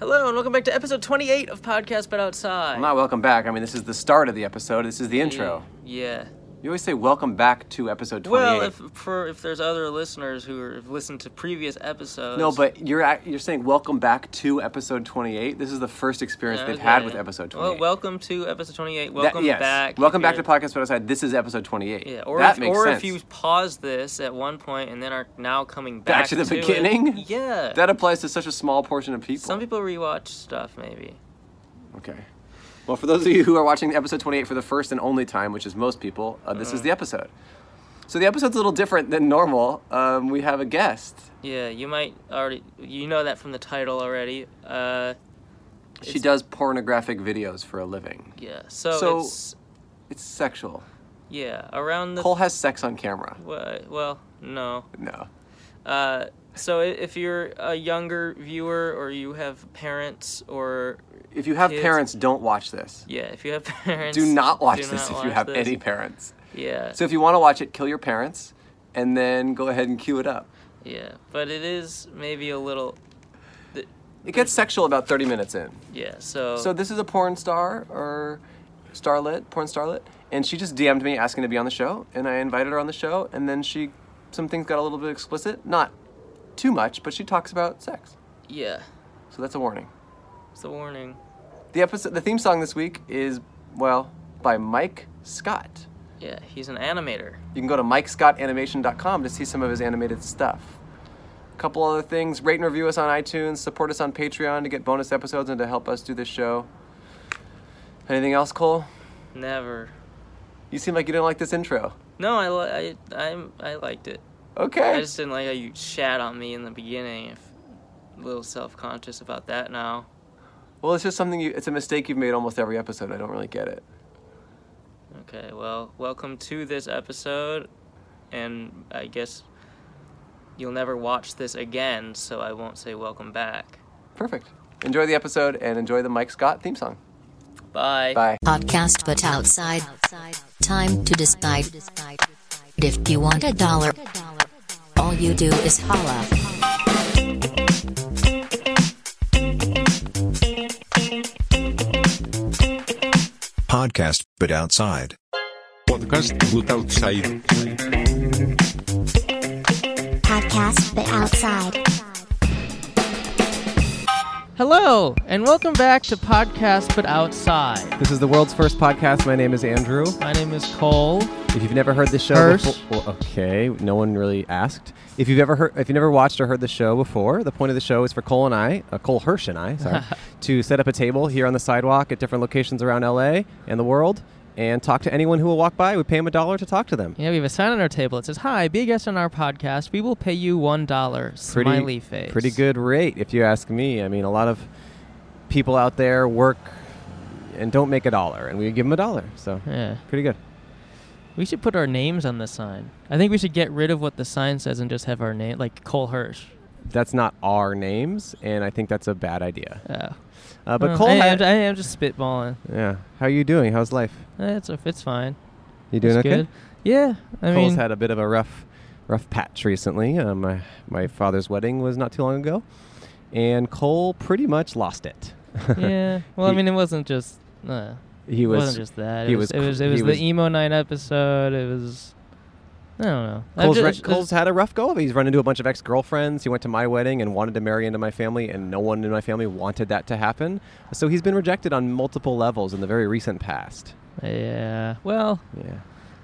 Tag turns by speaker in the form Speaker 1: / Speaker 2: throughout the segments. Speaker 1: Hello and welcome back to episode 28 of Podcast But Outside.
Speaker 2: Well, not welcome back. I mean, this is the start of the episode. This is
Speaker 1: Mm.
Speaker 2: the intro.
Speaker 1: Yeah.
Speaker 2: You always say welcome back to episode 28.
Speaker 1: Well, if for if there's other listeners who are- have listened to previous episodes.
Speaker 2: no, but you're at, you're saying welcome back to episode 28. This is the first experience they've had
Speaker 1: Okay.
Speaker 2: with episode 28.
Speaker 1: Well, welcome to episode 28.
Speaker 2: That-
Speaker 1: Welcome
Speaker 2: yes.
Speaker 1: back. if
Speaker 2: Welcome back to
Speaker 1: you're-
Speaker 2: podcast. But outside, this is episode 28.
Speaker 1: Yeah, or
Speaker 2: that
Speaker 1: if,
Speaker 2: makes
Speaker 1: or
Speaker 2: sense.
Speaker 1: if you pause this at one point and then are now coming back,
Speaker 2: Back to the
Speaker 1: it.
Speaker 2: beginning?
Speaker 1: Yeah.
Speaker 2: that applies to such a small portion of people.
Speaker 1: Some people rewatch stuff maybe.
Speaker 2: Okay. Well, for those of you who are watching episode 28 for the first and only time, which is most people, uh,
Speaker 1: Uh-huh.
Speaker 2: this is the episode. So the episode's a little different than normal. Um, we have a guest.
Speaker 1: Yeah, you might already you know that from the title already. Uh
Speaker 2: she does pornographic videos for a living.
Speaker 1: yeah. So,
Speaker 2: So-
Speaker 1: it's
Speaker 2: It's sexual.
Speaker 1: yeah, around the
Speaker 2: Cole has sex on camera.
Speaker 1: Wha- well, no.
Speaker 2: No.
Speaker 1: Uh, so i- if you're a younger viewer or you have parents or
Speaker 2: If you have
Speaker 1: Kids.
Speaker 2: parents, don't watch this.
Speaker 1: yeah, if you have parents,
Speaker 2: Do not watch
Speaker 1: do
Speaker 2: this
Speaker 1: not
Speaker 2: if you
Speaker 1: watch
Speaker 2: have
Speaker 1: this.
Speaker 2: any parents.
Speaker 1: Yeah,
Speaker 2: So if you want to watch it, kill your parents and then go ahead and cue it up.
Speaker 1: yeah, but it is maybe a little
Speaker 2: It gets sexual about 30 minutes in.
Speaker 1: yeah. So,
Speaker 2: So this is a porn star or starlet, porn starlet, and she just DM'd me asking to be on the show, and I invited her on the show, and then she, some things got a little bit explicit, not too much, but she talks about sex.
Speaker 1: yeah,
Speaker 2: So that's a warning.
Speaker 1: it's a warning.
Speaker 2: The episode, the theme song this week is well by Mike Scott.
Speaker 1: Yeah, he's an animator.
Speaker 2: You can go to MikeScottAnimation.com to see some of his animated stuff. A couple other things: rate and review us on iTunes, support us on Patreon to get bonus episodes and to help us do this show. Anything else, Cole?
Speaker 1: Never.
Speaker 2: You seem like you didn't like this intro.
Speaker 1: No, I li- I I'm, I liked it. I
Speaker 2: Okay.
Speaker 1: just didn't like how you shat on me in the beginning. If a little self conscious about that now.
Speaker 2: Well, it's just something you, it's a mistake you've made almost every episode. I don't really get it.
Speaker 1: Okay, well, welcome to this episode, and I guess you'll never watch this again, so I won't say welcome back.
Speaker 2: Perfect. Enjoy the episode and enjoy the Mike Scott theme song.
Speaker 1: Bye.
Speaker 2: Bye.
Speaker 3: podcast but outside. Time to decide. If you want a dollar, all you do is holla.
Speaker 4: podcast but outside
Speaker 5: Podcast But Outside.
Speaker 6: podcast but outside.
Speaker 1: Hello, and welcome back to Podcast But Outside.
Speaker 2: This is the world's first podcast. My name is Andrew.
Speaker 1: My name is Cole.
Speaker 2: If you've never heard the show
Speaker 1: First.
Speaker 2: before, well, okay, no one really asked. If you've ever heard, if you've never watched or heard the show before, the point of the show is for Cole and I, uh, Cole Hirsch and I, sorry, to set up a table here on the sidewalk at different locations around LA and the world, and talk to anyone who will walk by. We pay them a dollar to talk to them.
Speaker 1: Yeah, we have a sign on our table that says, Hi, be a guest on our podcast. We will pay you $1. Smiley face.
Speaker 2: Pretty good rate, if you ask me. I mean, a lot of people out there work and don't make a dollar, and we give them a dollar. So,
Speaker 1: Yeah.
Speaker 2: pretty good.
Speaker 1: We should put our names on the sign. I think we should get rid of what the sign says and just have our name, like Cole Hirsch.
Speaker 2: That's not our names, and I think that's a bad idea.
Speaker 1: Oh.
Speaker 2: Uh, but
Speaker 1: Well,
Speaker 2: Cole,
Speaker 1: I,
Speaker 2: had-
Speaker 1: am, I am just spitballing.
Speaker 2: yeah. How are you doing? How's life?
Speaker 1: Eh, It's it's fine.
Speaker 2: You doing
Speaker 1: It's
Speaker 2: okay?
Speaker 1: good. Yeah, I
Speaker 2: Cole's
Speaker 1: mean,
Speaker 2: had a bit of a rough, rough patch recently. Um, my my father's wedding was not too long ago, and Cole pretty much lost it.
Speaker 1: yeah. Well, I
Speaker 2: He-
Speaker 1: mean, it wasn't just. Uh,
Speaker 2: he
Speaker 1: it
Speaker 2: was
Speaker 1: wasn't just that. It
Speaker 2: he
Speaker 1: was.
Speaker 2: was
Speaker 1: It
Speaker 2: cr-
Speaker 1: was. It
Speaker 2: he
Speaker 1: was the
Speaker 2: was-
Speaker 1: emo night episode. It was. I don't know. I'm
Speaker 2: Cole's,
Speaker 1: ju-
Speaker 2: re-
Speaker 1: it's-
Speaker 2: Cole's had a rough go of it. He's run into a bunch of ex girlfriends. He went to my wedding and wanted to marry into my family, and no one in my family wanted that to happen. So he's been rejected on multiple levels in the very recent past.
Speaker 1: Yeah. Well,
Speaker 2: Yeah.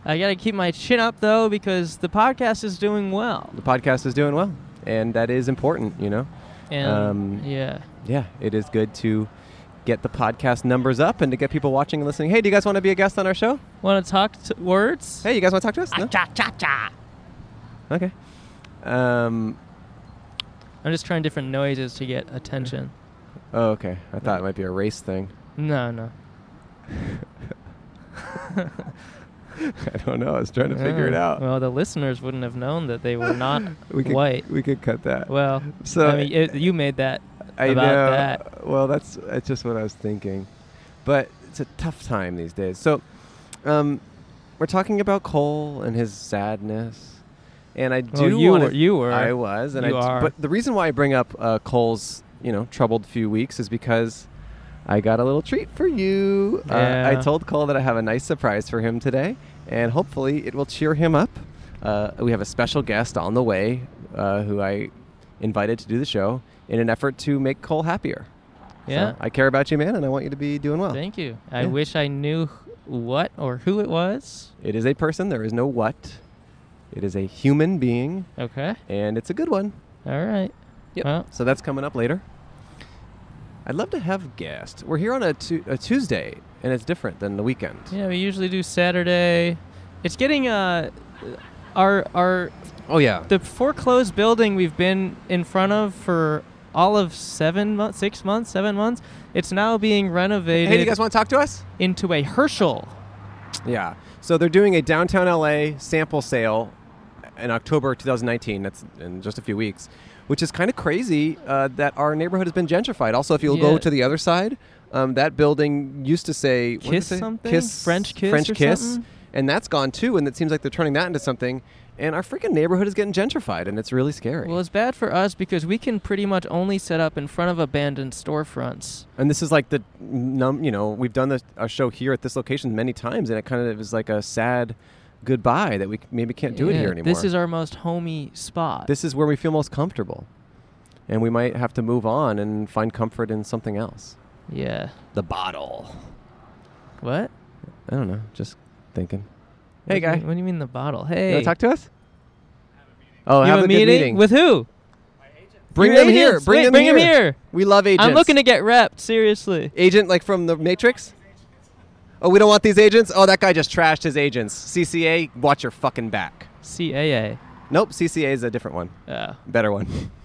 Speaker 1: I gotta keep my chin up though because the podcast is doing well.
Speaker 2: The podcast is doing well, and that is important, you know?
Speaker 1: And
Speaker 2: Um,
Speaker 1: yeah.
Speaker 2: Yeah, it is good to get the podcast numbers up and to get people watching and listening. Hey, do you guys want to be a guest on our show?
Speaker 1: Want to talk t- words?
Speaker 2: Hey, you guys want to talk to us? No? Okay. Um,
Speaker 1: I'm just trying different noises to get attention.
Speaker 2: oh, okay. I thought it might be a race thing.
Speaker 1: No, no.
Speaker 2: I don't know. I was trying to figure it
Speaker 1: Oh,
Speaker 2: out.
Speaker 1: Well, the listeners wouldn't have known that they were not
Speaker 2: we could,
Speaker 1: white.
Speaker 2: We could cut that.
Speaker 1: Well,
Speaker 2: So-
Speaker 1: I mean, it, you made that
Speaker 2: I
Speaker 1: about
Speaker 2: know.
Speaker 1: that.
Speaker 2: Well, that's that's just what I was thinking, but it's a tough time these days. So, um, we're talking about Cole and his sadness, and I do.
Speaker 1: Well, Oh, you
Speaker 2: wanna-
Speaker 1: were- you were.
Speaker 2: I was, and
Speaker 1: You
Speaker 2: I. d-
Speaker 1: are.
Speaker 2: But the reason why I bring up uh, Cole's you know troubled few weeks is because I got a little treat for you. Uh,
Speaker 1: Yeah.
Speaker 2: I told Cole that I have a nice surprise for him today, and hopefully it will cheer him up. Uh, we have a special guest on the way uh, who I invited to do the show in an effort to make Cole happier. So
Speaker 1: Yeah.
Speaker 2: I care about you, man, and I want you to be doing well.
Speaker 1: Thank you. I
Speaker 2: Yeah.
Speaker 1: wish I knew wh- what or who it was.
Speaker 2: It is a person. There is no what. It is a human being,
Speaker 1: Okay.
Speaker 2: and it's a good one.
Speaker 1: All right.
Speaker 2: Yep.
Speaker 1: Well,
Speaker 2: So that's coming up later. I'd love to have guests. We're here on a, tu- a Tuesday, and it's different than the weekend.
Speaker 1: yeah, we usually do Saturday. It's getting uh our our
Speaker 2: Oh yeah.
Speaker 1: the foreclosed building we've been in front of for all of seven months, six months, seven months. It's now being renovated
Speaker 2: hey, do you guys want to talk to us?
Speaker 1: into a Herschel.
Speaker 2: Yeah. So they're doing a downtown LA sample sale in October 2019. That's in just a few weeks, which is kind of crazy uh, that our neighborhood has been gentrified. Also, if you'll
Speaker 1: Yeah.
Speaker 2: go to the other side, um, that building used to say what did it
Speaker 1: Kiss
Speaker 2: say?
Speaker 1: something?
Speaker 2: Kiss
Speaker 1: French Kiss
Speaker 2: French
Speaker 1: or
Speaker 2: Kiss,
Speaker 1: something?
Speaker 2: and that's gone too. And it seems like they're turning that into something. And our freaking neighborhood is getting gentrified, and it's really scary.
Speaker 1: Well, it's bad for us because we can pretty much only set up in front of abandoned storefronts.
Speaker 2: And this is like the num, you know, we've done the, our show here at this location many times, and it kind of is like a sad goodbye that we c- maybe can't do it
Speaker 1: Yeah,
Speaker 2: here anymore.
Speaker 1: This is our most homey spot.
Speaker 2: this is where we feel most comfortable, and we might have to move on and find comfort in something else.
Speaker 1: yeah.
Speaker 2: The bottle.
Speaker 1: What?
Speaker 2: I don't know. Just thinking.
Speaker 1: What do
Speaker 2: Hey,
Speaker 1: you
Speaker 2: guy,
Speaker 1: mean- What do you mean the bottle?
Speaker 2: you
Speaker 1: Hey.
Speaker 2: want to talk to us? Oh,
Speaker 1: you
Speaker 2: have
Speaker 1: have a
Speaker 2: good
Speaker 1: meeting? with who?
Speaker 2: Bring
Speaker 1: Your
Speaker 2: them here.
Speaker 1: agents.
Speaker 2: Bring
Speaker 1: Wait,
Speaker 2: them
Speaker 1: bring
Speaker 2: here.
Speaker 1: 'em here.
Speaker 2: We love agents.
Speaker 1: I'm looking to get repped. Seriously.
Speaker 2: agent like from the Matrix? Oh, we don't want these agents. Oh, that guy just trashed his agents. CCA, watch your fucking back.
Speaker 1: CAA.
Speaker 2: Nope, CCA is a different one.
Speaker 1: Oh.
Speaker 2: Better one.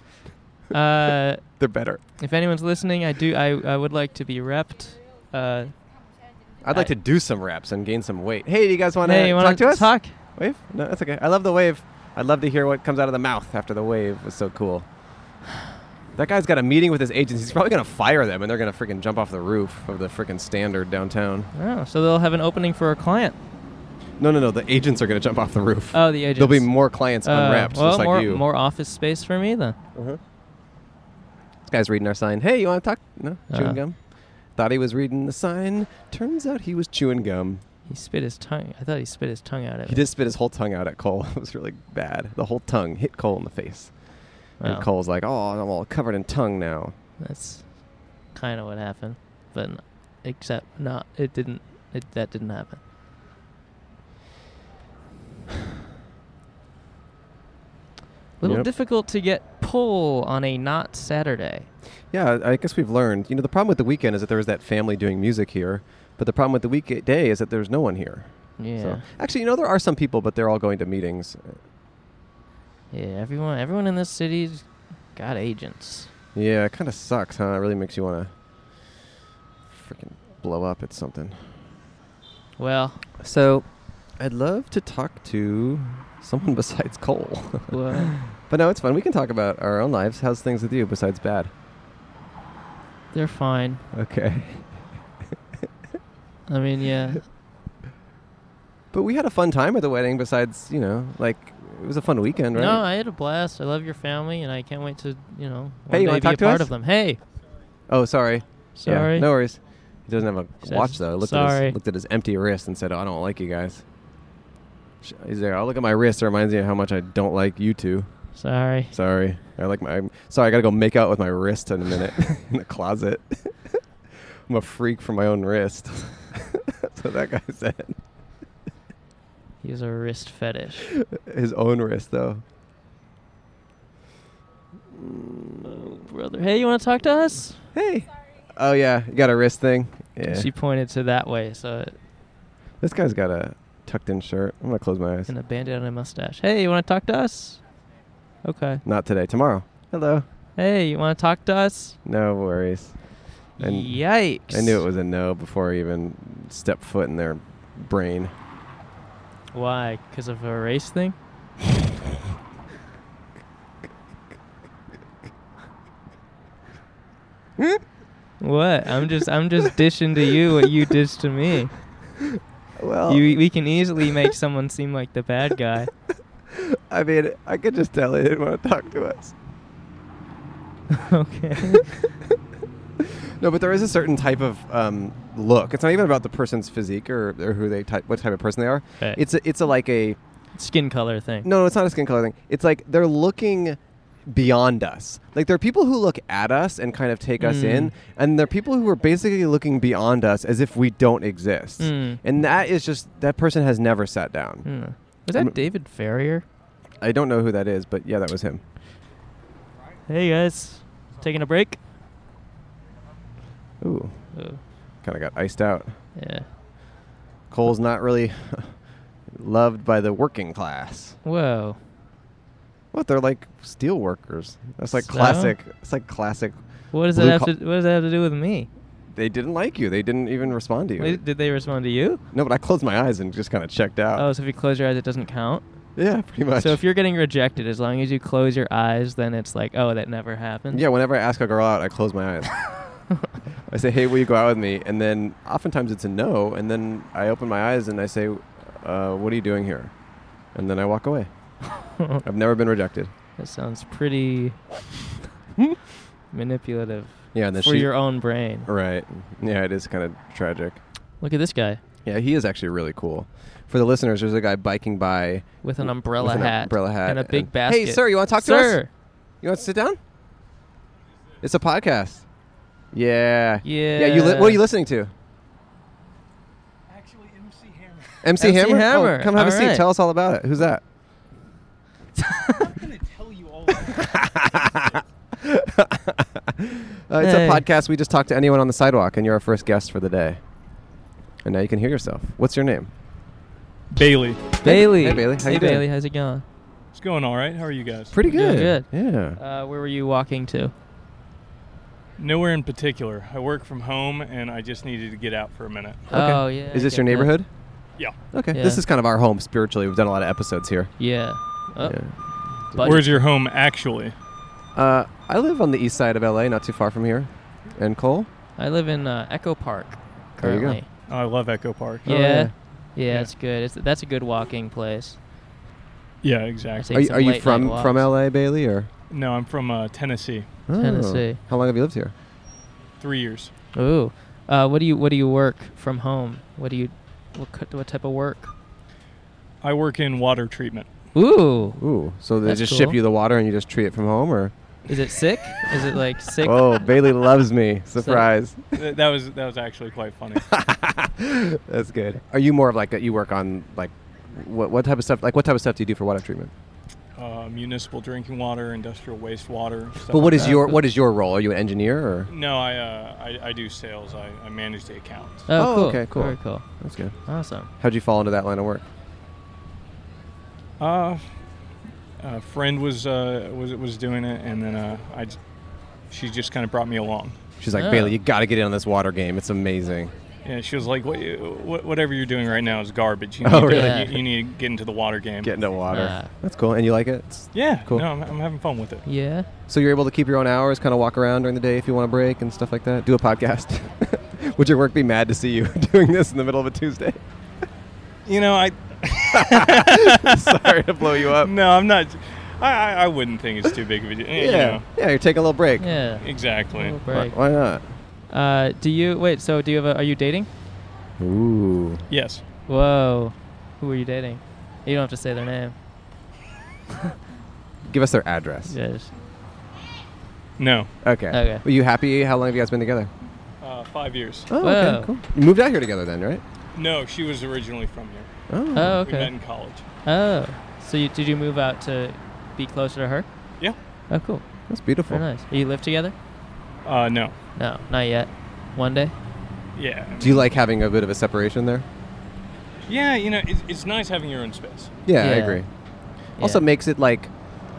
Speaker 1: Uh,
Speaker 2: They're better.
Speaker 1: if anyone's listening, I do. I, I would like to be repped. Uh,
Speaker 2: I'd like
Speaker 1: I-
Speaker 2: to do some reps and gain some weight. Hey, do you guys want
Speaker 1: hey, you
Speaker 2: to
Speaker 1: want
Speaker 2: talk to us?
Speaker 1: Talk.
Speaker 2: Wave? No, that's okay. I love the wave. I'd love to hear what comes out of the mouth after the wave. It was so cool. That guy's got a meeting with his agents. He's probably going to fire them and they're going to freaking jump off the roof of the freaking standard downtown.
Speaker 1: Oh, so they'll have an opening for a client.
Speaker 2: No, no, no. The agents are going to jump off the roof.
Speaker 1: Oh, the agents.
Speaker 2: There'll be more clients
Speaker 1: Uh,
Speaker 2: unwrapped,
Speaker 1: well,
Speaker 2: just like
Speaker 1: more,
Speaker 2: you. Uh-huh.
Speaker 1: more office space for me then.
Speaker 2: This guy's reading our sign. Hey, you want to talk? No, chewing
Speaker 1: Uh.
Speaker 2: gum. Thought he was reading the sign. Turns out he was chewing gum.
Speaker 1: He spit his tongue. I thought he spit his tongue out at
Speaker 2: He
Speaker 1: me.
Speaker 2: did spit his whole tongue out at Cole. It was really bad. The whole tongue hit Cole in the face.
Speaker 1: Wow.
Speaker 2: And Cole's like, "Oh, I'm all covered in tongue now."
Speaker 1: That's kind of what happened, but n- except not. It didn't. It that didn't happen. Little
Speaker 2: Yep.
Speaker 1: difficult to get pull on a not Saturday.
Speaker 2: Yeah, I guess we've learned. You know, the problem with the weekend is that there was that family doing music here, but the problem with the weekday is that there's no one here.
Speaker 1: Yeah,
Speaker 2: So actually, you know, there are some people, but they're all going to meetings.
Speaker 1: yeah. Everyone, everyone in this city's got agents.
Speaker 2: Yeah, it kind of sucks, huh? It really makes you want to freaking blow up at something.
Speaker 1: Well,
Speaker 2: So, I'd love to talk to someone besides Cole.
Speaker 1: well
Speaker 2: but no, it's fun. We can talk about our own lives. How's things with you besides bad?
Speaker 1: they're fine.
Speaker 2: Okay.
Speaker 1: I mean, yeah.
Speaker 2: But we had a fun time at the wedding besides, you know, like it was a fun weekend, right?
Speaker 1: No, I had a blast. I love your family, and I can't wait to you know one
Speaker 2: Hey, you
Speaker 1: day
Speaker 2: wanna
Speaker 1: be a
Speaker 2: talk to
Speaker 1: part
Speaker 2: us?
Speaker 1: of them. Hey,
Speaker 2: oh, sorry. Yeah,
Speaker 1: sorry.
Speaker 2: no worries. He doesn't have a
Speaker 1: Says,
Speaker 2: watch though. I Looked at
Speaker 1: "Sorry."
Speaker 2: his looked at his empty wrist and said, oh, "I don't like you guys." Sh- He's like, "Oh, look at my wrist. It reminds me of how much I don't like you two.
Speaker 1: Sorry.
Speaker 2: Sorry. I like my. I'm, sorry, I gotta go make out with my wrist in a minute in the closet. I'm a freak for my own wrist. That's what that guy said.
Speaker 1: He has a wrist fetish.
Speaker 2: His own wrist though.
Speaker 1: brother. Hey, you want to talk to us?
Speaker 2: Hey. Oh yeah, you got a wrist thing. Yeah.
Speaker 1: She pointed to that way, so it-
Speaker 2: This guy's got a tucked-in shirt. I'm gonna close my eyes.
Speaker 1: and a bandit on a mustache. Hey, you want to talk to us? Okay.
Speaker 2: Not today. Tomorrow. Hello.
Speaker 1: Hey, you want to talk to us?
Speaker 2: No worries. And-
Speaker 1: Yikes!
Speaker 2: I knew it was a no before I even stepped foot in their brain.
Speaker 1: Why? Because of a race thing? what? I'm just I'm just dishing to you what you dish to me.
Speaker 2: Well,
Speaker 1: You, we can easily make someone seem like the bad guy.
Speaker 2: I mean, I could just tell they didn't want to talk to us.
Speaker 1: okay.
Speaker 2: No, but there is a certain type of um, look. It's not even about the person's physique or, or who they type, what type of person they are.
Speaker 1: Right.
Speaker 2: It's a, it's a like a
Speaker 1: Skin color thing.
Speaker 2: no, no, it's not a skin color thing. It's like they're looking beyond us. Like there are people who look at us and kind of take us
Speaker 1: Mm.
Speaker 2: in, and there are people who are basically looking beyond us as if we don't exist.
Speaker 1: Mm.
Speaker 2: And that is just that person has never sat down.
Speaker 1: Hmm. Was that David Ferrier?
Speaker 2: I don't know who that is, but yeah, that was him.
Speaker 1: Hey guys, taking a break.
Speaker 2: Ooh,
Speaker 1: Oh,
Speaker 2: kind of got iced out.
Speaker 1: yeah.
Speaker 2: Cole's not really loved by the working class.
Speaker 1: Whoa.
Speaker 2: What they're like steel workers. That's like
Speaker 1: So?
Speaker 2: classic. It's like classic.
Speaker 1: What does
Speaker 2: Blue
Speaker 1: that have
Speaker 2: co-
Speaker 1: to? What does that have to do with me?
Speaker 2: They didn't like you. They didn't even respond to you.
Speaker 1: Wait, did they respond to you?
Speaker 2: no, but I closed my eyes and just kind of checked out.
Speaker 1: Oh, so if you close your eyes, it doesn't count.
Speaker 2: yeah, pretty much.
Speaker 1: So if you're getting rejected, as long as you close your eyes, then it's like, oh, that never happened.
Speaker 2: yeah, whenever I ask a girl out, I close my eyes. I say, "Hey, will you go out with me?" And then oftentimes it's a no, and then I open my eyes and I say, uh, "What are you doing here?" And then I walk away. I've never been rejected.
Speaker 1: That sounds pretty manipulative
Speaker 2: Yeah, and then
Speaker 1: for
Speaker 2: she,
Speaker 1: your own brain.
Speaker 2: right. Yeah, it is kind of tragic.
Speaker 1: Look at this guy
Speaker 2: Yeah, he is actually really cool. For the listeners, there's a guy biking by
Speaker 1: with an
Speaker 2: W-
Speaker 1: umbrella
Speaker 2: with an
Speaker 1: hat,
Speaker 2: umbrella hat
Speaker 1: and a big
Speaker 2: and-
Speaker 1: basket.
Speaker 2: Hey, sir, you wanna talk to
Speaker 1: sir.
Speaker 2: us? You want to sit down? It's a podcast. Yeah. Yeah. You li- what are you
Speaker 1: Yeah.
Speaker 2: listening to? Actually,
Speaker 1: MC
Speaker 2: MC Hammer. MC, Hammer.
Speaker 1: Hammer.
Speaker 2: Oh, come have a
Speaker 1: All
Speaker 2: seat.
Speaker 1: right.
Speaker 2: Tell us all about it. Who's that? Uh, it's
Speaker 1: Hey.
Speaker 2: a podcast. We just talk to anyone on the sidewalk, and you're our first guest for the day. And now you can hear yourself. What's your name?
Speaker 7: Bailey.
Speaker 1: Bailey.
Speaker 2: Hey, Bailey. How
Speaker 1: hey,
Speaker 2: you doing?
Speaker 1: Bailey. How's it going?
Speaker 7: It's going all right. How are you guys?
Speaker 2: Pretty
Speaker 1: Doing good.
Speaker 2: Yeah.
Speaker 1: Uh, where were you walking to?
Speaker 7: Nowhere in particular. I work from home and I just needed to get out for a minute.
Speaker 1: Oh yeah.
Speaker 2: Is
Speaker 1: I
Speaker 2: this your
Speaker 1: get that.
Speaker 2: neighborhood?
Speaker 7: Yeah.
Speaker 2: Okay.
Speaker 1: Yeah.
Speaker 2: This is kind of our home spiritually. We've done a lot of episodes here.
Speaker 1: Yeah. Oh,
Speaker 2: Yeah.
Speaker 1: buddy.
Speaker 7: Where's your home actually?
Speaker 2: Uh, I live on the east side of LA, not too far from here. And Cole?
Speaker 1: I live in uh, Echo Park
Speaker 2: There you go.
Speaker 1: currently.
Speaker 7: Oh, I love Echo Park.
Speaker 2: Oh,
Speaker 1: Yeah.
Speaker 2: yeah.
Speaker 1: yeah. it's good. It's that's a good walking place.
Speaker 7: Yeah,
Speaker 1: I
Speaker 7: exactly.
Speaker 1: take
Speaker 2: Are you,
Speaker 1: some
Speaker 2: are you
Speaker 1: late-night
Speaker 2: from, from
Speaker 1: walks.
Speaker 2: LA, Bailey? or
Speaker 7: No, I'm from uh, Tennessee.
Speaker 2: Oh.
Speaker 1: Tennessee.
Speaker 2: How long have you lived here?
Speaker 7: Three years.
Speaker 1: Ooh. Uh, what do you what do you work from home? What do you what, co- what type of work?
Speaker 7: I work in water treatment.
Speaker 1: Ooh.
Speaker 2: Ooh. So they
Speaker 1: That's
Speaker 2: just ship
Speaker 1: cool.
Speaker 2: you the water and you just treat it from home? or?
Speaker 1: Is it sick? Is it like sick?
Speaker 2: Oh, Bailey loves me. Surprise.
Speaker 7: Th- that was that was actually quite funny.
Speaker 2: That's good. Are you more of like, a, you work on like, what, what type of stuff? Like, what type of stuff do you do for water treatment?
Speaker 7: Uh, municipal drinking water, industrial wastewater. Stuff
Speaker 2: But what
Speaker 7: like
Speaker 2: is
Speaker 7: that.
Speaker 2: your what is your role? Are you an engineer or?
Speaker 7: No, I, uh, I I do sales. I, I manage the accounts.
Speaker 1: Oh,
Speaker 2: Oh,
Speaker 1: cool.
Speaker 2: okay, cool.
Speaker 1: Very cool.
Speaker 2: That's good.
Speaker 1: Awesome.
Speaker 2: How'd you fall into that line of work?
Speaker 7: Uh, a friend was uh, was was doing it, and then uh, I, j- she just kind of brought me along.
Speaker 2: She's like,
Speaker 1: Oh.
Speaker 2: Bailey, you got to get in on this water game. It's amazing.
Speaker 7: Yeah, she was like, what, you- what, "Whatever you're doing right now is garbage. You
Speaker 2: Oh,
Speaker 7: need to-
Speaker 1: really?
Speaker 7: you, you need to get into the water game."
Speaker 2: Get into water.
Speaker 1: Ah.
Speaker 2: That's cool. And you like it? It's-
Speaker 7: yeah,
Speaker 2: Cool.
Speaker 7: no, I'm, I'm having fun with it.
Speaker 1: Yeah.
Speaker 2: So you're able to keep your own hours, kind of walk around during the day if you want a break and stuff like that. Do a podcast. Would your work be mad to see you doing this in the middle of a Tuesday?
Speaker 7: You know, I
Speaker 2: Sorry to blow you up.
Speaker 7: no, I'm not. I, I, I wouldn't think it's too big of a deal. you
Speaker 2: Yeah.
Speaker 7: know.
Speaker 2: Yeah, you're taking a little break.
Speaker 1: Yeah.
Speaker 7: exactly.
Speaker 1: Little
Speaker 2: Why,
Speaker 1: break.
Speaker 2: why not?
Speaker 1: Uh, do you wait? So do you have? A, are you dating?
Speaker 2: Ooh.
Speaker 7: Yes,
Speaker 1: Whoa. Who are you dating? You don't have to say their name.
Speaker 2: Give us their address.
Speaker 1: Yes.
Speaker 7: no,
Speaker 2: Okay.
Speaker 1: Okay.
Speaker 2: Were you happy? How long have you guys been together?
Speaker 7: uh, five years.
Speaker 2: Oh,
Speaker 1: Whoa.
Speaker 2: okay. Cool. You moved out here together then, right?
Speaker 7: No, she was originally from here.
Speaker 2: Oh.
Speaker 1: Oh,
Speaker 7: We met
Speaker 1: okay.
Speaker 7: in college.
Speaker 1: Oh. So you, did you move out to be closer to her?
Speaker 7: Yeah.
Speaker 1: Oh, cool.
Speaker 2: That's beautiful.
Speaker 1: Very nice. Do you live together?
Speaker 7: Uh, no,
Speaker 1: No, not yet. One day.
Speaker 7: yeah,
Speaker 2: Do you like having a bit of a separation there?
Speaker 7: yeah. You know, it's, it's nice having your own space.
Speaker 2: Yeah, I
Speaker 1: Yeah.
Speaker 2: agree. Also
Speaker 1: Yeah.
Speaker 2: makes it like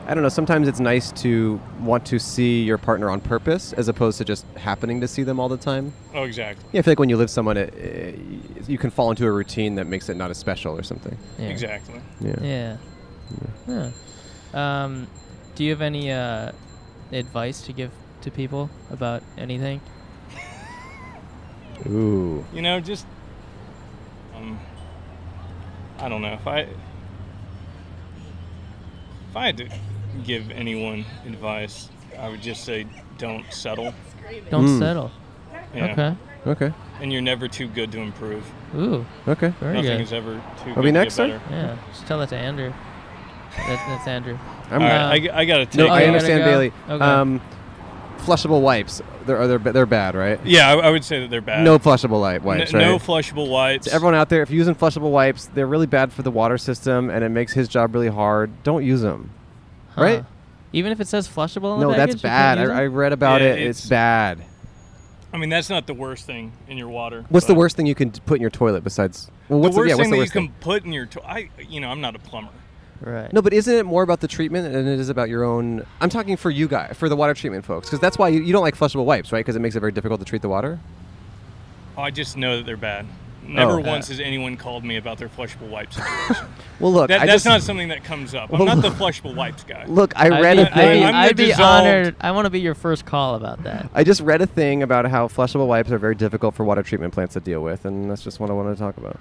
Speaker 2: I don't know, sometimes it's nice to want to see your partner on purpose as opposed to just happening to see them all the time.
Speaker 7: Oh, exactly.
Speaker 2: Yeah, I feel like when you live someone it, it, you can fall into a routine that makes it not as special or something.
Speaker 1: yeah.
Speaker 7: Exactly.
Speaker 1: Yeah. Huh. Um, do you have any uh, advice to give to people about anything?
Speaker 2: Ooh.
Speaker 7: You know, just um, I don't know if I if I had to give anyone advice, I would just say don't settle.
Speaker 1: Don't
Speaker 2: Mm.
Speaker 1: settle.
Speaker 7: Yeah.
Speaker 1: Okay.
Speaker 2: Okay.
Speaker 7: And you're never too good to improve.
Speaker 1: Ooh,
Speaker 2: Okay.
Speaker 1: very
Speaker 7: Nothing
Speaker 1: good.
Speaker 7: is ever too
Speaker 2: Are
Speaker 7: good
Speaker 2: we
Speaker 7: to
Speaker 2: next
Speaker 7: get
Speaker 2: then?
Speaker 7: better.
Speaker 1: yeah. Just tell that to Andrew. That, that's Andrew.
Speaker 2: I'm
Speaker 7: All
Speaker 2: not-
Speaker 7: right, I, got to take.
Speaker 2: No,
Speaker 1: Oh,
Speaker 2: I
Speaker 1: you
Speaker 7: uh,
Speaker 1: gotta
Speaker 2: understand,
Speaker 1: go?
Speaker 2: Bailey.
Speaker 1: Okay.
Speaker 2: Um, flushable wipes. They're are they they're bad, right?
Speaker 7: Yeah, I, I would say that they're bad.
Speaker 2: No flushable light
Speaker 7: N-
Speaker 2: wipes, right?
Speaker 7: no flushable wipes.
Speaker 2: to everyone out there, if you're using flushable wipes, they're really bad for the water system, and it makes his job really hard. Don't use them.
Speaker 1: Huh.
Speaker 2: Right?
Speaker 1: Even if it says flushable on
Speaker 2: no,
Speaker 1: the
Speaker 2: that's
Speaker 1: package, you can't
Speaker 2: bad.
Speaker 1: use
Speaker 2: I, I
Speaker 1: it?
Speaker 2: read about
Speaker 7: Yeah,
Speaker 2: it. It's,
Speaker 7: it's-
Speaker 2: bad.
Speaker 7: I mean, that's not the worst thing in your water.
Speaker 2: What's the
Speaker 7: but-
Speaker 2: worst thing you can t- put in your toilet besides? Well, what's
Speaker 7: the worst
Speaker 2: yeah, what's
Speaker 7: thing
Speaker 2: the
Speaker 7: that
Speaker 2: worst
Speaker 7: you
Speaker 2: thing?
Speaker 7: can put in your. To- I, you know, I'm not a plumber.
Speaker 1: right.
Speaker 2: No, but isn't it more about the treatment than it is about your own? I'm talking for you guys, for the water treatment folks, because that's why you, you don't like flushable wipes, right? Because it makes it very difficult to treat the water.
Speaker 7: I just know that they're bad. Never
Speaker 2: Oh.
Speaker 7: once has anyone called me about their flushable wipes.
Speaker 2: Well, look,
Speaker 7: That,
Speaker 2: I
Speaker 7: that's
Speaker 2: just,
Speaker 7: not something that comes up. I'm not the flushable wipes guy.
Speaker 2: Look, I
Speaker 1: I'd
Speaker 2: read
Speaker 1: be,
Speaker 2: a
Speaker 1: I'd be,
Speaker 2: thing.
Speaker 7: I'm the
Speaker 1: I'd be
Speaker 7: dissolved-
Speaker 1: honored. I want to be your first call about that.
Speaker 2: I just read a thing about how flushable wipes are very difficult for water treatment plants to deal with, and that's just what I wanted to talk about.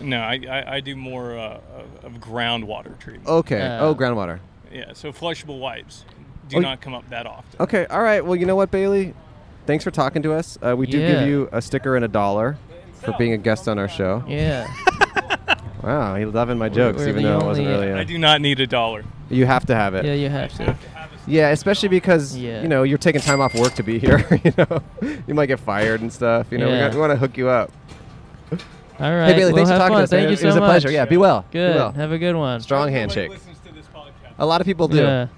Speaker 7: No, I, I, I do more uh, of- of groundwater treatment.
Speaker 2: Okay.
Speaker 1: Uh,
Speaker 2: oh, groundwater.
Speaker 7: Yeah, so flushable wipes do
Speaker 2: Oh, y-
Speaker 7: not come up that often.
Speaker 2: Okay. All right. Well, you know what, Bailey? Thanks for talking to us. Uh, we do
Speaker 1: Yeah.
Speaker 2: give you a sticker and a dollar for being a guest on our show.
Speaker 1: Yeah.
Speaker 2: Wow, he's loving my jokes,
Speaker 1: we're
Speaker 2: even
Speaker 1: the
Speaker 2: though it wasn't
Speaker 1: only-
Speaker 2: really.
Speaker 7: I
Speaker 2: A,
Speaker 7: do not need a dollar.
Speaker 2: you have to have it.
Speaker 1: yeah, you have to.
Speaker 2: Yeah, especially because
Speaker 1: Yeah.
Speaker 2: you know you're taking time off work to be here. you know, you might get fired and stuff. You know, we
Speaker 1: Yeah.
Speaker 2: got- we, want to hook you up.
Speaker 1: All right.
Speaker 2: hey, Bailey,
Speaker 1: well,
Speaker 2: thanks for
Speaker 1: have
Speaker 2: talking
Speaker 1: fun.
Speaker 2: to us.
Speaker 1: Thank
Speaker 2: man.
Speaker 1: you
Speaker 2: it
Speaker 1: so
Speaker 2: was a
Speaker 1: much.
Speaker 2: pleasure. Yeah, be well. Be
Speaker 1: Good.
Speaker 2: well.
Speaker 1: Have a good one.
Speaker 2: Strong handshake. A lot of people do.
Speaker 1: Yeah.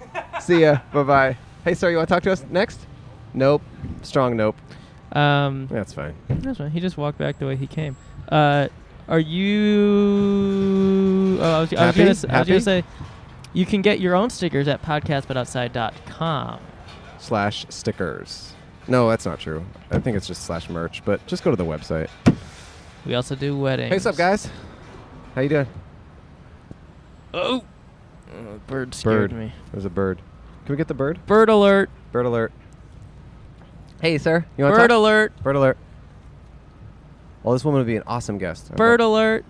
Speaker 2: See ya. Bye bye. Hey, sir, you want to talk to us next? Nope. Strong nope.
Speaker 1: Um,
Speaker 2: That's fine.
Speaker 1: That's right. He just walked back the way he came. Uh, are you? Oh, I was, I was
Speaker 2: Happy?
Speaker 1: gonna, s- I was
Speaker 2: Happy?
Speaker 1: gonna say, you can get your own stickers at podcastbutoutside.com.
Speaker 2: Slash stickers. No, that's not true. I think it's just slash merch, but just go to the website.
Speaker 1: We also do weddings.
Speaker 2: Hey, what's up, guys? How you doing?
Speaker 1: Oh, Uh, bird scared
Speaker 2: Bird.
Speaker 1: me.
Speaker 2: There's a bird. Can we get the bird?
Speaker 1: Bird alert!
Speaker 2: Bird alert. Hey, sir. You want
Speaker 1: Bird
Speaker 2: to
Speaker 1: alert!
Speaker 2: Bird alert. Well, this woman would be an awesome guest. I'd
Speaker 1: Bird
Speaker 2: love-
Speaker 1: alert!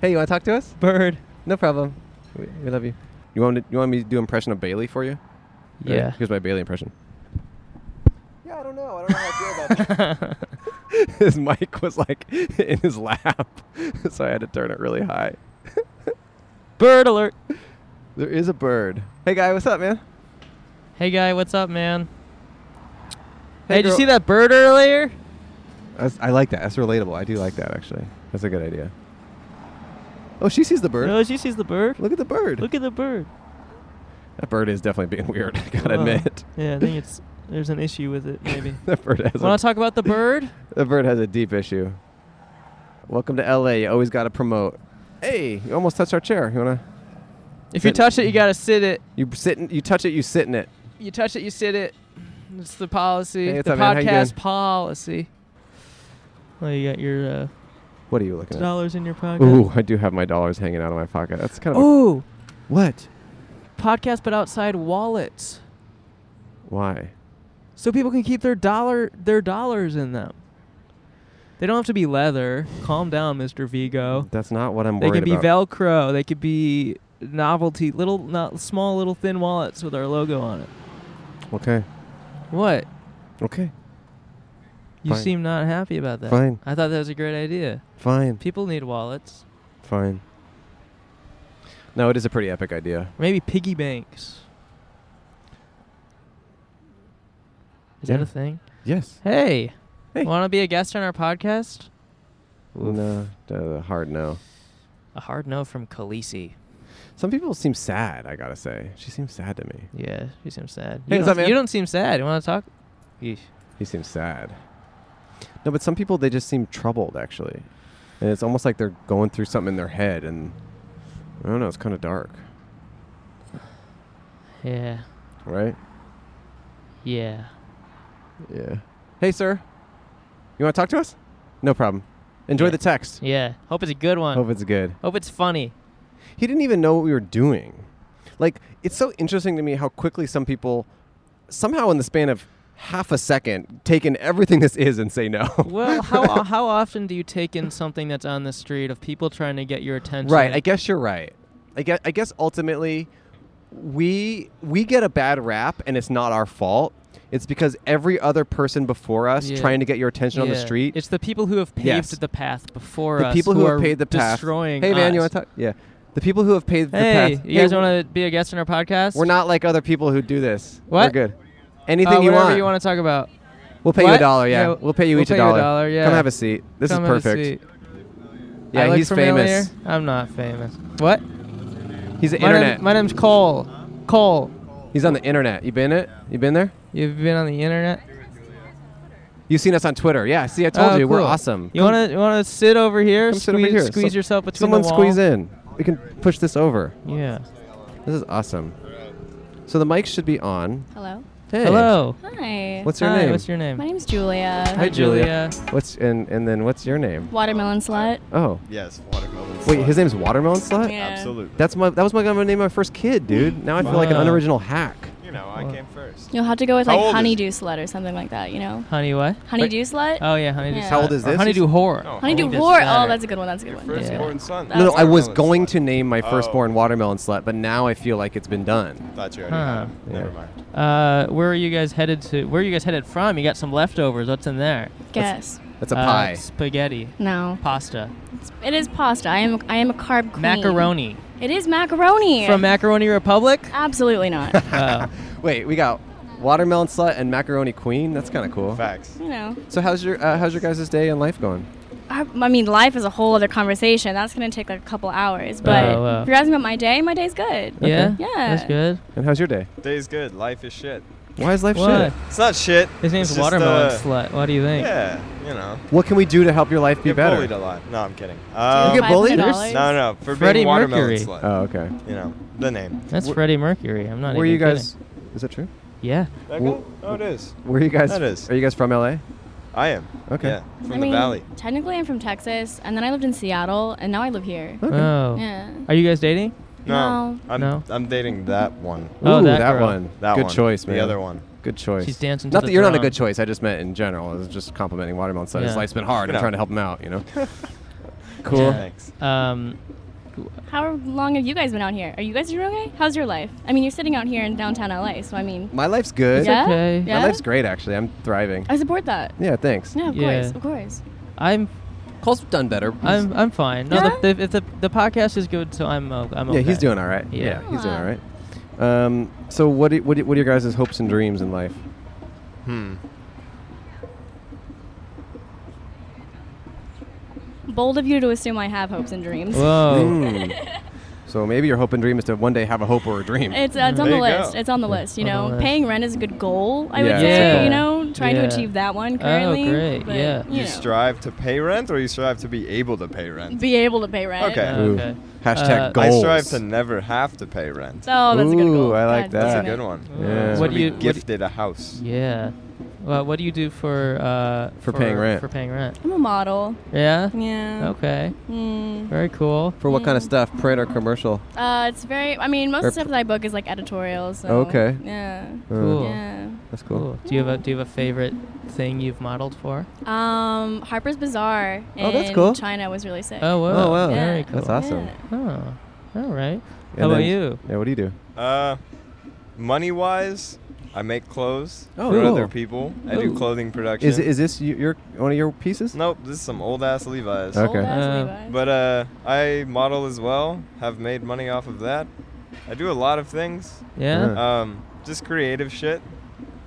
Speaker 2: Hey, you want to talk to us?
Speaker 1: Bird.
Speaker 2: No problem. We, we love you. You want to, you want me to do impression of Bailey for you? Ready?
Speaker 1: Yeah.
Speaker 2: Here's my Bailey impression. Yeah, I don't know. I don't know how I feel about that. his mic was like in his lap, so I had to turn it really high.
Speaker 1: Bird alert!
Speaker 2: There is a bird. Hey, guy, what's up, man?
Speaker 1: Hey, guy, what's up, man?
Speaker 2: Hey,
Speaker 1: Hey, did you
Speaker 2: girl.
Speaker 1: see that bird earlier?
Speaker 2: That's, I like that. That's relatable. I do like that, actually. That's a good idea. Oh, she sees the bird.
Speaker 1: No, she sees the bird.
Speaker 2: Look at the bird.
Speaker 1: Look at the bird.
Speaker 2: That bird is definitely being weird, I gotta
Speaker 1: Whoa.
Speaker 2: admit.
Speaker 1: Yeah, I think it's there's an issue with it, maybe.
Speaker 2: that bird has a,
Speaker 1: Want to talk about the bird?
Speaker 2: that bird has a deep issue. Welcome to LA. You always gotta promote. Hey, you almost touched our chair. You wanna
Speaker 1: If you
Speaker 2: Sit.
Speaker 1: touch it, you gotta sit it.
Speaker 2: you sit in, you touch it, you sit in it.
Speaker 1: You touch it, you sit it. It's the policy.
Speaker 2: Hey, what's
Speaker 1: the
Speaker 2: up, man? How
Speaker 1: podcast
Speaker 2: you doing?
Speaker 1: policy. Well, you got your uh,
Speaker 2: What are you looking at?
Speaker 1: dollars in your pocket.
Speaker 2: Ooh, I do have my dollars hanging out of my pocket. That's kind of a-
Speaker 1: Ooh,
Speaker 2: what?
Speaker 1: podcast but outside wallets,
Speaker 2: Why?
Speaker 1: so people can keep their dollar their dollars in them. They don't have to be leather. Calm down, Mister Vigo.
Speaker 2: That's not what I'm
Speaker 1: They
Speaker 2: worried
Speaker 1: can be
Speaker 2: about.
Speaker 1: Velcro. They could be novelty little, not small, little thin wallets with our logo on it.
Speaker 2: okay.
Speaker 1: What?
Speaker 2: Okay.
Speaker 1: You
Speaker 2: Fine.
Speaker 1: seem not happy about that.
Speaker 2: Fine.
Speaker 1: I thought that was a great idea.
Speaker 2: Fine.
Speaker 1: People need wallets.
Speaker 2: Fine. No, it is a pretty epic idea.
Speaker 1: Maybe piggy banks. Is that
Speaker 2: Yeah.
Speaker 1: a thing?
Speaker 2: Yes.
Speaker 1: Hey,
Speaker 2: Hey.
Speaker 1: want to be a guest on our podcast? Oof.
Speaker 2: No, uh, hard no.
Speaker 1: A hard no from Khaleesi.
Speaker 2: Some people seem sad, I gotta say. She seems sad to me.
Speaker 1: Yeah, you seem sad.
Speaker 2: Hey,
Speaker 1: you,
Speaker 2: what's
Speaker 1: don't,
Speaker 2: up, man?
Speaker 1: you don't seem sad. You want to talk?
Speaker 2: He seems sad. No, but some people they just seem troubled actually, and it's almost like they're going through something in their head, and I don't know. It's kind of dark,
Speaker 1: Yeah,
Speaker 2: right?
Speaker 1: yeah.
Speaker 2: Yeah. Hey, sir, you want to talk to us? No problem. Enjoy
Speaker 1: Yeah.
Speaker 2: the text.
Speaker 1: Yeah. Hope it's a good one.
Speaker 2: Hope it's good.
Speaker 1: Hope it's funny.
Speaker 2: He didn't even know what we were doing. Like it's so interesting to me how quickly some people, somehow in the span of half a second, take in everything this is and say no.
Speaker 1: Well, how uh, how often do you take in something that's on the street of people trying to get your attention?
Speaker 2: Right. I guess you're right. I guess, I guess ultimately, we we get a bad rap and it's not our fault. It's because every other person before us
Speaker 1: Yeah.
Speaker 2: trying to get your attention on the
Speaker 1: Yeah.
Speaker 2: street.
Speaker 1: It's the people who have paved
Speaker 2: Yes.
Speaker 1: the path before
Speaker 2: the
Speaker 1: us.
Speaker 2: people
Speaker 1: who,
Speaker 2: who
Speaker 1: are
Speaker 2: have paid the path.
Speaker 1: destroying.
Speaker 2: Hey man, you
Speaker 1: us.
Speaker 2: want to talk? Yeah. The people who have paid
Speaker 1: Hey,
Speaker 2: the path.
Speaker 1: you guys want to be a guest on our podcast?
Speaker 2: We're not like other people who do this. We're
Speaker 1: What?
Speaker 2: good.
Speaker 1: Uh,
Speaker 2: Anything you
Speaker 1: whatever
Speaker 2: want.
Speaker 1: you want to talk about.
Speaker 2: We'll pay you a
Speaker 1: What?
Speaker 2: dollar. Yeah.
Speaker 1: Yeah,
Speaker 2: we'll pay you
Speaker 1: we'll
Speaker 2: each
Speaker 1: pay
Speaker 2: a
Speaker 1: you a
Speaker 2: dollar.
Speaker 1: dollar, yeah.
Speaker 2: Come have a seat. This
Speaker 1: Come
Speaker 2: is
Speaker 1: have a
Speaker 2: perfect.
Speaker 1: seat.
Speaker 2: Yeah,
Speaker 1: I look
Speaker 2: he's
Speaker 1: familiar.
Speaker 2: famous.
Speaker 1: I'm not famous. What?
Speaker 2: He's the
Speaker 1: My,
Speaker 2: internet.
Speaker 1: name, my name's Cole. Cole.
Speaker 2: He's on the internet. You been it? You been there?
Speaker 1: You've been on the internet.
Speaker 2: You've seen us on Twitter. Yeah. See, I told
Speaker 1: Oh,
Speaker 2: you we're
Speaker 1: cool.
Speaker 2: awesome.
Speaker 1: You want to you want to sit over here?
Speaker 2: Come
Speaker 1: squeeze,
Speaker 2: sit over here.
Speaker 1: Squeeze
Speaker 2: Some-
Speaker 1: yourself between
Speaker 2: Someone
Speaker 1: the wall.
Speaker 2: squeeze in. We can push this over.
Speaker 1: Yeah.
Speaker 2: This is awesome. So the mic should be on.
Speaker 8: Hello.
Speaker 2: Hey.
Speaker 1: Hello.
Speaker 8: Hi.
Speaker 2: What's your
Speaker 1: Hi,
Speaker 2: name?
Speaker 1: What's your name?
Speaker 8: My name's Julia.
Speaker 2: Hi, Julia.
Speaker 1: Julia.
Speaker 2: What's and and then what's your name?
Speaker 8: Watermelon slut.
Speaker 2: Oh,
Speaker 9: Yes, watermelon.
Speaker 2: wait,
Speaker 9: slut.
Speaker 2: his name's Watermelon Slut.
Speaker 8: Yeah.
Speaker 9: Absolutely.
Speaker 2: That's my that was my gonna name of my first kid, dude. Now I feel like an
Speaker 1: Wow.
Speaker 2: unoriginal hack.
Speaker 9: you know, I came first.
Speaker 8: You'll have to go with
Speaker 9: How
Speaker 8: like
Speaker 9: old is
Speaker 8: honeydew slut or something like that. You know,
Speaker 1: Honey what?
Speaker 8: honeydew slut.
Speaker 1: Oh yeah, honeydew.
Speaker 8: Yeah.
Speaker 2: How old
Speaker 1: slut.
Speaker 2: is
Speaker 1: Or
Speaker 2: this?
Speaker 1: honeydew whore.
Speaker 9: No,
Speaker 8: honeydew
Speaker 1: honeydew
Speaker 8: whore.
Speaker 1: slut.
Speaker 8: Oh, that's a good one. That's a good
Speaker 9: your
Speaker 8: one.
Speaker 9: firstborn son.
Speaker 8: No,
Speaker 2: No, no, I was
Speaker 9: Watermelon
Speaker 2: going
Speaker 9: slut.
Speaker 2: to name my
Speaker 9: Oh.
Speaker 2: firstborn Watermelon Slut, but now I feel like it's been done.
Speaker 9: Thought you already
Speaker 1: Huh.
Speaker 9: had. him. Never
Speaker 2: Yeah.
Speaker 9: mind.
Speaker 1: Uh, where are you guys headed to? Where are you guys headed from? You got some leftovers. What's in there?
Speaker 8: Guess.
Speaker 2: That's a
Speaker 1: Uh,
Speaker 2: pie.
Speaker 1: Spaghetti.
Speaker 8: No.
Speaker 1: Pasta.
Speaker 8: It is pasta. I am. I am a carb queen.
Speaker 1: Macaroni.
Speaker 8: It is macaroni.
Speaker 1: From Macaroni Republic?
Speaker 8: Absolutely not.
Speaker 1: Oh.
Speaker 2: Wait, we got Watermelon Slut and Macaroni Queen. That's kind of cool.
Speaker 9: Facts.
Speaker 8: you know.
Speaker 2: So how's your uh, how's your guys' day and life going?
Speaker 8: I, I mean, life is a whole other conversation. That's gonna take like a couple hours. But
Speaker 1: Oh, wow.
Speaker 8: if you're asking about my day, my day's good.
Speaker 1: yeah?
Speaker 8: Yeah.
Speaker 1: That's good.
Speaker 2: And how's your day?
Speaker 9: Day's good. Life is shit.
Speaker 2: Why is life
Speaker 1: What?
Speaker 2: shit?
Speaker 9: It's not shit.
Speaker 1: His name's
Speaker 9: it's just,
Speaker 1: Watermelon
Speaker 9: uh,
Speaker 1: Slut. What do you think?
Speaker 9: Yeah, you know.
Speaker 2: What can we do to help your life be
Speaker 9: get
Speaker 2: better?
Speaker 9: bullied a lot. No, I'm kidding.
Speaker 8: Do
Speaker 9: Um,
Speaker 2: You get bullied?
Speaker 8: $500?
Speaker 9: No, no, for
Speaker 1: Freddie
Speaker 9: being watermelon
Speaker 1: Mercury.
Speaker 9: slut.
Speaker 2: Oh, okay.
Speaker 9: you know the name.
Speaker 1: That's
Speaker 2: Wh-
Speaker 1: Freddie Mercury. I'm not
Speaker 2: Where
Speaker 1: even
Speaker 2: you guys? Is that true?
Speaker 1: kidding. Yeah.
Speaker 9: That
Speaker 2: Well-
Speaker 9: guy? Oh, it is.
Speaker 2: Where you guys?
Speaker 9: That is.
Speaker 2: Are you guys from LA?
Speaker 9: I am.
Speaker 2: Okay.
Speaker 9: Yeah, from
Speaker 8: I
Speaker 9: the
Speaker 8: mean,
Speaker 9: valley.
Speaker 8: Technically, I'm from Texas, and then I lived in Seattle, and now I live here.
Speaker 2: Okay.
Speaker 1: Oh.
Speaker 8: Yeah.
Speaker 1: Are you guys dating?
Speaker 9: No,
Speaker 8: No.
Speaker 9: I'm
Speaker 1: No.
Speaker 9: I'm dating that one.
Speaker 1: Oh,
Speaker 2: Ooh,
Speaker 1: that girl.
Speaker 2: one.
Speaker 9: That
Speaker 2: good
Speaker 9: one.
Speaker 2: choice, man.
Speaker 9: The other one.
Speaker 2: Good choice.
Speaker 1: She's dancing to
Speaker 2: Not
Speaker 1: the
Speaker 2: that you're not a
Speaker 1: drum.
Speaker 2: good choice. I just meant in general. I was just complimenting Watermelon Slut. His
Speaker 1: Yeah.
Speaker 2: life's been hard. I'm
Speaker 9: Yeah.
Speaker 2: trying to help him out. You know. cool.
Speaker 1: Yeah.
Speaker 9: Thanks.
Speaker 1: Um,
Speaker 8: How long have you guys been out here? Are you guys doing okay? How's your life? I mean, you're sitting out here in downtown LA, so I mean,
Speaker 2: My life's good.
Speaker 8: yeah,
Speaker 1: okay. My
Speaker 8: yeah.
Speaker 2: My life's great, actually. I'm thriving.
Speaker 8: I support that.
Speaker 2: Yeah, thanks.
Speaker 8: Yeah, of
Speaker 1: Yeah.
Speaker 8: course, of course.
Speaker 1: I'm
Speaker 2: Cole's done better.
Speaker 1: I'm I'm fine. No,
Speaker 8: Yeah?
Speaker 1: the, the, if the the podcast is good, so I'm uh, I'm okay.
Speaker 2: Yeah, he's doing all right. Yeah,
Speaker 1: Yeah.
Speaker 2: he's doing all right. Um, so what do, what, do, what are your guys' hopes and dreams in life?
Speaker 9: Hmm.
Speaker 8: Bold of you to assume I have hopes and dreams.
Speaker 1: Whoa.
Speaker 9: Hmm.
Speaker 2: Mm. so maybe your hope and dream is to one day have a hope or a dream.
Speaker 8: It's, uh, it's on
Speaker 9: There
Speaker 8: the
Speaker 9: you go.
Speaker 8: list. It's on the list.
Speaker 1: On
Speaker 8: You
Speaker 1: the
Speaker 8: know,
Speaker 1: list.
Speaker 8: paying rent is a good goal. I
Speaker 2: Yeah,
Speaker 8: would
Speaker 2: it's a
Speaker 8: say.
Speaker 2: goal.
Speaker 8: You know, trying
Speaker 1: Yeah.
Speaker 8: to achieve that one
Speaker 1: Oh,
Speaker 8: currently.
Speaker 1: great,
Speaker 8: but,
Speaker 1: yeah.
Speaker 8: You,
Speaker 9: You
Speaker 8: know,
Speaker 9: strive to pay rent, or you strive to be able to pay rent.
Speaker 8: be able to pay rent.
Speaker 9: Okay.
Speaker 1: Oh, okay.
Speaker 2: Hashtag
Speaker 1: Uh,
Speaker 9: I
Speaker 2: goals.
Speaker 9: strive to never have to pay rent.
Speaker 8: Oh, that's a good
Speaker 2: Ooh,
Speaker 8: goal.
Speaker 2: I like
Speaker 8: God
Speaker 9: That's a
Speaker 8: damn
Speaker 2: that.
Speaker 8: it.
Speaker 9: good one.
Speaker 2: Yeah.
Speaker 1: What do
Speaker 9: Be
Speaker 1: you what, do-
Speaker 9: gifted a house.
Speaker 1: Yeah. Well, what do you do for uh
Speaker 2: For paying rent.
Speaker 1: For paying rent.
Speaker 8: I'm a model.
Speaker 1: Yeah.
Speaker 8: Yeah. Hmm.
Speaker 1: Okay.
Speaker 8: Mm.
Speaker 1: Very cool.
Speaker 2: For what kind of stuff? Print or commercial?
Speaker 8: Uh, it's very. I mean, most
Speaker 2: Or
Speaker 8: of the stuff that I book is like editorials. So,
Speaker 2: Okay.
Speaker 8: Yeah.
Speaker 2: Uh,
Speaker 1: Cool.
Speaker 8: Yeah.
Speaker 2: That's cool.
Speaker 1: Cool. Do you have a do you have a favorite thing you've modeled for?
Speaker 8: Um, Harper's Bazaar in
Speaker 2: Oh, that's cool.
Speaker 8: China was really sick.
Speaker 1: Oh, whoa.
Speaker 2: Oh, wow.
Speaker 1: Very
Speaker 8: Yeah.
Speaker 1: cool.
Speaker 2: That's awesome.
Speaker 8: Yeah.
Speaker 1: Oh. All right.
Speaker 2: And
Speaker 1: How about
Speaker 2: then-
Speaker 1: you?
Speaker 2: Yeah, what do you do?
Speaker 9: Uh, money wise, I make clothes
Speaker 2: Oh,
Speaker 9: for
Speaker 2: cool.
Speaker 9: other people. I do
Speaker 2: Ooh.
Speaker 9: clothing production.
Speaker 2: Is, is this you- your one of your pieces?
Speaker 9: Nope, this is some old ass Levi's.
Speaker 2: Okay.
Speaker 8: Old ass
Speaker 1: Uh,
Speaker 8: Levi's.
Speaker 9: But uh, I model as well. Have made money off of that. I do a lot of things.
Speaker 1: Yeah.
Speaker 2: Yeah.
Speaker 9: Um, just creative shit.
Speaker 2: Uh-huh.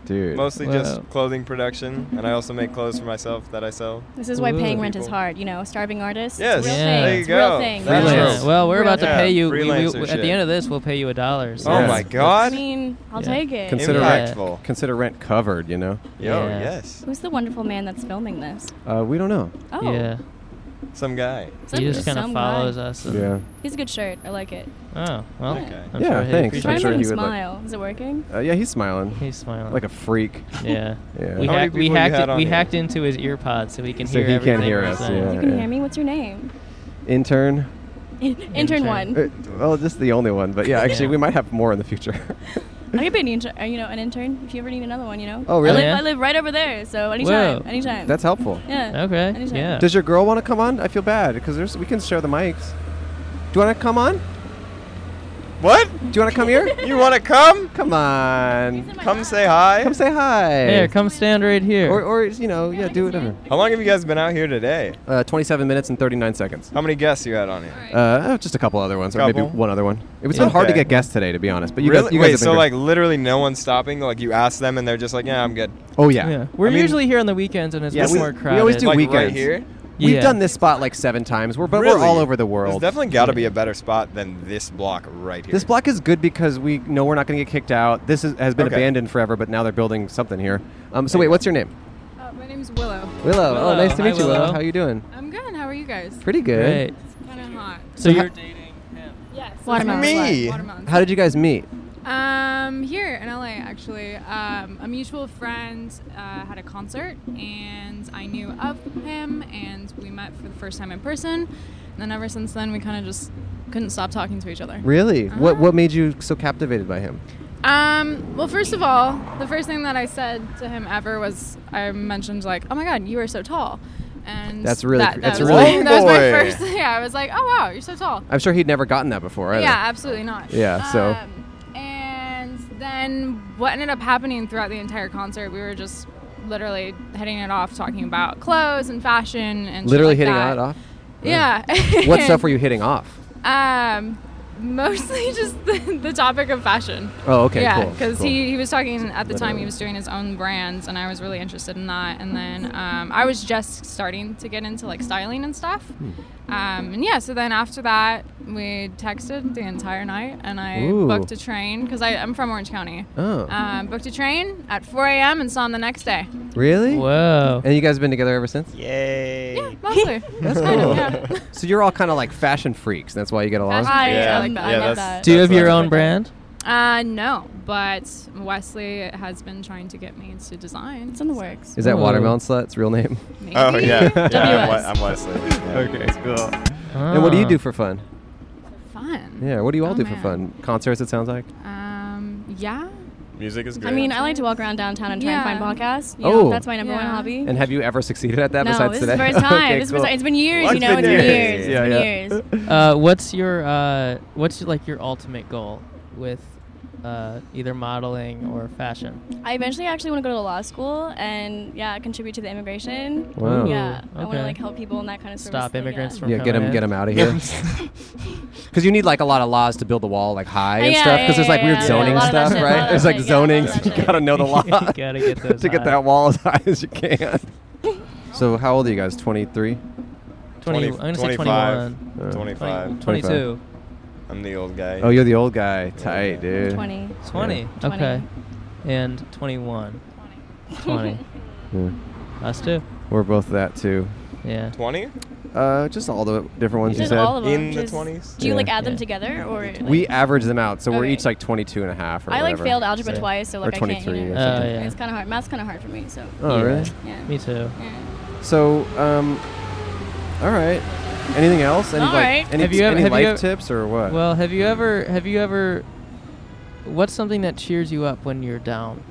Speaker 2: Dude.
Speaker 9: Mostly
Speaker 1: Wow.
Speaker 9: just clothing production, and I also make clothes for myself that I sell.
Speaker 8: this is why
Speaker 1: Ooh.
Speaker 8: paying rent is
Speaker 9: People.
Speaker 8: hard. You know, starving artists.
Speaker 9: Yes,
Speaker 8: It's a real
Speaker 1: Yeah.
Speaker 8: thing.
Speaker 1: there you
Speaker 8: it's a real
Speaker 9: go.
Speaker 8: thing.
Speaker 9: That's
Speaker 8: Real
Speaker 9: Freelance.
Speaker 1: Freelance.
Speaker 2: Oh.
Speaker 8: thing.
Speaker 1: Well, we're
Speaker 8: Real
Speaker 1: about to
Speaker 8: thing.
Speaker 9: Yeah,
Speaker 1: pay you. we- we-
Speaker 9: freelancer
Speaker 1: at
Speaker 9: shit.
Speaker 1: the end of this, we'll pay you a dollar. so
Speaker 9: Oh
Speaker 1: that's-
Speaker 9: my
Speaker 1: that's-
Speaker 8: I
Speaker 9: god!
Speaker 8: mean, I'll
Speaker 1: Yeah.
Speaker 8: take it.
Speaker 2: Consider-
Speaker 9: Impactful.
Speaker 2: Consider rent covered, you know?
Speaker 9: Yo,
Speaker 1: Yeah.
Speaker 9: yes.
Speaker 8: Who's the wonderful man that's filming this?
Speaker 2: Uh, we don't know.
Speaker 8: Oh,
Speaker 1: Yeah.
Speaker 9: Some guy.
Speaker 8: some-
Speaker 1: he just kind of
Speaker 8: some
Speaker 1: follows
Speaker 8: guy.
Speaker 1: us. and-
Speaker 2: Yeah.
Speaker 8: He's a good shirt. I like it.
Speaker 1: Oh well.
Speaker 9: Okay.
Speaker 1: I'm
Speaker 2: Yeah,
Speaker 1: Sure he
Speaker 2: thanks.
Speaker 1: appreciates
Speaker 8: Try
Speaker 2: I'm
Speaker 8: to
Speaker 2: sure
Speaker 8: make him
Speaker 2: he would like-
Speaker 8: smile. Is it working?
Speaker 2: Uh, yeah, he's smiling.
Speaker 1: He's smiling.
Speaker 2: like a freak.
Speaker 1: yeah.
Speaker 2: Yeah.
Speaker 1: We,
Speaker 9: How many
Speaker 1: hack, we
Speaker 9: people you
Speaker 1: hacked
Speaker 9: had
Speaker 1: it,
Speaker 9: on
Speaker 1: we
Speaker 9: here?
Speaker 1: hacked into his ear pod so he can
Speaker 2: So
Speaker 1: hear
Speaker 2: he can't
Speaker 1: everything.
Speaker 2: hear
Speaker 1: we're
Speaker 2: us,
Speaker 1: saying.
Speaker 8: You
Speaker 2: Yeah.
Speaker 8: can hear me. What's your name?
Speaker 2: Intern.
Speaker 8: In-
Speaker 1: Intern.
Speaker 8: Intern one.
Speaker 2: Uh, well, this is the only one, but yeah, actually,
Speaker 1: Yeah.
Speaker 2: we might have more in the future.
Speaker 8: I could be an intern, uh, you know, an intern if you ever need another one, you know.
Speaker 2: Oh, really?
Speaker 8: I live,
Speaker 1: Yeah.
Speaker 8: I live right over there, so anytime,
Speaker 1: Whoa.
Speaker 8: anytime.
Speaker 2: That's helpful.
Speaker 8: yeah.
Speaker 1: Okay.
Speaker 8: Anytime.
Speaker 1: Yeah.
Speaker 2: Does your girl want to come on? I feel bad because we can share the mics. Do you want to come on?
Speaker 9: What?
Speaker 2: Do you want to come here?
Speaker 9: You want to come?
Speaker 2: Come on.
Speaker 9: Come say hi.
Speaker 2: Come say hi.
Speaker 1: Here, come stand right here.
Speaker 2: Or, or you know, yeah, do whatever.
Speaker 9: How long have you guys been out here today?
Speaker 2: Uh, 27 minutes and 39 seconds.
Speaker 9: How many guests you had on here?
Speaker 2: Uh, just a couple other ones, or maybe
Speaker 9: Couple.
Speaker 2: one other one. It was been hard to
Speaker 9: Okay.
Speaker 2: get guests today, to be honest. But you
Speaker 9: really?
Speaker 2: guys, you guys
Speaker 9: Wait,
Speaker 2: have been
Speaker 9: so
Speaker 2: great.
Speaker 9: like literally no one's stopping? Like you ask them and they're just like, yeah, I'm good.
Speaker 2: oh yeah,
Speaker 1: yeah, we're
Speaker 9: I mean-
Speaker 1: usually here on the weekends and it's
Speaker 2: Yeah,
Speaker 1: much
Speaker 2: we-
Speaker 1: more
Speaker 2: we
Speaker 1: crowded.
Speaker 2: always do
Speaker 9: like right
Speaker 2: weekends.
Speaker 9: here?
Speaker 2: We've
Speaker 1: Yeah.
Speaker 2: done this spot like seven times. We're but
Speaker 9: Really?
Speaker 2: we're all over the world.
Speaker 9: There's definitely got to be a better spot than this block right here.
Speaker 2: This block is good because we know we're not going to get kicked out. This is, has been
Speaker 9: Okay.
Speaker 2: abandoned forever, but now they're building something here. Um, so wait, what's your name?
Speaker 10: Uh, my name's Willow.
Speaker 2: Willow. Oh,
Speaker 1: Willow.
Speaker 2: nice to
Speaker 1: Hi,
Speaker 2: meet you, Willow.
Speaker 1: Willow.
Speaker 2: How you doing?
Speaker 10: I'm good. How are you guys?
Speaker 2: Pretty good.
Speaker 1: Right.
Speaker 10: Kind of hot.
Speaker 1: So
Speaker 2: So
Speaker 1: you're
Speaker 2: ho-
Speaker 1: dating him.
Speaker 10: Yes.
Speaker 8: Watermelon.
Speaker 9: Me.
Speaker 10: Watermelon.
Speaker 2: How did you guys meet?
Speaker 10: Um, here in LA, actually, um, a mutual friend uh, had a concert, and I knew of him, and we met for the first time in person. And then ever since then, we kind of just couldn't stop talking to each other.
Speaker 2: Really? What
Speaker 10: Uh-huh.
Speaker 2: what made you so captivated by him?
Speaker 10: Um, well, first of all, the first thing that I said to him ever was I mentioned like, "Oh my God, you are so tall," and
Speaker 2: That's really
Speaker 10: that,
Speaker 2: cr-
Speaker 10: that
Speaker 2: that's
Speaker 10: was
Speaker 2: really-
Speaker 10: my- that was my
Speaker 9: Boy.
Speaker 10: first. Yeah, I was like, "Oh wow, you're so tall."
Speaker 2: I'm sure he'd never gotten that before either.
Speaker 10: Yeah, absolutely not.
Speaker 2: Yeah, so-
Speaker 10: Um, and then what ended up happening throughout the entire concert, we were just literally hitting it off, talking about clothes and fashion and shit
Speaker 2: Literally
Speaker 10: like
Speaker 2: hitting
Speaker 10: that.
Speaker 2: it off.
Speaker 10: Yeah.
Speaker 2: What stuff were you hitting off?
Speaker 10: Um, mostly just the, the topic of fashion.
Speaker 2: Oh, okay,
Speaker 10: yeah,
Speaker 2: cool,
Speaker 10: because
Speaker 2: cool.
Speaker 10: he, he was talking at the time
Speaker 2: Literally.
Speaker 10: he was doing his own brands, and I was really interested in that. And then um, I was just starting to get into like styling and stuff. Um, and yeah, so then after that, we texted the entire night, and I
Speaker 2: Ooh.
Speaker 10: booked a train because I'm from Orange County.
Speaker 2: Oh,
Speaker 10: Um, booked a train at 4 a.m. and saw him the next day.
Speaker 2: really?
Speaker 1: Whoa.
Speaker 2: And you guys have been together ever since?
Speaker 9: Yay.
Speaker 10: Mostly. That's kind of, yeah.
Speaker 2: So you're all kind of like fashion freaks, and that's why you get along.
Speaker 10: Hi, I
Speaker 9: Yeah.
Speaker 10: like that.
Speaker 9: Yeah,
Speaker 10: I love
Speaker 9: that's-
Speaker 10: that.
Speaker 1: Do you have
Speaker 9: That's
Speaker 1: your
Speaker 9: what I-
Speaker 1: own brand?
Speaker 10: Uh, no, but Wesley has been trying to get me to design.
Speaker 8: It's in the works.
Speaker 2: Is that
Speaker 1: Oh.
Speaker 2: Watermelon Slut's real name?
Speaker 10: Maybe.
Speaker 9: Oh yeah, yeah. I'm,
Speaker 8: WS.
Speaker 9: Wes- I'm Wesley. Yeah.
Speaker 2: Okay, cool.
Speaker 1: Ah.
Speaker 2: And what do you do for fun?
Speaker 10: Fun.
Speaker 2: Yeah, what do you all
Speaker 10: Oh,
Speaker 2: do for
Speaker 10: man.
Speaker 2: fun? Concerts, it sounds like.
Speaker 10: Um, yeah.
Speaker 9: Music is
Speaker 8: I
Speaker 9: great.
Speaker 8: mean, I like to walk around downtown and try
Speaker 10: Yeah.
Speaker 8: and find podcasts. You
Speaker 2: Oh.
Speaker 8: know, that's my number one
Speaker 10: Yeah.
Speaker 8: hobby.
Speaker 2: And have you ever succeeded at that
Speaker 8: no,
Speaker 2: besides
Speaker 8: this
Speaker 2: today?
Speaker 8: is the first time.
Speaker 2: Okay,
Speaker 8: this is the
Speaker 2: cool.
Speaker 8: first time. It's been years,
Speaker 9: What's
Speaker 8: you know.
Speaker 9: been
Speaker 8: It's been
Speaker 9: years?
Speaker 8: years. It's
Speaker 2: Yeah,
Speaker 8: been
Speaker 2: yeah.
Speaker 8: years.
Speaker 1: Uh, what's your uh, what's like your ultimate goal with uh, either modeling or fashion?
Speaker 8: I eventually actually want to go to law school and yeah, contribute to the immigration.
Speaker 2: Wow.
Speaker 8: Yeah, I want
Speaker 1: okay.
Speaker 8: to like help people in that kind of service.
Speaker 1: Stop
Speaker 8: like,
Speaker 1: immigrants
Speaker 8: yeah.
Speaker 1: from
Speaker 2: Yeah, get
Speaker 1: coming
Speaker 2: them,
Speaker 1: in.
Speaker 2: get them out of here. Because you need like a lot of laws to build the wall like high and
Speaker 8: Yeah,
Speaker 2: stuff. Because there's like
Speaker 8: yeah,
Speaker 2: weird
Speaker 8: yeah,
Speaker 2: zoning
Speaker 8: yeah, a lot of that
Speaker 2: stuff,
Speaker 8: shit, a lot
Speaker 2: right?
Speaker 8: of
Speaker 2: There's
Speaker 8: that
Speaker 2: like
Speaker 8: shit, yeah, a lot
Speaker 2: zoning.
Speaker 8: of
Speaker 2: so
Speaker 8: that
Speaker 2: you
Speaker 8: shit.
Speaker 2: gotta know the law
Speaker 1: You gotta get those
Speaker 2: to get
Speaker 1: high.
Speaker 2: that wall as high as you can. so how old are you guys? 23.
Speaker 1: 20, I'm gonna say 21.
Speaker 9: 25. 25.
Speaker 1: 22.
Speaker 9: I'm the old guy.
Speaker 2: Oh, you're the old guy. Tight, dude.
Speaker 8: Twenty.
Speaker 1: 20.
Speaker 8: Twenty.
Speaker 1: Okay. And 21. 20.
Speaker 2: Yeah.
Speaker 1: Us too.
Speaker 2: We're both that too.
Speaker 1: Yeah.
Speaker 9: 20
Speaker 2: Uh, just all the different ones you
Speaker 8: Just
Speaker 2: said.
Speaker 8: all of them.
Speaker 9: in the
Speaker 8: just-
Speaker 9: 20s.
Speaker 8: Do you like
Speaker 2: Yeah.
Speaker 8: add them
Speaker 1: Yeah.
Speaker 8: together or? like-
Speaker 2: we average them out, so we're
Speaker 8: Okay.
Speaker 2: each like 22 and a half or
Speaker 8: I like
Speaker 2: whatever.
Speaker 8: failed algebra
Speaker 1: So-
Speaker 8: twice, so
Speaker 2: or
Speaker 8: like I can't. You
Speaker 2: 23
Speaker 8: know,
Speaker 2: or
Speaker 1: Oh, something. yeah.
Speaker 8: It's kind of hard. Math's kind of hard for me, so
Speaker 2: Oh,
Speaker 1: Yeah.
Speaker 2: really?
Speaker 8: yeah.
Speaker 1: Me too.
Speaker 8: Yeah.
Speaker 2: So, um, all right. Anything else? Any,
Speaker 8: All
Speaker 2: like,
Speaker 8: right.
Speaker 2: Any,
Speaker 1: Have you ever-
Speaker 2: any
Speaker 1: have you
Speaker 2: life
Speaker 1: ever-
Speaker 2: tips or what?
Speaker 1: Well, have you ever have you ever what's something that cheers you up when you're down?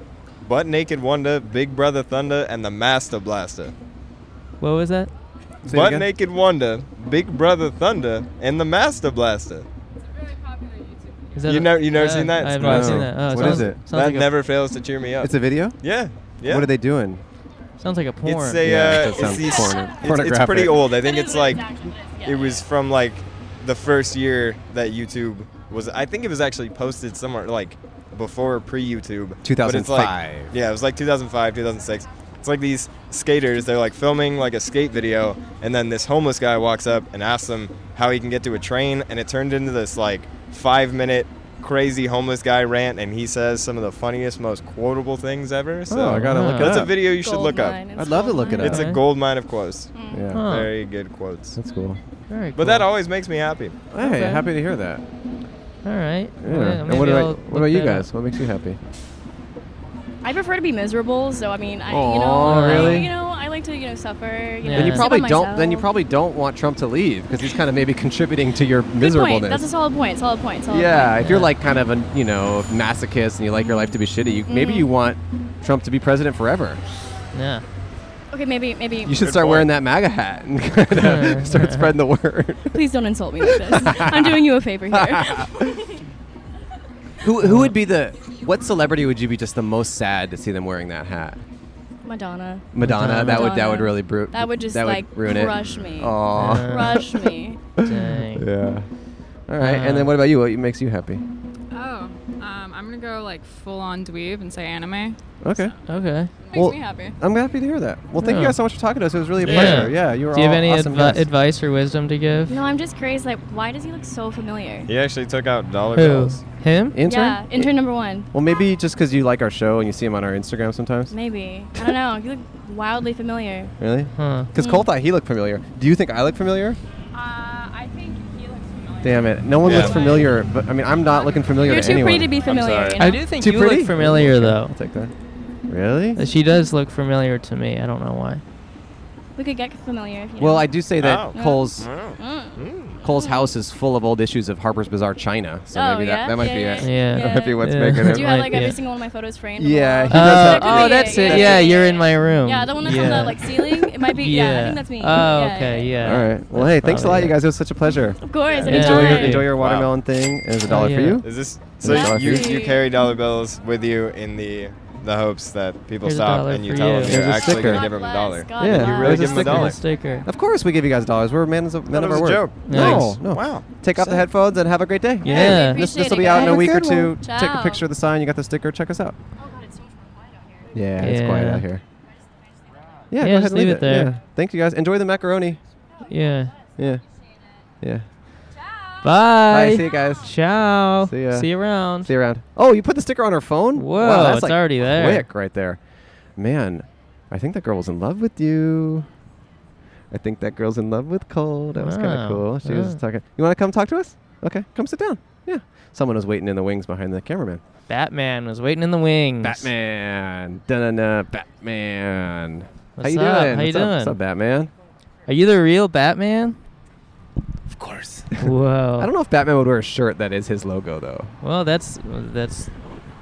Speaker 9: Butt Naked Wanda, Big Brother Thunder, and the Master Blaster.
Speaker 1: What was that?
Speaker 2: Say it
Speaker 9: Butt
Speaker 2: again?
Speaker 9: Naked Wanda, Big Brother Thunder, and the Master Blaster.
Speaker 1: Is that
Speaker 9: You never- you never seen that?
Speaker 1: I've
Speaker 9: It's
Speaker 1: never
Speaker 9: classic.
Speaker 1: seen that. Oh,
Speaker 2: What
Speaker 1: sounds-
Speaker 2: is it?
Speaker 1: Sounds
Speaker 9: That
Speaker 1: like
Speaker 9: never fails to cheer me up.
Speaker 2: It's a video.
Speaker 9: yeah, yeah.
Speaker 2: What are they doing?
Speaker 1: a, sounds like a porn.
Speaker 9: It's a
Speaker 2: Yeah,
Speaker 9: uh,
Speaker 2: that
Speaker 9: it's
Speaker 2: sounds
Speaker 9: these-
Speaker 2: porno-
Speaker 9: it's- It's,
Speaker 2: pornographic.
Speaker 9: pretty old. I think
Speaker 8: That
Speaker 9: it's
Speaker 8: is what
Speaker 9: like
Speaker 8: actually is, yeah.
Speaker 9: it was from like the first year that YouTube was. I think it was actually posted somewhere like before pre-YouTube. But it's like,
Speaker 2: 2005.
Speaker 9: yeah, it was like 2005, 2006. It's like these skaters. They're like filming like a skate video, and then this homeless guy walks up and asks them how he can get to a train, and it turned into this like five-minute crazy homeless guy rant, and he says some of the funniest, most quotable things ever. So
Speaker 2: oh, I gotta look
Speaker 1: Uh,
Speaker 2: it
Speaker 9: that's
Speaker 2: up.
Speaker 9: a video you should
Speaker 8: Gold
Speaker 9: look up.
Speaker 8: mine.
Speaker 2: I'd love to
Speaker 8: gold
Speaker 2: look it
Speaker 8: mine.
Speaker 9: It's
Speaker 1: Okay.
Speaker 9: a gold mine of quotes.
Speaker 8: Mm.
Speaker 2: Yeah,
Speaker 1: Huh.
Speaker 9: Very good quotes.
Speaker 2: that's cool.
Speaker 1: Very
Speaker 9: But
Speaker 1: cool.
Speaker 9: that always makes me happy.
Speaker 2: Hey, happy to hear that.
Speaker 1: All right.
Speaker 2: Yeah.
Speaker 1: Well,
Speaker 2: and
Speaker 1: maybe
Speaker 2: what
Speaker 1: I'll
Speaker 2: about what
Speaker 1: look
Speaker 2: about you
Speaker 1: that up.
Speaker 2: guys? What makes you happy?
Speaker 8: I prefer to be miserable, so I mean, I you
Speaker 2: Aw,
Speaker 8: know, I,
Speaker 2: really?
Speaker 8: you know, I like to you know suffer. You know,
Speaker 1: Then
Speaker 2: And you
Speaker 1: Yeah.
Speaker 8: sit
Speaker 2: probably
Speaker 8: by
Speaker 2: don't. Then you
Speaker 8: myself.
Speaker 2: probably don't want Trump to leave because he's kind of maybe contributing to your
Speaker 8: Good
Speaker 2: miserableness.
Speaker 8: Point. That's a solid point. Solid point. Solid
Speaker 2: yeah, if you're
Speaker 1: Yeah.
Speaker 2: like kind of a you know masochist and you like your life to be shitty, you,
Speaker 8: Mm-hmm.
Speaker 2: maybe you want Trump to be president forever.
Speaker 1: Yeah.
Speaker 8: Point. Okay, maybe maybe.
Speaker 2: You should
Speaker 9: Good
Speaker 2: start
Speaker 9: point.
Speaker 2: wearing that MAGA hat and kind of start spreading the word.
Speaker 8: Please don't insult me like this. I'm doing you a favor here.
Speaker 2: Who who would be the what celebrity would you be just the most sad to see them wearing that hat?
Speaker 8: Madonna.
Speaker 2: Madonna, that would that would
Speaker 8: Madonna.
Speaker 2: really bru-
Speaker 8: That would just like
Speaker 2: ruin
Speaker 8: crush
Speaker 2: it.
Speaker 8: me.
Speaker 2: Aw.
Speaker 8: Crush me.
Speaker 1: Dang.
Speaker 2: Yeah. All right, and
Speaker 1: Uh,
Speaker 2: then what about you? What makes you happy?
Speaker 10: Oh, um, I'm gonna go like full on dweeb and say anime.
Speaker 2: Okay.
Speaker 1: Okay.
Speaker 10: Makes me happy.
Speaker 2: I'm happy to hear that. Well, thank you
Speaker 1: Yeah.
Speaker 2: guys so much for talking to us. It was really a pleasure. Yeah, you were
Speaker 1: Do you have
Speaker 2: all
Speaker 1: any
Speaker 2: awesome
Speaker 1: advi-
Speaker 2: guys.
Speaker 1: advice or wisdom to give?
Speaker 8: No, I'm just curious. Like, why does he look so familiar?
Speaker 9: He actually took out dollar
Speaker 1: Who?
Speaker 9: bills.
Speaker 1: Him?
Speaker 2: Intern?
Speaker 8: Yeah, intern number one.
Speaker 2: Well, maybe just because you like our show and you see him on our Instagram sometimes.
Speaker 8: Maybe. I don't know. You look wildly familiar.
Speaker 2: Really?
Speaker 1: Huh.
Speaker 2: Because
Speaker 8: Hmm.
Speaker 2: Cole thought he looked familiar. Do you think I look familiar?
Speaker 10: Uh, I think he looks familiar.
Speaker 2: Damn it! No one
Speaker 9: Yeah.
Speaker 2: looks familiar. But I mean, I'm not looking familiar
Speaker 8: You're
Speaker 2: to
Speaker 8: too
Speaker 2: anyone.
Speaker 8: pretty to be familiar.
Speaker 9: sorry.
Speaker 8: you know?
Speaker 1: I do think
Speaker 2: Too
Speaker 1: you
Speaker 2: pretty?
Speaker 1: look familiar though.
Speaker 2: I'll take that. Really?
Speaker 1: Uh, She does look familiar to me. I don't know why.
Speaker 8: We could get familiar if you.
Speaker 2: Well,
Speaker 8: know.
Speaker 2: I do say that
Speaker 9: Oh.
Speaker 2: Cole's
Speaker 8: Mm.
Speaker 2: Cole's house is full of old issues of Harper's Bazaar China. So
Speaker 8: Oh,
Speaker 2: maybe
Speaker 8: yeah?
Speaker 2: that, that might
Speaker 8: Yeah,
Speaker 2: be
Speaker 8: yeah,
Speaker 2: it.
Speaker 1: Yeah.
Speaker 8: That
Speaker 2: might be what's
Speaker 1: Yeah.
Speaker 2: making it.
Speaker 8: Do you have
Speaker 1: Might
Speaker 8: like
Speaker 1: be
Speaker 8: every
Speaker 1: it.
Speaker 8: single one of my photos framed?
Speaker 2: Yeah,
Speaker 8: On
Speaker 2: he does
Speaker 8: the wall?
Speaker 2: have-
Speaker 8: That could
Speaker 1: oh,
Speaker 8: be
Speaker 1: that's it.
Speaker 2: That's
Speaker 1: Yeah,
Speaker 2: it.
Speaker 1: you're in my room.
Speaker 8: Yeah, the one that's on the like ceiling. It might be. Yeah, I think that's me.
Speaker 1: Oh,
Speaker 8: Yeah,
Speaker 1: okay,
Speaker 8: yeah.
Speaker 1: yeah.
Speaker 2: All right. Well, hey, thanks a lot,
Speaker 1: probably
Speaker 2: you
Speaker 1: it.
Speaker 2: guys. It was such a pleasure.
Speaker 8: Of course.
Speaker 1: Yeah.
Speaker 2: Enjoy your
Speaker 8: anytime.
Speaker 2: enjoy your
Speaker 9: Wow. Oh,
Speaker 2: watermelon thing. It was a dollar
Speaker 1: yeah.
Speaker 2: for you.
Speaker 9: Is this so
Speaker 2: There's a dollar for
Speaker 9: you,
Speaker 2: you.
Speaker 9: you carry dollar bills with you in the the hopes that people
Speaker 1: Here's a
Speaker 9: stop
Speaker 1: dollar
Speaker 9: and you
Speaker 1: for
Speaker 9: tell
Speaker 1: you.
Speaker 9: them you're
Speaker 2: Here's a
Speaker 9: actually
Speaker 2: sticker.
Speaker 9: going to give them a
Speaker 8: God
Speaker 9: dollar.
Speaker 8: bless, God
Speaker 2: Yeah,
Speaker 8: bless.
Speaker 9: You really give
Speaker 2: There's a
Speaker 9: them a
Speaker 2: sticker.
Speaker 9: dollar.
Speaker 1: Sticker.
Speaker 2: Of course, we give you guys dollars. We're men of men
Speaker 9: That
Speaker 2: of our
Speaker 9: was a
Speaker 2: word.
Speaker 9: joke.
Speaker 2: No,
Speaker 1: Thanks.
Speaker 2: no.
Speaker 9: Wow.
Speaker 2: Take off the headphones and have a great day.
Speaker 1: Yeah.
Speaker 8: we
Speaker 2: This
Speaker 8: appreciate
Speaker 2: this will
Speaker 8: it,
Speaker 2: be out in
Speaker 8: guys.
Speaker 2: a
Speaker 8: Have a
Speaker 2: week or
Speaker 8: good
Speaker 2: two.
Speaker 8: one.
Speaker 2: Take a
Speaker 8: Ciao.
Speaker 2: picture of the sign. You got the sticker. Check us out.
Speaker 8: Oh god, it's so much more quiet out here.
Speaker 2: Yeah, it's quiet
Speaker 1: Yeah.
Speaker 2: out here.
Speaker 1: Yeah,
Speaker 2: Yeah, go
Speaker 1: just
Speaker 2: ahead and
Speaker 1: leave
Speaker 2: leave
Speaker 1: it there.
Speaker 2: Yeah. Thank you guys. Enjoy the macaroni.
Speaker 1: Yeah.
Speaker 2: Yeah. Yeah.
Speaker 1: Bye.
Speaker 2: Bye. See you guys.
Speaker 1: Ciao.
Speaker 2: See ya.
Speaker 1: you around.
Speaker 2: See you around. Oh, you put the sticker on her phone?
Speaker 1: Whoa, it's already there.
Speaker 2: Quick, right there. Man, I think that girl was in love with you. I think that girl's in love with Cole. That was kind
Speaker 1: Wow.
Speaker 2: of cool. She was
Speaker 1: Yeah.
Speaker 2: talking. You want to come talk to us? Okay, come sit down. Yeah. Someone was waiting in the wings behind the cameraman.
Speaker 1: Batman was waiting in the wings.
Speaker 2: Batman. Da-na-na, Batman.
Speaker 1: What's
Speaker 2: How you
Speaker 1: up?
Speaker 2: doing?
Speaker 1: How you
Speaker 2: What's up? What's
Speaker 1: doing?
Speaker 2: up, Batman?
Speaker 1: Are you the real Batman?
Speaker 2: Of course.
Speaker 1: Whoa.
Speaker 2: I don't know if Batman would wear a shirt that is his logo, though.
Speaker 1: Well, that's that's.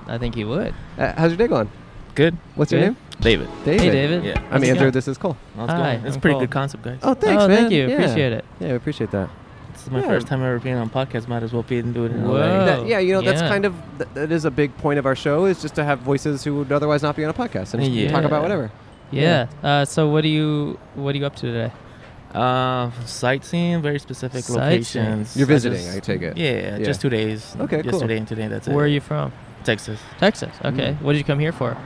Speaker 1: I think he would.
Speaker 2: Uh, how's your day going?
Speaker 6: Good.
Speaker 2: What's your
Speaker 1: Good.
Speaker 2: name?
Speaker 6: David.
Speaker 2: David.
Speaker 1: Hey, David.
Speaker 6: Yeah.
Speaker 2: I'm
Speaker 1: How's it
Speaker 2: Andrew.
Speaker 1: going?
Speaker 2: This is Cole.
Speaker 6: How's it
Speaker 1: Hi,
Speaker 6: going? It's
Speaker 1: I'm
Speaker 6: pretty
Speaker 1: Cole.
Speaker 6: good concept, guys.
Speaker 2: Oh, thanks,
Speaker 1: Oh,
Speaker 2: man.
Speaker 1: thank you.
Speaker 2: Yeah.
Speaker 1: Appreciate it.
Speaker 2: Yeah, I appreciate that.
Speaker 6: This is my
Speaker 2: Yeah.
Speaker 6: first time ever being on podcast. Might as well be doing it
Speaker 1: Whoa.
Speaker 6: already.
Speaker 2: That- yeah, you know, that's
Speaker 1: Uh, yeah.
Speaker 2: kind of, th- that is a big point of our show is just to have voices who would otherwise not be on a podcast and just
Speaker 6: Yeah.
Speaker 2: talk about whatever.
Speaker 1: Yeah. Uh, so what do you what are you up to today?
Speaker 6: Uh, sightseeing, very specific
Speaker 1: Sightseeing.
Speaker 6: locations.
Speaker 2: You're
Speaker 6: I
Speaker 2: visiting,
Speaker 6: just-
Speaker 2: I take it.
Speaker 6: Yeah,
Speaker 2: Yeah.
Speaker 6: just two days.
Speaker 2: Okay, cool.
Speaker 6: Yesterday and today, that's it.
Speaker 1: Where are you from?
Speaker 6: Texas.
Speaker 1: Texas. Okay. What did you come here for?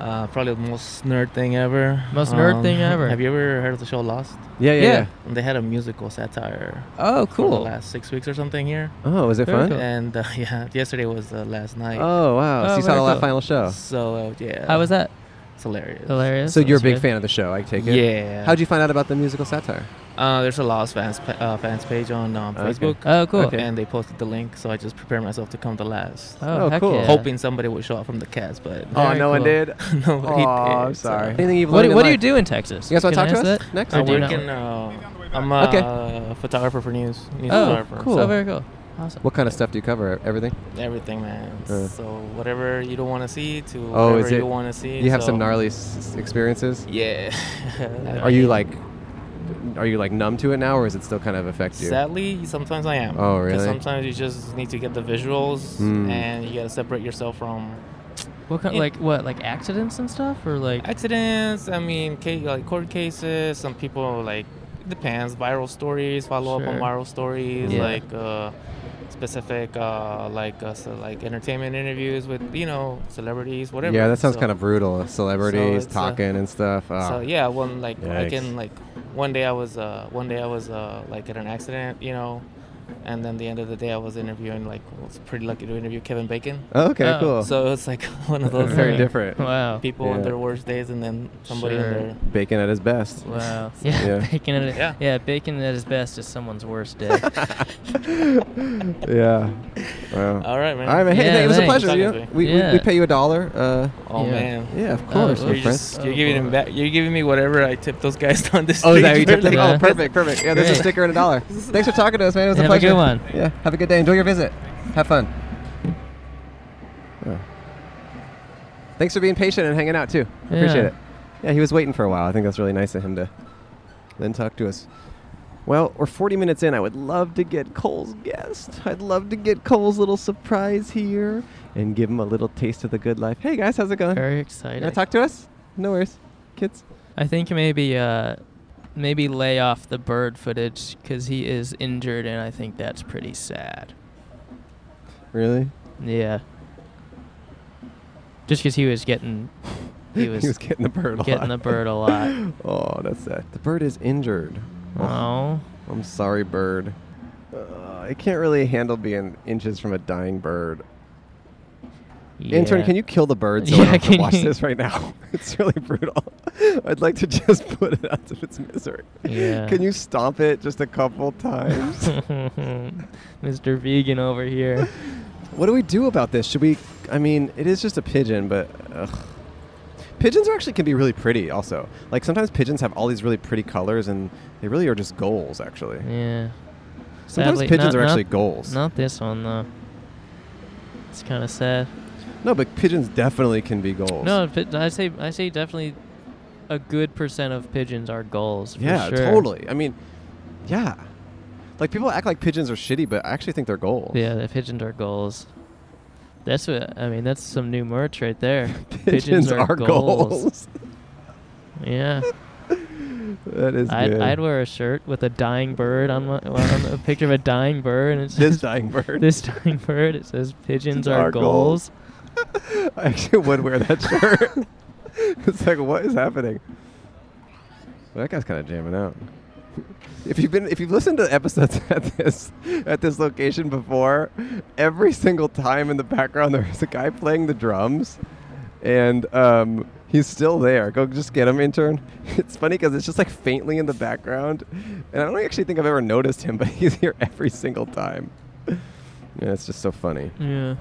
Speaker 6: Uh, probably the most nerd thing ever. Um,
Speaker 1: Most nerd thing ever.
Speaker 6: Have you ever heard of the show Lost?
Speaker 2: Yeah, yeah,
Speaker 1: Yeah.
Speaker 2: yeah.
Speaker 6: And they had a musical satire.
Speaker 1: Oh,
Speaker 6: For the
Speaker 1: cool.
Speaker 6: last six weeks or something here.
Speaker 2: Oh, was it
Speaker 1: Very
Speaker 2: fun?
Speaker 1: cool.
Speaker 6: And uh, yeah, yesterday was the last night.
Speaker 2: Oh, wow.
Speaker 1: Oh,
Speaker 2: so you saw
Speaker 1: very
Speaker 2: the last
Speaker 1: cool.
Speaker 2: final show.
Speaker 6: So uh, yeah.
Speaker 1: How was that?
Speaker 6: It's hilarious.
Speaker 1: Hilarious.
Speaker 2: So you're a
Speaker 1: That's
Speaker 2: big
Speaker 1: good.
Speaker 2: fan of the show, I take it.
Speaker 6: Yeah.
Speaker 2: How'd you find out about the musical satire?
Speaker 6: Uh, there's a Lost fans pa- uh, fans page on um,
Speaker 2: Okay.
Speaker 6: Facebook.
Speaker 1: Oh, cool.
Speaker 2: Okay.
Speaker 6: And they posted the link, so I just prepared myself to come to last.
Speaker 1: Oh,
Speaker 2: Oh,
Speaker 1: heck
Speaker 2: cool.
Speaker 1: yeah.
Speaker 6: Hoping somebody would show up from the cast, but
Speaker 1: Oh, Very no one cool. did?
Speaker 6: nobody
Speaker 2: Oh,
Speaker 6: did.
Speaker 2: I'm
Speaker 6: so-
Speaker 2: sorry. Anything you've
Speaker 1: What,
Speaker 2: learned
Speaker 1: do-
Speaker 2: in
Speaker 1: what do you
Speaker 2: life?
Speaker 1: do in Texas?
Speaker 2: You guys want to talk
Speaker 1: Can I
Speaker 2: to us
Speaker 1: ask that?
Speaker 2: next?
Speaker 1: I
Speaker 6: I
Speaker 1: Or do
Speaker 6: work
Speaker 1: not?
Speaker 6: in. Uh, I'm a
Speaker 2: Okay.
Speaker 6: photographer for news. news
Speaker 1: Oh,
Speaker 6: photographer.
Speaker 1: cool.
Speaker 2: So-
Speaker 1: Oh, very cool. Awesome.
Speaker 2: What kind of stuff do you cover? Everything?
Speaker 6: Everything, man.
Speaker 2: Uh.
Speaker 6: So whatever you don't want to see, to
Speaker 2: Oh,
Speaker 6: whatever
Speaker 2: is it-
Speaker 6: you want to see.
Speaker 2: You have some
Speaker 6: so-
Speaker 2: gnarly s- s- experiences?
Speaker 6: Yeah.
Speaker 2: Are you like, are you like numb to it now, or is it still kind of affect you?
Speaker 6: Sadly, sometimes I am.
Speaker 2: Oh,
Speaker 6: 'Cause
Speaker 2: really?
Speaker 6: Sometimes you just need to get the visuals,
Speaker 2: Mm.
Speaker 6: and you gotta separate yourself from
Speaker 1: What kind?
Speaker 6: Yeah.
Speaker 1: Like what? Like accidents and stuff, or like?
Speaker 6: accidents. I mean, case, like court cases. Some people like it depends. Viral stories, follow up on
Speaker 1: Sure.
Speaker 6: viral stories,
Speaker 1: Yeah.
Speaker 6: like uh, specific uh, like uh, so, like entertainment interviews with you know celebrities, whatever.
Speaker 2: Yeah, that sounds
Speaker 6: So-
Speaker 2: kind of brutal. Celebrities
Speaker 6: it's, uh,
Speaker 2: talking and stuff. Oh.
Speaker 6: So yeah, one like I
Speaker 2: Yikes.
Speaker 6: can like one day I was uh one day I was uh like at an accident, you know, and then the end of the day I was interviewing like I was pretty lucky to interview Kevin Bacon.
Speaker 2: Okay,
Speaker 1: Oh,
Speaker 2: cool.
Speaker 6: So it's like one of those
Speaker 2: That's very
Speaker 6: like,
Speaker 2: different.
Speaker 1: Wow.
Speaker 6: people on
Speaker 2: Yeah.
Speaker 6: their worst days and then somebody
Speaker 1: Sure.
Speaker 6: on their
Speaker 2: Bacon at his best.
Speaker 1: Wow. Yeah.
Speaker 2: Yeah.
Speaker 1: Bacon at yeah.
Speaker 6: Yeah.
Speaker 1: yeah. Bacon at his best is someone's worst day.
Speaker 2: yeah. Wow.
Speaker 6: All right, man.
Speaker 2: All right, man. Hey,
Speaker 1: Yeah,
Speaker 2: hey, it was a
Speaker 1: thanks.
Speaker 2: pleasure. You know?
Speaker 6: Talking to
Speaker 2: we, we-
Speaker 1: Yeah.
Speaker 2: we, pay you a dollar. Uh,
Speaker 6: Oh
Speaker 1: Yeah.
Speaker 6: man.
Speaker 2: yeah, of
Speaker 1: Oh,
Speaker 2: course.
Speaker 1: oh,
Speaker 2: my
Speaker 1: Friends?
Speaker 6: You're,
Speaker 2: friend.
Speaker 6: just,
Speaker 1: Oh,
Speaker 6: you're giving him
Speaker 1: boy.
Speaker 6: back. You're giving me whatever I tipped those guys on this.
Speaker 2: Oh, is
Speaker 6: stage
Speaker 2: that what you tipped it?
Speaker 6: earlier.
Speaker 2: Oh, perfect, perfect. Yeah, this is a
Speaker 1: Great.
Speaker 2: sticker and a dollar. Thanks for talking to us, man. It was
Speaker 1: Have a
Speaker 2: a pleasure.
Speaker 1: good one.
Speaker 2: Yeah, have a good day. Enjoy your visit. Have fun. Yeah. Thanks for being patient and hanging out, too. I
Speaker 1: Yeah.
Speaker 2: Appreciate it. Yeah, he was waiting for a while. I think that's really nice of him to then talk to us. Well, we're 40 minutes in. I would love to get Cole's guest. I'd love to get Cole's little surprise here and give him a little taste of the good life. Hey guys, how's it going?
Speaker 1: Very exciting.
Speaker 2: Wanna talk to us? No worries, kids.
Speaker 1: I think maybe uh, maybe lay off the bird footage because he is injured, and I think that's pretty sad.
Speaker 2: Really?
Speaker 1: Yeah. Just because he was getting, he was,
Speaker 2: getting the bird a
Speaker 1: getting
Speaker 2: lot.
Speaker 1: the bird a lot.
Speaker 2: oh, that's sad. The bird is injured.
Speaker 1: Oh.
Speaker 2: I'm sorry, bird. Uh, it can't really handle being inches from a dying bird. Intern,
Speaker 1: Yeah.
Speaker 2: can you kill the bird so
Speaker 1: Yeah,
Speaker 2: I don't have to
Speaker 1: can
Speaker 2: watch
Speaker 1: you-
Speaker 2: this right now? it's really brutal. I'd like to just put it out of its misery.
Speaker 1: Yeah.
Speaker 2: Can you stomp it just a couple times?
Speaker 1: Mr. Vegan over here.
Speaker 2: What do we do about this? Should we? I mean, it is just a pigeon, but ugh. pigeons are actually can be really pretty. Also, like sometimes pigeons have all these really pretty colors, and they really are just goals. Actually,
Speaker 1: Yeah.
Speaker 2: Sometimes
Speaker 1: Sadly-
Speaker 2: pigeons
Speaker 1: not-
Speaker 2: are actually
Speaker 1: not-
Speaker 2: goals.
Speaker 1: Not this one though. It's kind of sad.
Speaker 2: No, but pigeons definitely can be goals.
Speaker 1: No, pi- I say I say definitely a good percent of pigeons are gulls. for
Speaker 2: yeah,
Speaker 1: sure.
Speaker 2: totally. I mean, yeah. Like people act like pigeons are shitty, but I actually think they're goals.
Speaker 1: Yeah, the pigeons are goals. That's what I mean. That's some new merch right there. pigeons,
Speaker 2: Pigeons are goals.
Speaker 1: yeah,
Speaker 2: that is
Speaker 1: I'd,
Speaker 2: good.
Speaker 1: I'd wear a shirt with a dying bird on, my, on a picture of a dying bird, and it
Speaker 2: This
Speaker 1: says
Speaker 2: dying bird.
Speaker 1: This dying bird. It says pigeons are,
Speaker 2: Our
Speaker 1: goals.
Speaker 2: goals." I actually would wear that shirt. it's like, what is happening? Well, that guy's kind of jamming out. If you've been, if you've listened to episodes at this at this location before, every single time in the background there is a guy playing the drums, and um, he's still there. Go just get him, intern. It's funny because it's just like faintly in the background, and I don't actually think I've ever noticed him, but he's here every single time. Yeah, it's just so funny.
Speaker 1: Yeah.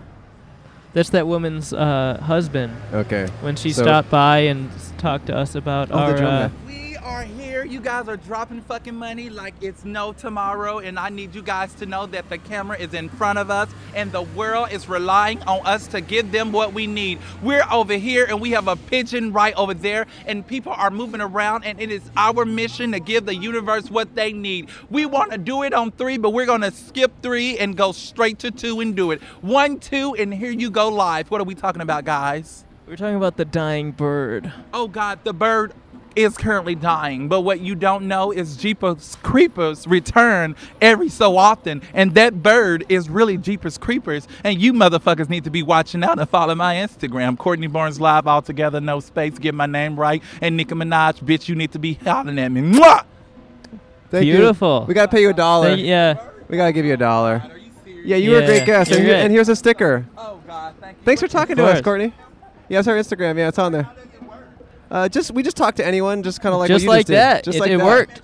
Speaker 1: That's that woman's uh, husband.
Speaker 2: Okay,
Speaker 1: When she
Speaker 2: so-
Speaker 1: stopped by and s- talked to us about
Speaker 2: Oh, the
Speaker 1: our.
Speaker 2: drum
Speaker 1: uh,
Speaker 2: guy.
Speaker 11: We are here. You guys are dropping fucking money like it's no tomorrow, and I need you guys to know that the camera is in front of us, and the world is relying on us to give them what we need. We're over here, and we have a pigeon right over there, and people are moving around, and it is our mission to give the universe what they need. We want to do it on three, but we're gonna skip three and go straight to two and do it. One, two, and here you go live. What are we talking about, guys?
Speaker 1: We're talking about the dying bird.
Speaker 11: Oh God, the bird is currently dying. But what you don't know is Jeepers Creepers return every so often, and that bird is really Jeepers Creepers. And you motherfuckers need to be watching out and follow my Instagram, Courtney Barnes Live, all together, no space, get my name right, and Nicki Minaj, bitch, you need to be hollering at me. Mwah!
Speaker 2: Thank you.
Speaker 1: Beautiful.
Speaker 2: We gotta pay you a dollar.
Speaker 1: Thank- yeah.
Speaker 2: We gotta give you a dollar. Yeah, you were a
Speaker 1: Yeah,
Speaker 2: great guest,
Speaker 1: you're
Speaker 2: and, here-
Speaker 1: good.
Speaker 2: and here's a sticker. Oh God, thank you. Thanks for talking to
Speaker 1: Of
Speaker 2: us,
Speaker 1: course.
Speaker 2: Courtney. Yeah, it's our Instagram. Yeah, it's on there. Uh, just we just talked to anyone, just kind of like
Speaker 1: Just
Speaker 2: what you
Speaker 1: like
Speaker 2: did.
Speaker 1: that.
Speaker 2: Just
Speaker 1: It-
Speaker 2: like
Speaker 1: it
Speaker 2: that.
Speaker 1: worked.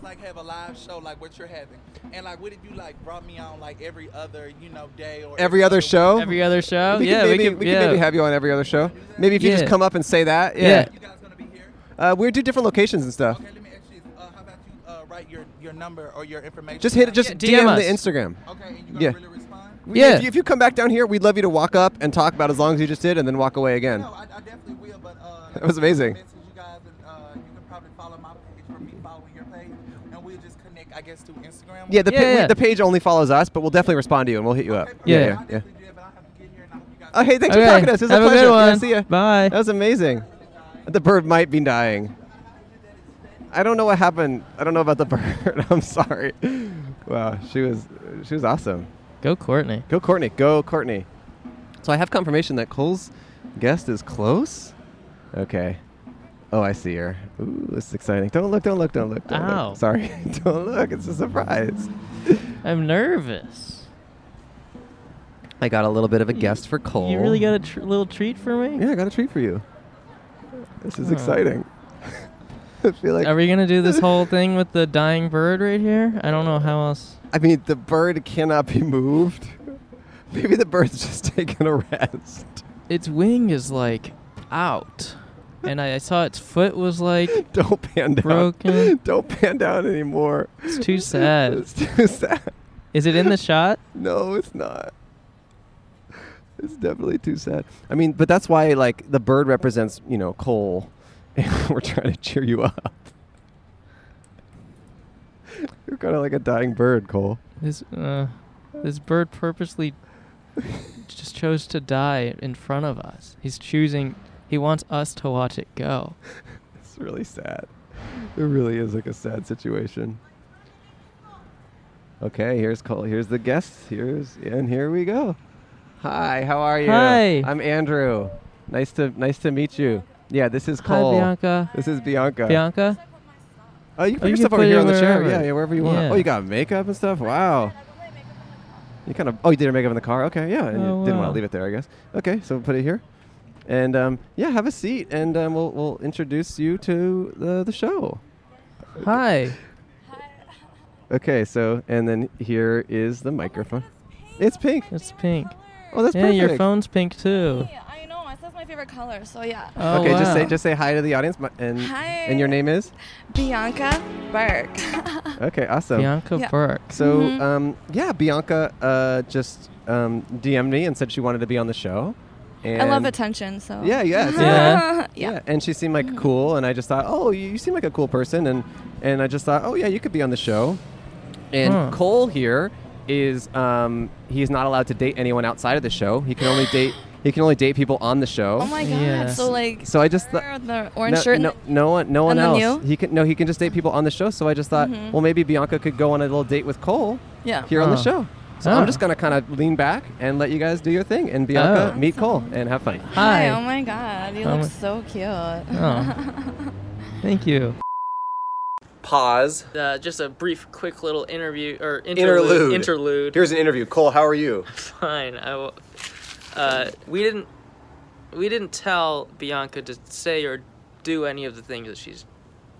Speaker 11: like have a live show like what you're having and like what did you like brought me on like every other you know day or
Speaker 2: Every other show.
Speaker 1: Every other show.
Speaker 2: We could
Speaker 1: yeah,
Speaker 2: maybe,
Speaker 1: we could. yeah.
Speaker 2: maybe have you on every other show. Maybe if you just
Speaker 1: Yeah.
Speaker 2: come up and say that.
Speaker 1: Yeah.
Speaker 2: Yeah. Uh, we do different locations and stuff.
Speaker 11: uh, write your your number or your information
Speaker 2: Just hit it. Just DM,
Speaker 1: us.
Speaker 2: the Instagram.
Speaker 11: Okay, and you
Speaker 2: yeah. really respond? Yeah. If you, if you come back down here, we'd love you to walk up and talk about as long as you just did, and then walk away again. No, I, definitely will. But uh, that was amazing.
Speaker 11: and we'll just connect i guess through instagram
Speaker 2: Yeah, the,
Speaker 11: yeah,
Speaker 2: pa- we- the page only follows us, but we'll definitely respond to you and we'll hit you up.
Speaker 1: Yeah.
Speaker 2: yeah. Oh, hey, thanks
Speaker 1: Okay,
Speaker 2: for talking to us. It was
Speaker 1: have
Speaker 2: a
Speaker 1: a good
Speaker 2: pleasure. Yeah,
Speaker 1: one.
Speaker 2: see ya.
Speaker 1: Bye.
Speaker 2: That was amazing. The bird might be dying. I don't know what happened. I don't know about the bird. I'm sorry. Wow, she was she was awesome.
Speaker 1: Go Courtney.
Speaker 2: Go Courtney. Go Courtney. So I have confirmation that Cole's guest is close. Okay. Oh, I see her. Ooh, this is exciting. Don't look, don't look, don't look. Don't
Speaker 1: Ow.
Speaker 2: Look. Sorry. don't look. It's a surprise.
Speaker 1: I'm nervous.
Speaker 2: I got a little bit of a guest for Cole.
Speaker 1: You really got a tr- little treat for me?
Speaker 2: Oh. Yeah, I got a treat for you. This is
Speaker 1: Oh.
Speaker 2: exciting. I feel like
Speaker 1: Are we gonna do this whole thing with the dying bird right here? I don't know how else.
Speaker 2: I mean, the bird cannot be moved. Maybe the bird's just taking a rest.
Speaker 1: Its wing is like out, and I, I saw its foot was like
Speaker 2: Don't pan down.
Speaker 1: broken.
Speaker 2: Don't pan down anymore.
Speaker 1: It's too sad.
Speaker 2: It's too sad.
Speaker 1: Is it in the shot?
Speaker 2: No, it's not. It's definitely too sad. I mean, but that's why like the bird represents, you know, Cole, and we're trying to cheer you up. kind of like a dying bird, Cole.
Speaker 1: This uh, this bird purposely just chose to die in front of us. He's choosing. He wants us to watch it go.
Speaker 2: It's really sad. It really is like a sad situation. Okay, here's Cole. Here's the guests. Here's and here we go. Hi, how are you?
Speaker 1: Hi.
Speaker 2: I'm Andrew. Nice to nice to meet you. Yeah, this is Cole.
Speaker 1: Bianca.
Speaker 2: This is Bianca.
Speaker 1: Bianca.
Speaker 2: Oh, you
Speaker 1: Oh,
Speaker 2: can put
Speaker 1: you can
Speaker 2: your stuff
Speaker 1: put
Speaker 2: over
Speaker 1: it
Speaker 2: here on the chair.
Speaker 1: wherever.
Speaker 2: Yeah, yeah, wherever you want.
Speaker 1: Yeah.
Speaker 2: Oh, you got makeup and stuff. Wow. You kind of. Oh, you did your makeup in the car. Okay, yeah. And you
Speaker 1: Oh,
Speaker 2: didn't
Speaker 1: wow.
Speaker 2: want to leave it there, I guess. Okay, so put it here, and um, yeah, have a seat, and um, we'll we'll introduce you to the the show.
Speaker 1: Hi.
Speaker 2: Okay, so and then here is the microphone. It's pink.
Speaker 1: It's pink.
Speaker 2: Oh, that's
Speaker 1: yeah. Your
Speaker 2: perfect.
Speaker 1: phone's pink too.
Speaker 12: I know, my- that's my favorite color. So yeah.
Speaker 1: Oh,
Speaker 2: okay, just say
Speaker 1: wow.
Speaker 2: just say hi to the audience, mi- and
Speaker 12: Hi.
Speaker 2: and your name is.
Speaker 12: Bianca Burke.
Speaker 2: Okay, awesome.
Speaker 1: Bianca Yeah. Burke.
Speaker 2: So,
Speaker 12: Mhm.
Speaker 2: um, yeah, Bianca uh, just um, DM'd me and said she wanted to be on the show. And
Speaker 12: I love attention, so.
Speaker 2: Yeah, yeah, it's-
Speaker 12: yeah. Mm-hmm.
Speaker 2: yeah. And she seemed like cool, and I just thought, oh, you, you seem like a cool person, and and I just thought, oh yeah, you could be on the show. And
Speaker 1: Huh.
Speaker 2: Cole here is um, he's not allowed to date anyone outside of the show. He can only date he can only date people on the show.
Speaker 12: Oh my god. So like.
Speaker 2: So I just thought
Speaker 12: her, the orange
Speaker 2: no,
Speaker 12: shirt.
Speaker 2: No, no one, no one
Speaker 12: and
Speaker 2: else.
Speaker 12: then you?
Speaker 2: He can no, he can just date people on the show. So I just thought,
Speaker 12: Mhm.
Speaker 2: well, maybe Bianca could go on a little date with Cole.
Speaker 12: Yeah.
Speaker 2: Here on the
Speaker 12: Oh.
Speaker 2: show. So
Speaker 12: Oh.
Speaker 2: I'm just gonna kind of lean back and let you guys do your thing, and Bianca meet Cole and have fun.
Speaker 12: Oh. Hi. Oh my god. You
Speaker 2: Um,
Speaker 12: look so cute.
Speaker 1: Oh. Thank you.
Speaker 2: Pause.
Speaker 13: Uh, just a brief, quick little interview or
Speaker 2: Interlude.
Speaker 13: interlude. Interlude.
Speaker 2: Here's an interview. Cole, how are you?
Speaker 13: Fine. I w- uh, we didn't we didn't tell Bianca to say or do any of the things that she's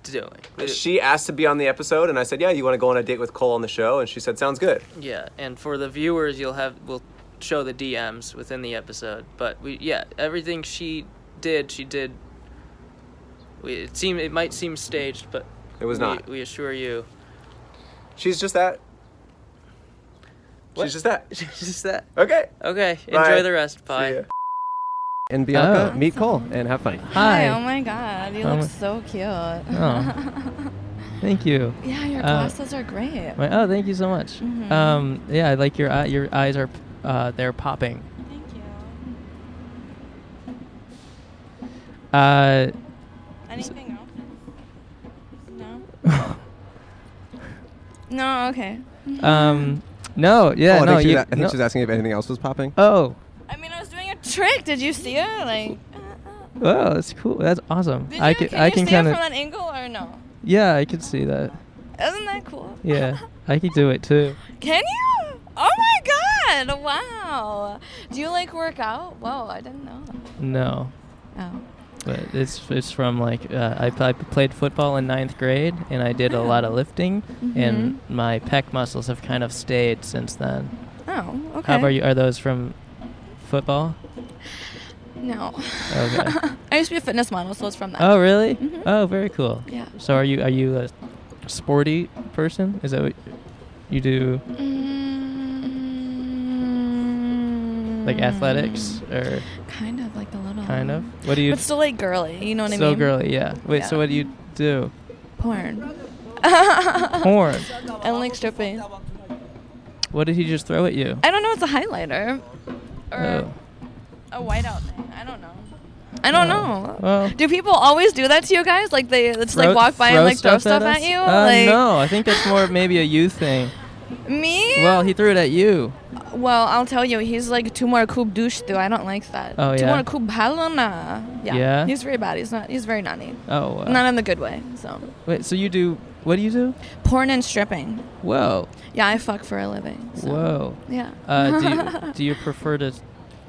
Speaker 13: doing. We-
Speaker 2: She asked to be on the episode, and I said, yeah, you want to go on a date with Cole on the show, and she said, sounds good.
Speaker 13: yeah, and for the viewers, you'll have we'll show the DMs within the episode. But we yeah, everything she did, she did. We, it seem it might seem staged, but
Speaker 2: It was
Speaker 13: we-
Speaker 2: not.
Speaker 13: We assure you.
Speaker 2: She's just that. She's just that.
Speaker 13: She's just that.
Speaker 2: Okay.
Speaker 13: Okay.
Speaker 2: Bye.
Speaker 13: Enjoy the rest. Bye.
Speaker 2: And Bianca, meet Cole and have fun.
Speaker 12: Oh. Hi. Oh my god. You
Speaker 1: Um,
Speaker 12: look so cute.
Speaker 1: Oh. Thank you.
Speaker 12: Yeah, your
Speaker 1: Uh,
Speaker 12: glasses are great.
Speaker 1: my- oh, thank you so much.
Speaker 12: Mhm.
Speaker 1: Um, yeah, I like your eye, your eyes are uh, they're popping. Thank you.
Speaker 12: Anything else? No. no. Okay.
Speaker 1: Uh, um, no, yeah,
Speaker 2: Oh, I
Speaker 1: no,
Speaker 2: think, she's,
Speaker 1: you,
Speaker 2: a- I think
Speaker 1: no.
Speaker 2: she's asking if anything else was popping.
Speaker 1: Oh,
Speaker 12: I mean, I was doing a trick. Did you see it? Like,
Speaker 1: wow, oh, that's cool. That's awesome.
Speaker 12: did
Speaker 1: I
Speaker 12: you,
Speaker 1: can,
Speaker 12: can
Speaker 1: I
Speaker 12: you
Speaker 1: can
Speaker 12: see it
Speaker 1: kind
Speaker 12: from
Speaker 1: of,
Speaker 12: that angle or no?
Speaker 1: yeah, I can see that.
Speaker 12: Isn't that cool?
Speaker 1: Yeah, I could do it too.
Speaker 12: Can you? Oh my god! Wow. Do you like work out? Whoa, I didn't know.
Speaker 1: No,
Speaker 12: Oh.
Speaker 1: but it's it's from like uh, I, I played football in ninth grade and I
Speaker 12: Oh.
Speaker 1: did a lot of lifting
Speaker 12: Mm-hmm.
Speaker 1: and my pec muscles have kind of stayed since then.
Speaker 12: Oh. Okay.
Speaker 1: How about you? Are those from football?
Speaker 12: No.
Speaker 1: Okay.
Speaker 12: I used to be a fitness model, so it's from that.
Speaker 1: Oh, really?
Speaker 12: Mhm.
Speaker 1: Oh, very cool.
Speaker 12: Yeah.
Speaker 1: So are you are you a sporty person? Is that what you do?
Speaker 12: Mm-hmm.
Speaker 1: Like athletics or
Speaker 12: Kind of like a little.
Speaker 1: kind of? What do you?
Speaker 12: But still like girly. You know what I
Speaker 1: so
Speaker 12: mean?
Speaker 1: girly, yeah. Wait, so what do you do?
Speaker 12: Porn.
Speaker 1: Porn.
Speaker 12: and like stripping.
Speaker 1: What did he just throw at you?
Speaker 12: I don't know. It's a highlighter or
Speaker 1: Oh.
Speaker 12: a whiteout thing. I don't know. I don't know.
Speaker 1: Oh. Well.
Speaker 12: do people always do that to you guys? Like they just
Speaker 1: Throw-
Speaker 12: like walk by and like throw stuff at,
Speaker 1: us?
Speaker 12: you?
Speaker 1: Uh,
Speaker 12: like
Speaker 1: no, I think that's more of maybe a you thing.
Speaker 12: me?
Speaker 1: Well, he threw it at you.
Speaker 12: Well, I'll tell you, he's like two more coupe douche though. I don't like that.
Speaker 1: Oh,
Speaker 12: Two
Speaker 1: yeah?
Speaker 12: more coupe halana. Yeah.
Speaker 1: Yeah?
Speaker 12: He's very bad. He's not. He's very naughty.
Speaker 1: Oh. Wow.
Speaker 12: Not in the good way. So
Speaker 1: Wait, so you do? What do you do?
Speaker 12: porn and stripping.
Speaker 1: Whoa.
Speaker 12: Yeah, I fuck for a living. so,
Speaker 1: Whoa.
Speaker 12: Yeah.
Speaker 1: Uh, do, you, do you prefer to s-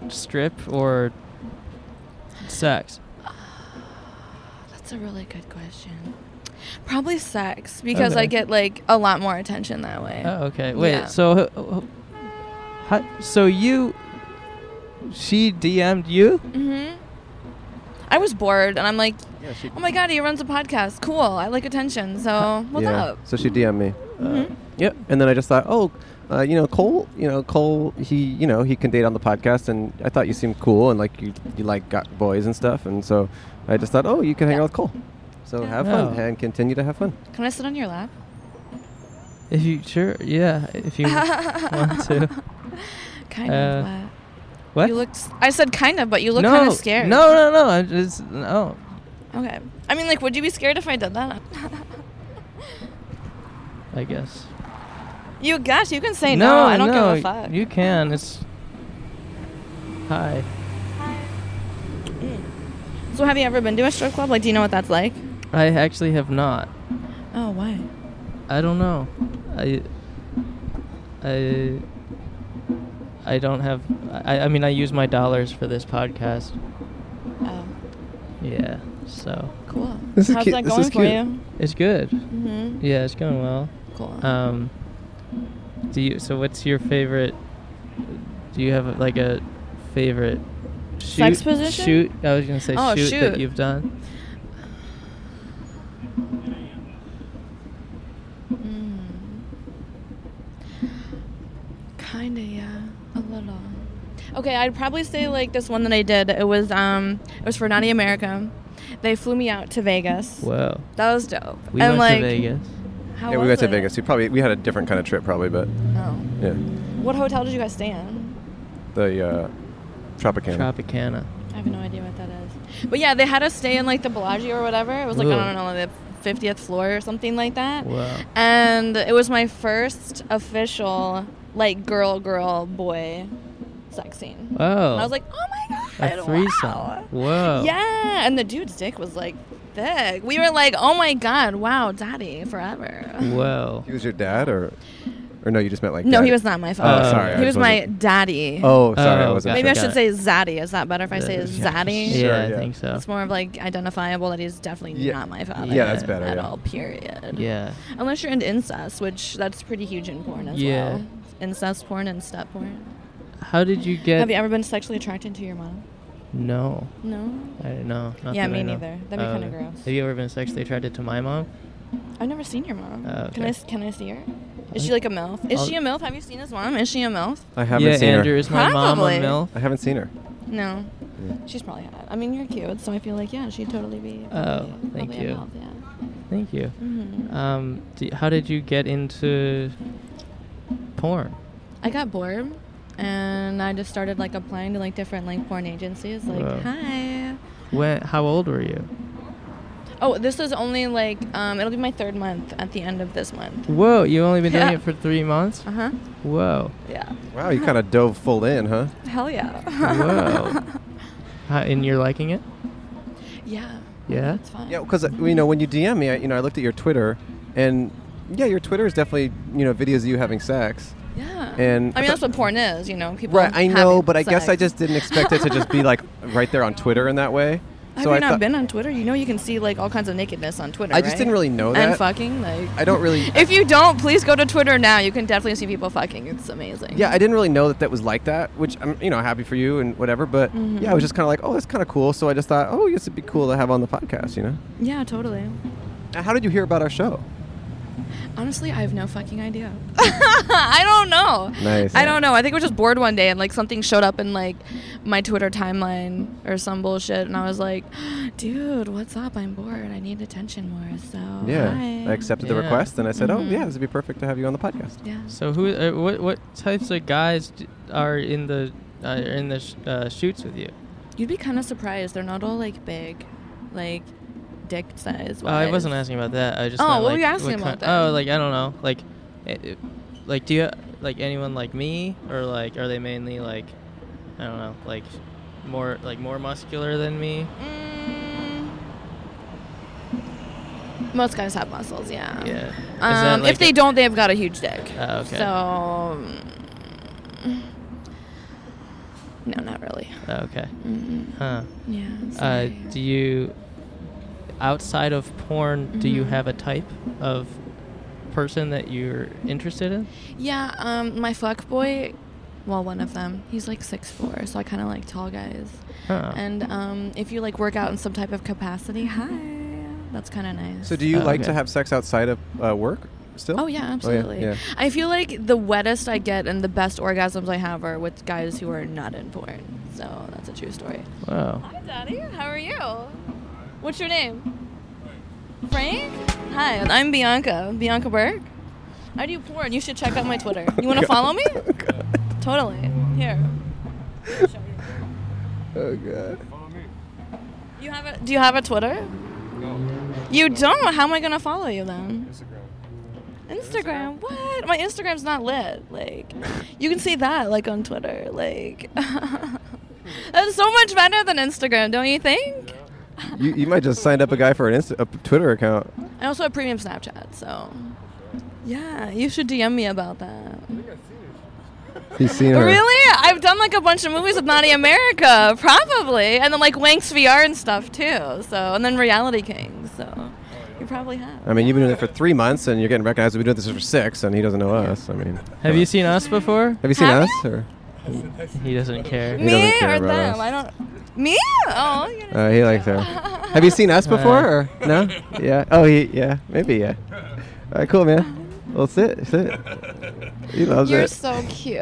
Speaker 1: strip or sex?
Speaker 12: That's a really good question. Probably sex because I
Speaker 1: Okay.
Speaker 12: get like a lot more attention that way.
Speaker 1: Oh, okay. Wait.
Speaker 12: Yeah.
Speaker 1: So, uh, how, so you, she DM'd you?
Speaker 12: Mhm. I was bored and I'm like,
Speaker 2: Yeah, she-
Speaker 12: oh my god, he runs a podcast. Cool. I like attention. So what's
Speaker 2: yeah.
Speaker 12: up?
Speaker 2: So she DM'd me.
Speaker 12: Mhm.
Speaker 2: Yep. And then I just thought, oh, uh, you know, Cole, you know, Cole, he, you know, he can date on the podcast, and I thought you seemed cool, and like you, you like got boys and stuff, and so I just thought, oh, you can hang out with Cole. So have fun
Speaker 12: Yeah.
Speaker 2: and continue to have fun.
Speaker 12: Can I sit on your lap?
Speaker 1: If you sure, yeah. If you want to.
Speaker 12: kind
Speaker 1: Uh,
Speaker 12: of. What?
Speaker 1: What?
Speaker 12: You looked. s- I said kind of, but you look
Speaker 1: no,
Speaker 12: kind of scared.
Speaker 1: No, no, no. I just no.
Speaker 12: Okay. I mean, like, would you be scared if I did that?
Speaker 1: I guess.
Speaker 12: you guess you can say no. I don't
Speaker 1: no,
Speaker 12: give a fuck.
Speaker 1: You can. It's. Hi.
Speaker 12: So, have you ever been to a strip club? Like, do you know what that's like?
Speaker 1: I actually have not.
Speaker 12: Oh, why?
Speaker 1: I don't know. I. I. I don't have. I, I mean, I use my dollars for this podcast.
Speaker 12: Oh.
Speaker 1: Yeah. So.
Speaker 12: Cool. This is How's cute. that This going is for cute. you?
Speaker 1: It's good.
Speaker 12: Mhm.
Speaker 1: Yeah, it's going well.
Speaker 12: Cool.
Speaker 1: Um. Do you? So, what's your favorite? Do you have like a favorite? Shoot,
Speaker 12: Sex position?
Speaker 1: Shoot. I was gonna say
Speaker 12: Oh,
Speaker 1: shoot,
Speaker 12: shoot.
Speaker 1: that you've done.
Speaker 12: Kinda, yeah, a little. Okay, I'd probably say like this one that I did. It was um, it was for Naughty America. They flew me out to Vegas.
Speaker 2: Whoa.
Speaker 12: That was dope.
Speaker 2: We
Speaker 12: and
Speaker 2: went
Speaker 12: like,
Speaker 2: to Vegas.
Speaker 12: How
Speaker 2: yeah, we
Speaker 12: was
Speaker 2: went to
Speaker 12: it?
Speaker 2: Vegas. We probably we had a different kind of trip, probably, but
Speaker 12: Oh.
Speaker 2: yeah,
Speaker 12: What hotel did you guys stay in?
Speaker 2: the uh, Tropicana.
Speaker 1: Tropicana.
Speaker 12: I have no idea what that is. But yeah, they had us stay in like the Bellagio or whatever. It was like
Speaker 1: Ooh.
Speaker 12: I don't know the fiftieth floor or something like that.
Speaker 1: Wow.
Speaker 12: And it was my first official like girl girl boy sex scene.
Speaker 1: Oh.
Speaker 12: And I was like, oh my god.
Speaker 1: A threesome. Whoa.
Speaker 12: Yeah, and the dude's dick was like thick. We were like, oh my god, wow, daddy, forever.
Speaker 1: Whoa.
Speaker 2: He was your dad, or or no? You just meant like.
Speaker 12: No,
Speaker 2: dad.
Speaker 12: he was not my
Speaker 2: Oh,
Speaker 12: father.
Speaker 2: sorry. I
Speaker 12: he was
Speaker 2: just
Speaker 12: my
Speaker 2: wasn't-
Speaker 12: daddy.
Speaker 2: Oh, sorry, I
Speaker 1: Oh,
Speaker 2: wasn't.
Speaker 1: got it.
Speaker 12: Maybe I
Speaker 2: sure.
Speaker 12: should say zaddy. Is that better if I say zaddy?
Speaker 1: Yeah, I think so.
Speaker 12: It's more of like identifiable that he's definitely
Speaker 1: Yeah.
Speaker 12: not my father.
Speaker 1: Yeah, that's better,
Speaker 12: At
Speaker 1: yeah.
Speaker 12: all, period.
Speaker 1: Yeah.
Speaker 12: Unless you're into incest, which that's pretty huge in porn as
Speaker 1: Yeah.
Speaker 12: well. Incest porn and step porn.
Speaker 1: How did you get?
Speaker 12: Have you ever been sexually attracted to your mom?
Speaker 1: No.
Speaker 12: No?
Speaker 1: I don't know. Not
Speaker 12: Yeah,
Speaker 1: that I
Speaker 12: me
Speaker 1: know.
Speaker 12: neither. That'd be
Speaker 1: Oh,
Speaker 12: kinda
Speaker 1: okay.
Speaker 12: gross.
Speaker 1: Have you ever been sexually attracted to my mom?
Speaker 12: I've never seen your mom.
Speaker 1: Oh,
Speaker 12: Can
Speaker 1: okay.
Speaker 12: I s- can I see her? Is she like a milf? Is
Speaker 1: I'll-
Speaker 12: she a milf? Have you seen his mom? Is she a milf?
Speaker 2: I haven't
Speaker 1: Yeah,
Speaker 2: seen
Speaker 1: Andrew,
Speaker 2: her.
Speaker 1: is my mom a
Speaker 12: Probably.
Speaker 1: MILF?
Speaker 2: I haven't seen her.
Speaker 12: No.
Speaker 2: Yeah.
Speaker 12: She's probably hot. I mean, you're cute, so I feel like yeah, she'd totally be.
Speaker 1: Oh, thank
Speaker 12: probably a
Speaker 1: you.
Speaker 12: milf, yeah.
Speaker 1: Thank you.
Speaker 12: Mhm.
Speaker 1: Um, d how did you get into porn?
Speaker 12: I got bored and I just started like applying to like different like porn agencies like
Speaker 1: Wow.
Speaker 12: hi
Speaker 1: When? How old were you?
Speaker 12: oh this is only like um, it'll be my third month at the end of this month
Speaker 1: Whoa, you only been doing
Speaker 12: Yeah.
Speaker 1: it for three months?
Speaker 12: uh-huh
Speaker 1: Whoa.
Speaker 12: yeah
Speaker 2: Wow, you kind of dove full in, huh?
Speaker 12: hell yeah
Speaker 1: Whoa. How, and you're liking it?
Speaker 12: yeah
Speaker 1: Yeah.
Speaker 12: it's fine
Speaker 2: Yeah, because you know when you DM me, I, you know I looked at your Twitter, and yeah, your Twitter is definitely you know videos of you having sex.
Speaker 12: yeah
Speaker 2: And
Speaker 12: I mean
Speaker 2: thought-
Speaker 12: that's what porn is you know people
Speaker 2: Right, I know,
Speaker 12: having
Speaker 2: but I guess I
Speaker 12: sex.
Speaker 2: just didn't expect it to just be like right there on Twitter in that way.
Speaker 12: have
Speaker 2: so
Speaker 12: you
Speaker 2: I
Speaker 12: not
Speaker 2: thought-
Speaker 12: been on Twitter you know you can see like all kinds of nakedness on Twitter
Speaker 2: I just
Speaker 12: right?
Speaker 2: didn't really know
Speaker 12: and
Speaker 2: that.
Speaker 12: fucking like
Speaker 2: I don't really.
Speaker 12: if you don't please go to Twitter now you can definitely see people fucking it's amazing
Speaker 2: Yeah, I didn't really know that that was like that, which I'm, you know, happy for you and whatever. But
Speaker 12: Mhm.
Speaker 2: yeah, I was just kind of like, oh, that's kind of cool. So I just thought, oh, this would be cool to have on the podcast, you know?
Speaker 12: yeah totally
Speaker 2: Now, How did you hear about our show?
Speaker 12: Honestly, I have no fucking idea. I don't know.
Speaker 2: Nice.
Speaker 12: I don't know. I think I was just bored one day and like something showed up in like my Twitter timeline or some bullshit, and I was like, "Dude, what's up? I'm bored. I need attention more." So
Speaker 2: yeah,
Speaker 12: hi.
Speaker 2: I accepted the
Speaker 1: Yeah.
Speaker 2: request and I said, oh,
Speaker 12: Mhm.
Speaker 2: yeah, this would be perfect to have you on the podcast.
Speaker 12: Yeah.
Speaker 1: So who? Uh, what? What types of guys d- are in the uh, are in the sh- uh, shoots with you?
Speaker 12: You'd be kind of surprised. They're not all like big, like dick size.
Speaker 1: Oh, I wasn't asking about that. I just
Speaker 12: Oh,
Speaker 1: meant,
Speaker 12: what were
Speaker 1: like,
Speaker 12: you asking
Speaker 1: kind-
Speaker 12: about then?
Speaker 1: Oh, like I don't know. Like, eh, eh, like do you like anyone like me or like are they mainly like I don't know like more like more muscular than me?
Speaker 12: Most guys have muscles. Yeah.
Speaker 1: Yeah. Is that
Speaker 12: Um,
Speaker 1: like
Speaker 12: if they
Speaker 1: a-
Speaker 12: don't, they've got a huge dick.
Speaker 1: Oh, okay.
Speaker 12: So. mm, No, not really.
Speaker 1: Oh, okay.
Speaker 12: Mm-mm.
Speaker 1: Huh.
Speaker 12: Yeah,
Speaker 1: Uh,
Speaker 12: sorry.
Speaker 1: do you outside of porn? Do you
Speaker 12: Mhm.
Speaker 1: have a type of person that you're interested in?
Speaker 12: Yeah, um, my fuck boy, well, one of them, he's like six four, so I kind of like tall guys.
Speaker 1: Huh.
Speaker 12: And um, if you like work out in some type of capacity, hi, that's kind of nice.
Speaker 2: So do you
Speaker 1: Oh,
Speaker 2: like to
Speaker 1: okay.
Speaker 2: have sex outside of uh, work still?
Speaker 12: Oh yeah, absolutely.
Speaker 2: yeah.
Speaker 12: I feel like the wettest I get and the best orgasms I have are with guys who are not in porn. So that's a true story.
Speaker 1: Wow.
Speaker 12: Hi, Daddy. How are you? What's your name? Frank. Hi, I'm Bianca. Bianca Burke. I do porn. You should check out my Twitter. You want to follow me? Totally. Here.
Speaker 2: Oh god.
Speaker 12: You have a, do you have a Twitter? You don't. How am I gonna follow you then? Instagram. What? My Instagram's not lit. Like, you can see that like on Twitter. Like, that's so much better than Instagram, don't you think?
Speaker 2: You, you might just signed up a guy for an Insta- a Twitter account.
Speaker 12: I also have premium Snapchat, so yeah, you should DM me about that.
Speaker 2: He's seen her.
Speaker 12: Really? I've done like a bunch of movies with Naughty America, probably, and then like Wanks VR and stuff too. So, and then Reality Kings. So, you probably have.
Speaker 2: I mean, you've been doing it for three months, and you're getting recognized. We've been doing this for six, and he doesn't know us. I mean, uh,
Speaker 1: Have you seen us before?
Speaker 2: have you seen
Speaker 12: Have
Speaker 2: us? Or
Speaker 1: He doesn't care.
Speaker 2: He doesn't
Speaker 12: Me
Speaker 2: care
Speaker 12: or
Speaker 2: about
Speaker 12: them?
Speaker 2: us.
Speaker 12: I don't. Me? Oh, you know.
Speaker 2: Uh, he likes her. Have you seen us
Speaker 1: Uh,
Speaker 2: before? Or no? Yeah. Oh, he, yeah. Maybe. Yeah. All right. Cool, man. Well, sit, sit. He loves
Speaker 12: you're
Speaker 2: it.
Speaker 12: so cute.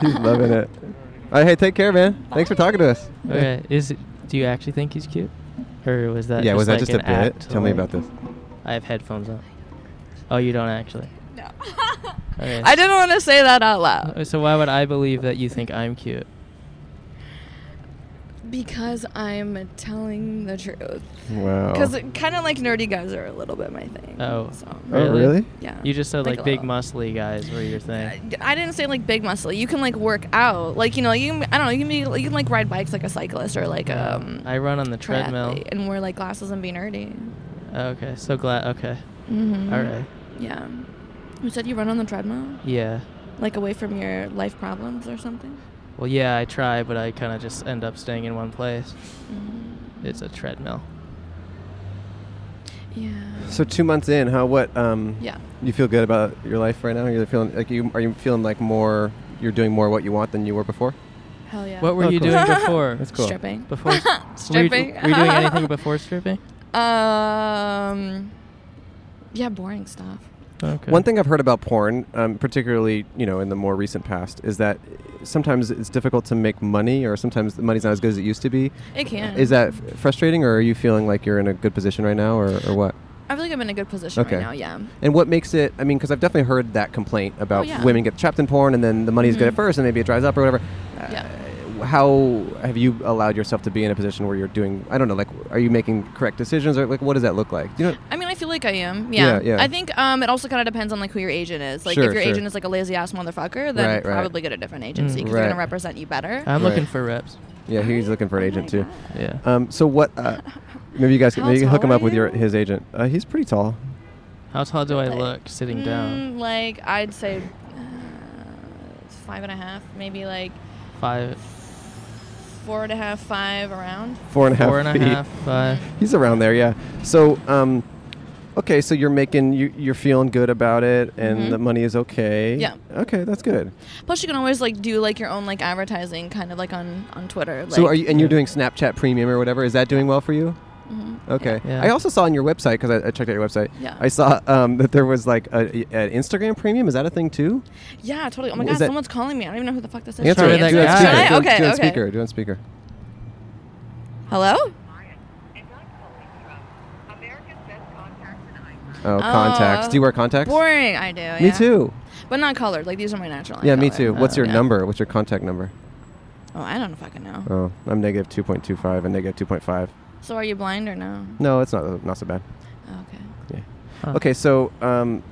Speaker 2: He's loving it. All right. Hey, take care, man. Thanks for talking to us. Yeah.
Speaker 1: Okay. Is do you actually think he's cute, or was that
Speaker 2: Yeah,
Speaker 1: Just
Speaker 2: was that
Speaker 1: like
Speaker 2: just
Speaker 1: an
Speaker 2: a bit?
Speaker 1: act,
Speaker 2: Tell me
Speaker 1: like-
Speaker 2: about this.
Speaker 1: I have headphones on. Oh, you don't actually.
Speaker 12: No.
Speaker 1: Okay.
Speaker 12: I didn't want to say that out loud
Speaker 1: Uh, So why would I believe that you think I'm cute?
Speaker 12: because I'm telling the truth.
Speaker 1: Wow.
Speaker 12: Because kind of like nerdy guys are a little bit my thing.
Speaker 1: Oh.
Speaker 12: So.
Speaker 2: really?
Speaker 12: Yeah.
Speaker 1: You just said
Speaker 12: Like
Speaker 1: like
Speaker 12: a
Speaker 1: big muscly guys were your thing.
Speaker 12: I didn't say like big muscle. You can like work out, like you know, you can, I don't know, you can be, you can like ride bikes like a cyclist or like um
Speaker 1: I run on the treadmill. Oh,
Speaker 12: triathlete and wear like glasses and be nerdy.
Speaker 1: Okay. So glad. Okay.
Speaker 12: Mhm.
Speaker 1: All right.
Speaker 12: Yeah, you said you run on the treadmill,
Speaker 1: Yeah.
Speaker 12: like away from your life problems or something.
Speaker 1: Well, yeah, I try, but I kind of just end up staying in one place.
Speaker 12: Mm-hmm.
Speaker 1: It's a treadmill.
Speaker 2: So two months in, how what? Um,
Speaker 12: Yeah.
Speaker 2: You feel good about your life right now? You're feeling like you are you feeling like more? You're doing more what you want than you were before.
Speaker 12: Hell yeah.
Speaker 1: What were
Speaker 2: Oh,
Speaker 1: you
Speaker 2: cool.
Speaker 1: doing before?
Speaker 2: That's cool.
Speaker 12: Stripping.
Speaker 1: Before s-
Speaker 12: Stripping.
Speaker 1: Were you, were you doing anything before stripping?
Speaker 12: Um, yeah, boring stuff.
Speaker 1: Okay.
Speaker 2: One thing I've heard about porn, um, particularly you know in the more recent past, is that sometimes it's difficult to make money, or sometimes the money's not as good as it used to be.
Speaker 12: It can.
Speaker 2: Is that f- frustrating, or are you feeling like you're in a good position right now, or, or what?
Speaker 12: I feel like I'm in a good position right now. Yeah. Oh,
Speaker 2: And what makes it? I mean, because I've definitely heard that complaint about
Speaker 12: yeah.
Speaker 2: women get trapped in porn, and then the money's good
Speaker 12: Mhm.
Speaker 2: at first, and maybe it dries up or whatever. Uh,
Speaker 12: Yeah.
Speaker 2: How have you allowed yourself to be in a position where you're doing? I don't know. Like, are you making correct decisions, or like, what does that look like? Do you know?
Speaker 12: I mean, I feel like I am. Yeah.
Speaker 2: Yeah, yeah.
Speaker 12: I think um, it also kind of depends on like who your agent is. Like,
Speaker 2: Sure,
Speaker 12: if your
Speaker 2: sure.
Speaker 12: agent is like a lazy ass motherfucker, then
Speaker 2: Right, right.
Speaker 12: probably get a different agency because
Speaker 2: Right.
Speaker 12: they're gonna represent you better. Oh
Speaker 1: I'm looking
Speaker 2: Right.
Speaker 1: for reps.
Speaker 2: Yeah, he's looking for an agent too.
Speaker 1: Yeah.
Speaker 2: Um. So what? Uh, maybe you guys can
Speaker 12: How
Speaker 2: maybe hook
Speaker 12: tall
Speaker 2: him up
Speaker 12: are
Speaker 2: with your his agent. Uh, he's pretty tall.
Speaker 1: How tall do I look sitting down?
Speaker 12: Mm, like I'd say uh, five and a half, maybe like
Speaker 1: Five,
Speaker 12: four and a half, five around.
Speaker 2: Four and a half.
Speaker 1: Four and a
Speaker 2: feet.
Speaker 1: half, five.
Speaker 2: He's around there. Yeah. So um, okay. So you're making you you're feeling good about it, and
Speaker 12: Mhm.
Speaker 2: the money is okay.
Speaker 12: Yeah.
Speaker 2: Okay, that's good.
Speaker 12: Plus, you can always like do like your own like advertising, kind of like on on Twitter. Like,
Speaker 2: so are you and you're doing Snapchat Premium or whatever? Is that doing well for you?
Speaker 12: Mhm.
Speaker 2: Okay.
Speaker 1: Yeah.
Speaker 2: I also saw on your website because I, I checked out your website.
Speaker 12: Yeah.
Speaker 2: I saw um, that there was like a, an Instagram Premium. Is that a thing too?
Speaker 12: Yeah, totally. Oh my
Speaker 2: Is
Speaker 12: god,
Speaker 2: that-
Speaker 12: someone's calling me. I don't even know who the fuck this is.
Speaker 2: Answer
Speaker 12: Should I
Speaker 2: it. Do it on
Speaker 12: answer it?
Speaker 2: speaker.
Speaker 12: Should I?
Speaker 2: Do it-
Speaker 12: Okay,
Speaker 2: do it on
Speaker 12: okay.
Speaker 2: speaker. Do it on speaker.
Speaker 12: Hello.
Speaker 2: Oh, contacts.
Speaker 12: Oh,
Speaker 2: Do you wear contacts?
Speaker 12: Boring. I do.
Speaker 2: Me
Speaker 12: yeah.
Speaker 2: too.
Speaker 12: But not colored. Like these are my natural. eye
Speaker 2: yeah, me
Speaker 12: color.
Speaker 2: too. What's
Speaker 12: Oh,
Speaker 2: your
Speaker 12: yeah.
Speaker 2: number? What's your contact number?
Speaker 12: Oh, I don't fucking know.
Speaker 2: Oh, I'm negative two point two five and negative two point five.
Speaker 12: So are you blind or no?
Speaker 2: No, it's not not so bad.
Speaker 12: Oh, Okay.
Speaker 2: Yeah.
Speaker 1: Huh.
Speaker 2: Okay, so um,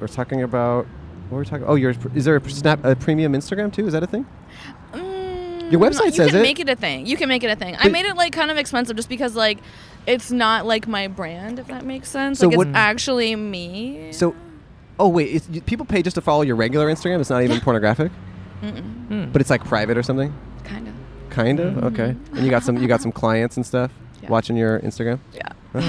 Speaker 2: we're talking about what we're talking. Oh, your is there a snap a premium Instagram too? Is that a thing? your
Speaker 12: No,
Speaker 2: website
Speaker 12: Mm, you
Speaker 2: says
Speaker 12: can
Speaker 2: it.
Speaker 12: make it a thing. You can make it a thing. I
Speaker 2: But-
Speaker 12: made it like kind of expensive just because like it's not like my brand, if that makes sense.
Speaker 2: So
Speaker 12: like
Speaker 2: what-
Speaker 12: it's actually me.
Speaker 2: so, oh wait, it's, you, people pay just to follow your regular Instagram. It's not even pornographic,
Speaker 12: Mm-mm.
Speaker 2: but it's like private or something.
Speaker 12: Kind of.
Speaker 2: Kind of. Okay. And you got some you got some clients and stuff watching your Instagram.
Speaker 12: Yeah.
Speaker 2: Okay.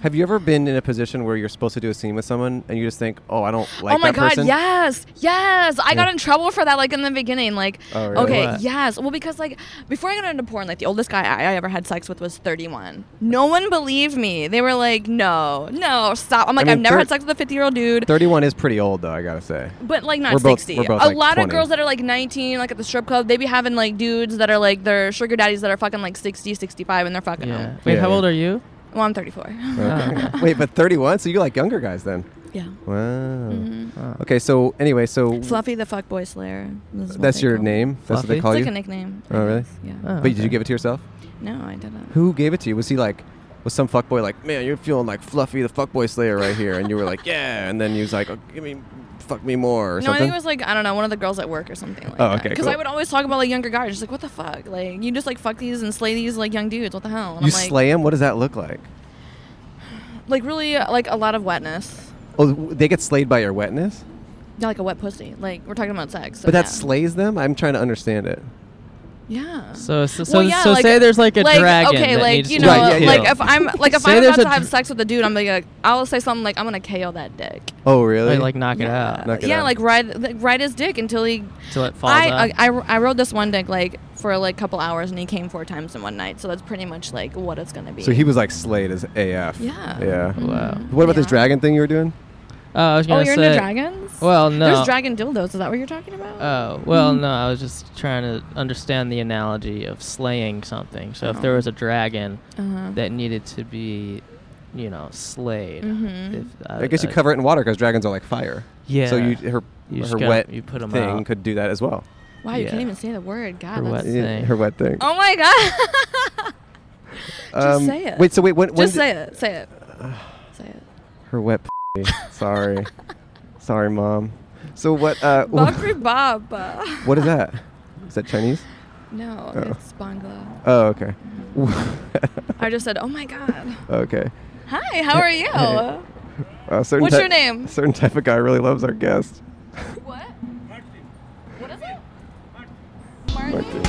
Speaker 2: Have you ever been in a position where you're supposed to do a scene with someone and you just think, oh, I don't like
Speaker 12: oh my
Speaker 2: that
Speaker 12: god,
Speaker 2: person?
Speaker 12: yes. Yes. I got
Speaker 2: Yeah.
Speaker 12: in trouble for that like in the beginning. Like
Speaker 2: Oh, really?
Speaker 12: okay,
Speaker 2: What?
Speaker 12: yes. Well, because like before I got into porn, like the oldest guy I, I ever had sex with was 31. No one believed me. They were like, "No. No, stop." I'm like,
Speaker 2: mean,
Speaker 12: "I've never
Speaker 2: thir-
Speaker 12: had sex with a 50-year-old dude."
Speaker 2: 31 is pretty old though, I gotta say.
Speaker 12: But like not
Speaker 2: We're both-
Speaker 12: 60.
Speaker 2: we're both,
Speaker 12: a
Speaker 2: like,
Speaker 12: lot
Speaker 2: 20.
Speaker 12: of girls that are like 19, like at the strip club, they be having like dudes that are like their sugar daddies that are fucking like 60, 65, and they're fucking
Speaker 1: Yeah.
Speaker 12: them.
Speaker 1: Wait,
Speaker 2: Yeah,
Speaker 1: how
Speaker 2: yeah.
Speaker 1: old are you?
Speaker 12: Well, I'm 34.
Speaker 2: Okay. Wait, but 31? So you like younger guys then?
Speaker 12: Yeah.
Speaker 2: Wow.
Speaker 12: Mhm.
Speaker 2: Okay, so anyway, so
Speaker 12: Fluffy the fuck boy slayer. is what
Speaker 2: that's
Speaker 12: they
Speaker 2: your
Speaker 12: call me.
Speaker 2: name? That's what they
Speaker 12: It's
Speaker 2: call you?
Speaker 12: like a nickname. I
Speaker 2: Oh, really?
Speaker 12: guess, Yeah.
Speaker 2: but did you give it to yourself?
Speaker 12: No, I didn't.
Speaker 2: Who gave it to you? Was he like, was some fuckboy like, man, you're feeling like Fluffy the fuckboy slayer right here? And you were like, yeah. And then he was like, oh, give me, fuck me more or
Speaker 12: no, I
Speaker 2: something?
Speaker 12: think it was like I don't know, one of the girls at work or something like.
Speaker 2: oh, okay.
Speaker 12: Because
Speaker 2: Cool.
Speaker 12: I would always talk about like younger guys, just like what the fuck, like you just like fuck these and slay these like young dudes, what the hell? And
Speaker 2: you
Speaker 12: I'm like,
Speaker 2: slay him? What does that look like?
Speaker 12: like really uh, like a lot of wetness,
Speaker 2: Oh, w- they get slayed by your wetness?
Speaker 12: not like a wet pussy. Like we're talking about sex. So
Speaker 2: but that
Speaker 12: yeah.
Speaker 2: slays them? I'm trying to understand it.
Speaker 12: Yeah.
Speaker 1: So so, so,
Speaker 12: Well, yeah,
Speaker 1: so
Speaker 12: like-
Speaker 1: say there's like a dragon
Speaker 12: Okay,
Speaker 1: that
Speaker 12: like
Speaker 1: needs
Speaker 12: you
Speaker 1: to
Speaker 12: know,
Speaker 1: be killed.
Speaker 12: like if I'm like if
Speaker 1: Say
Speaker 12: I'm
Speaker 1: there's
Speaker 12: about
Speaker 1: a
Speaker 12: to have
Speaker 1: dr-
Speaker 12: sex with a dude, I'm like I'll say something like I'm gonna KO that dick.
Speaker 2: Oh, really?
Speaker 1: Like, knock it out.
Speaker 2: Knock it
Speaker 12: yeah,
Speaker 2: out.
Speaker 12: like ride like, ride his dick until he.
Speaker 1: Till it falls
Speaker 12: I,
Speaker 1: out.
Speaker 12: I I rode this one dick like for like a couple hours, and he came four times in one night. So that's pretty much like what it's gonna be.
Speaker 2: So he was like slayed as AF.
Speaker 12: Yeah. Mm-hmm.
Speaker 2: Yeah.
Speaker 1: Wow.
Speaker 2: What about this dragon thing you were doing?
Speaker 1: Oh, I was
Speaker 12: Oh,
Speaker 1: gonna
Speaker 12: you're
Speaker 1: say.
Speaker 12: into dragons?
Speaker 1: Well, no.
Speaker 12: There's dragon dildos. Is that what you're talking about?
Speaker 1: Oh, well,
Speaker 12: Mm-hmm.
Speaker 1: no, I was just trying to understand the analogy of slaying something. So if there
Speaker 12: Oh.
Speaker 1: was a dragon
Speaker 12: Uh-huh.
Speaker 1: that needed to be, you know, slayed.
Speaker 12: Mhm.
Speaker 1: If,
Speaker 2: I guess you cover it in water because dragons are like fire. So
Speaker 1: Uh, Yeah.
Speaker 2: you her
Speaker 1: You just
Speaker 2: her
Speaker 1: gotta-
Speaker 2: wet
Speaker 1: you put 'em
Speaker 2: thing
Speaker 1: out.
Speaker 2: could do that as well.
Speaker 12: Wow, you can't
Speaker 1: Yeah.
Speaker 12: even say the word. God,
Speaker 1: Her
Speaker 12: that's.
Speaker 1: wet
Speaker 2: Yeah,
Speaker 1: thing.
Speaker 2: her wet thing.
Speaker 12: Oh my god. Just
Speaker 2: Um,
Speaker 12: say it.
Speaker 2: Wait, so wait, when, when
Speaker 12: Just
Speaker 2: did-
Speaker 12: say it. Say it. say it.
Speaker 2: her wet. p- Sorry, sorry, mom. So what? Uh,
Speaker 12: Bakri Baba.
Speaker 2: what is that? Is that Chinese?
Speaker 12: No,
Speaker 2: Oh.
Speaker 12: it's Bangla.
Speaker 2: Oh, okay.
Speaker 12: I just said, oh my god.
Speaker 2: okay.
Speaker 12: Hi, how are you?
Speaker 2: Uh, certain
Speaker 12: What's
Speaker 2: ty-
Speaker 12: your name?
Speaker 2: Certain type of guy really loves our guest.
Speaker 12: What? What is it? Martin.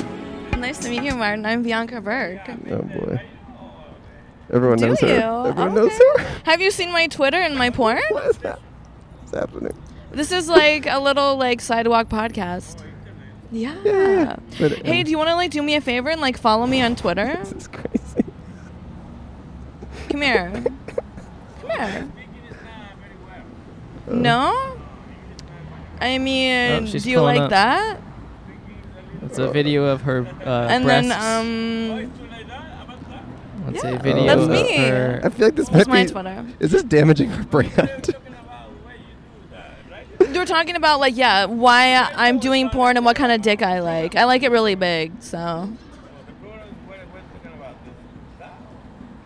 Speaker 12: Nice to meet you, Martin. I'm Bianca Burke.
Speaker 2: Oh boy. Everyone
Speaker 12: Do
Speaker 2: knows
Speaker 12: you? Oh,
Speaker 2: her. Everyone knows her.
Speaker 12: Have you seen my Twitter and my porn?
Speaker 2: What is that? What's happening?
Speaker 12: This is like a little like sidewalk podcast. Yeah.
Speaker 2: But,
Speaker 12: Hey,
Speaker 2: um,
Speaker 12: do you want to like do me a favor and like follow me on Twitter? This
Speaker 2: is crazy.
Speaker 12: Come here. Come here.
Speaker 2: Uh.
Speaker 12: No. I mean,
Speaker 1: Oh, she's
Speaker 12: do you
Speaker 1: pulling
Speaker 12: like
Speaker 1: up.
Speaker 12: that?
Speaker 1: It's a video of her uh,
Speaker 12: and
Speaker 1: breasts.
Speaker 12: then um.
Speaker 1: Let's
Speaker 12: yeah,
Speaker 1: say video
Speaker 12: that's
Speaker 1: of
Speaker 12: me.
Speaker 1: her-
Speaker 2: I feel like this
Speaker 12: That's
Speaker 2: might
Speaker 12: my
Speaker 2: be.
Speaker 12: Twitter.
Speaker 2: Is this damaging her brand?
Speaker 12: You were talking about like yeah, why I'm doing porn and what kind of dick I like. I like it really big, so.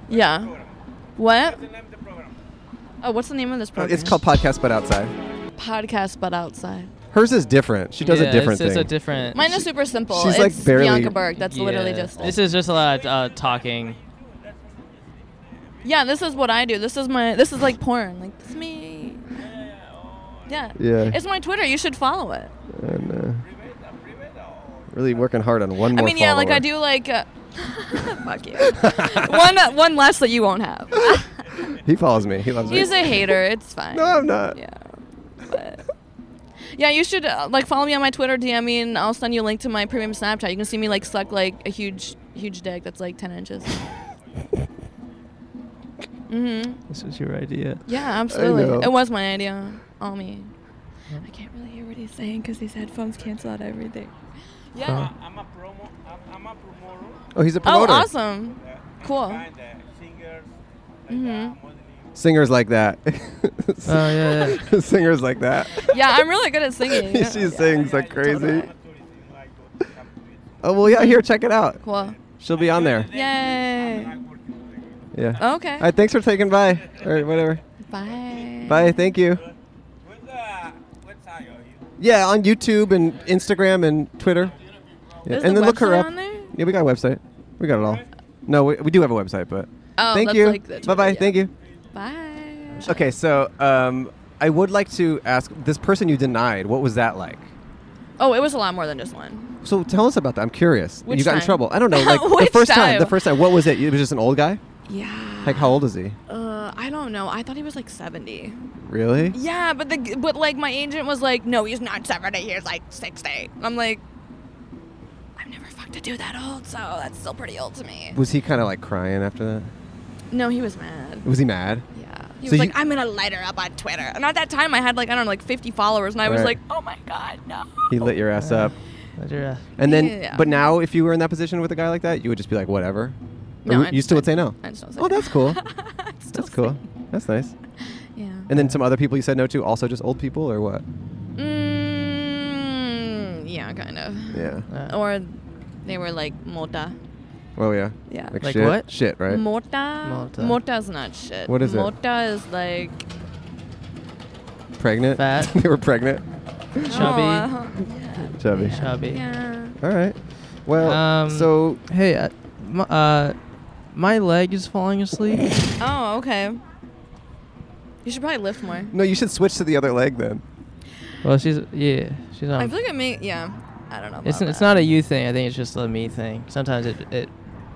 Speaker 12: Yeah. What? Oh, what's the name of this program?
Speaker 2: Uh, it's called podcast, but outside.
Speaker 12: podcast, but outside.
Speaker 2: Hers is different. She does
Speaker 1: Yeah,
Speaker 2: a different
Speaker 1: it's- it's
Speaker 2: thing.
Speaker 1: a different-
Speaker 12: Mine is super simple.
Speaker 2: she's,
Speaker 12: it's
Speaker 2: like, barely-
Speaker 12: Bianca Berg. That's literally
Speaker 1: Yeah.
Speaker 12: just.
Speaker 1: This is just a lot of uh, talking.
Speaker 12: Yeah, this is what I do. This is my. This is like porn. Like this is me. Yeah.
Speaker 2: Yeah.
Speaker 12: It's my Twitter. You should follow it.
Speaker 2: And, uh, really working hard on one
Speaker 12: I
Speaker 2: more.
Speaker 12: mean, yeah, like
Speaker 2: follower.
Speaker 12: I do like. Uh, fuck you. one one less that you won't have.
Speaker 2: He follows me. He loves me.
Speaker 12: He's a hater. It's fine.
Speaker 2: No, I'm not.
Speaker 12: Yeah. But yeah, you should uh, like follow me on my Twitter, DM me, and I'll send you a link to my premium Snapchat. You can see me like suck like a huge, huge dick that's like ten inches. mm-hmm.
Speaker 1: This was your idea.
Speaker 12: Yeah,
Speaker 1: know.
Speaker 12: absolutely. It was my idea. All me. I can't really hear what he's saying because these headphones cancel out everything. Yeah.
Speaker 2: Oh, he's a
Speaker 12: Oh,
Speaker 2: promoter.
Speaker 12: awesome. Cool. hmm
Speaker 2: Singers like that.
Speaker 1: Oh, yeah,
Speaker 2: Singers like that.
Speaker 12: Yeah, I'm really good at singing.
Speaker 2: she sings like crazy. Oh well, yeah. Here, check it out.
Speaker 12: Cool.
Speaker 2: She'll be on there.
Speaker 12: Yay.
Speaker 2: Yeah.
Speaker 12: Okay.
Speaker 2: All right. Thanks for taking by or whatever.
Speaker 12: Bye.
Speaker 2: Bye. Thank you. Yeah, on YouTube and Instagram and Twitter. Yeah.
Speaker 12: Is
Speaker 2: and
Speaker 12: the
Speaker 2: then look her
Speaker 12: website
Speaker 2: up.
Speaker 12: on there?
Speaker 2: Yeah, we got a website. We got it all. No, we, we do have a website, but
Speaker 12: Oh,
Speaker 2: thank
Speaker 12: that's
Speaker 2: you.
Speaker 12: like the Twitter,
Speaker 2: bye bye.
Speaker 12: yeah.
Speaker 2: Thank you.
Speaker 12: Bye.
Speaker 2: Okay, so um, I would like to ask this person you denied. What was that like?
Speaker 12: Oh, it was a lot more than just one.
Speaker 2: So tell us about that. I'm curious.
Speaker 12: Which
Speaker 2: you got in
Speaker 12: time?
Speaker 2: trouble. I don't know. Like the
Speaker 12: Which
Speaker 2: first time?
Speaker 12: time?
Speaker 2: The first time. What was it? It was just an old guy.
Speaker 12: Yeah.
Speaker 2: Like how old is he?
Speaker 12: Uh, I don't know. I thought he was like 70.
Speaker 2: Really?
Speaker 12: Yeah, but the but like my agent was like, no, he's not 70. He's like 60. And I'm like, I'm never fucked to do that old, so that's still pretty old to me.
Speaker 2: Was he kind of like crying after
Speaker 12: No, he was mad.
Speaker 2: that? Was he mad?
Speaker 12: Yeah. He
Speaker 2: So
Speaker 12: was
Speaker 2: you-
Speaker 12: like, I'm gonna light her up on Twitter. And at that time, I had like I don't know, like 50 followers, and I was
Speaker 2: Right.
Speaker 12: like, oh my god, no.
Speaker 2: He lit your ass up.
Speaker 1: Let her, uh,
Speaker 2: And then,
Speaker 12: Yeah.
Speaker 2: but now, if you were in that position with a guy like that, you would just be like, whatever.
Speaker 12: No,
Speaker 2: Or
Speaker 12: I
Speaker 2: you still would say no.
Speaker 12: I still say
Speaker 2: oh, that's cool.
Speaker 12: still
Speaker 2: that's cool. That's nice.
Speaker 12: Yeah.
Speaker 2: And then some other people you said no to, also just old people or what?
Speaker 12: Mm, yeah, kind of.
Speaker 2: Yeah.
Speaker 12: Or they were like mota.
Speaker 2: Oh yeah.
Speaker 12: Yeah.
Speaker 2: Like,
Speaker 1: Like
Speaker 2: shit?
Speaker 1: what?
Speaker 2: Shit, right?
Speaker 12: Mota.
Speaker 1: Mota.
Speaker 12: Mota's not shit.
Speaker 2: What is it?
Speaker 12: Mota is like
Speaker 2: pregnant.
Speaker 1: Fat.
Speaker 2: they were pregnant.
Speaker 12: Oh,
Speaker 2: Chubby.
Speaker 1: Chubby.
Speaker 12: Yeah.
Speaker 2: All right. Well,
Speaker 1: Um,
Speaker 2: so
Speaker 1: hey, uh, m- uh, my leg is falling asleep.
Speaker 12: oh, okay. You should probably lift more.
Speaker 2: no, you should switch to the other leg then.
Speaker 1: well, she's yeah, she's on.
Speaker 12: I feel like it may. Yeah. I don't know.
Speaker 1: it's
Speaker 12: about
Speaker 1: it's
Speaker 12: that.
Speaker 1: not a you thing. I think it's just a me thing. Sometimes it it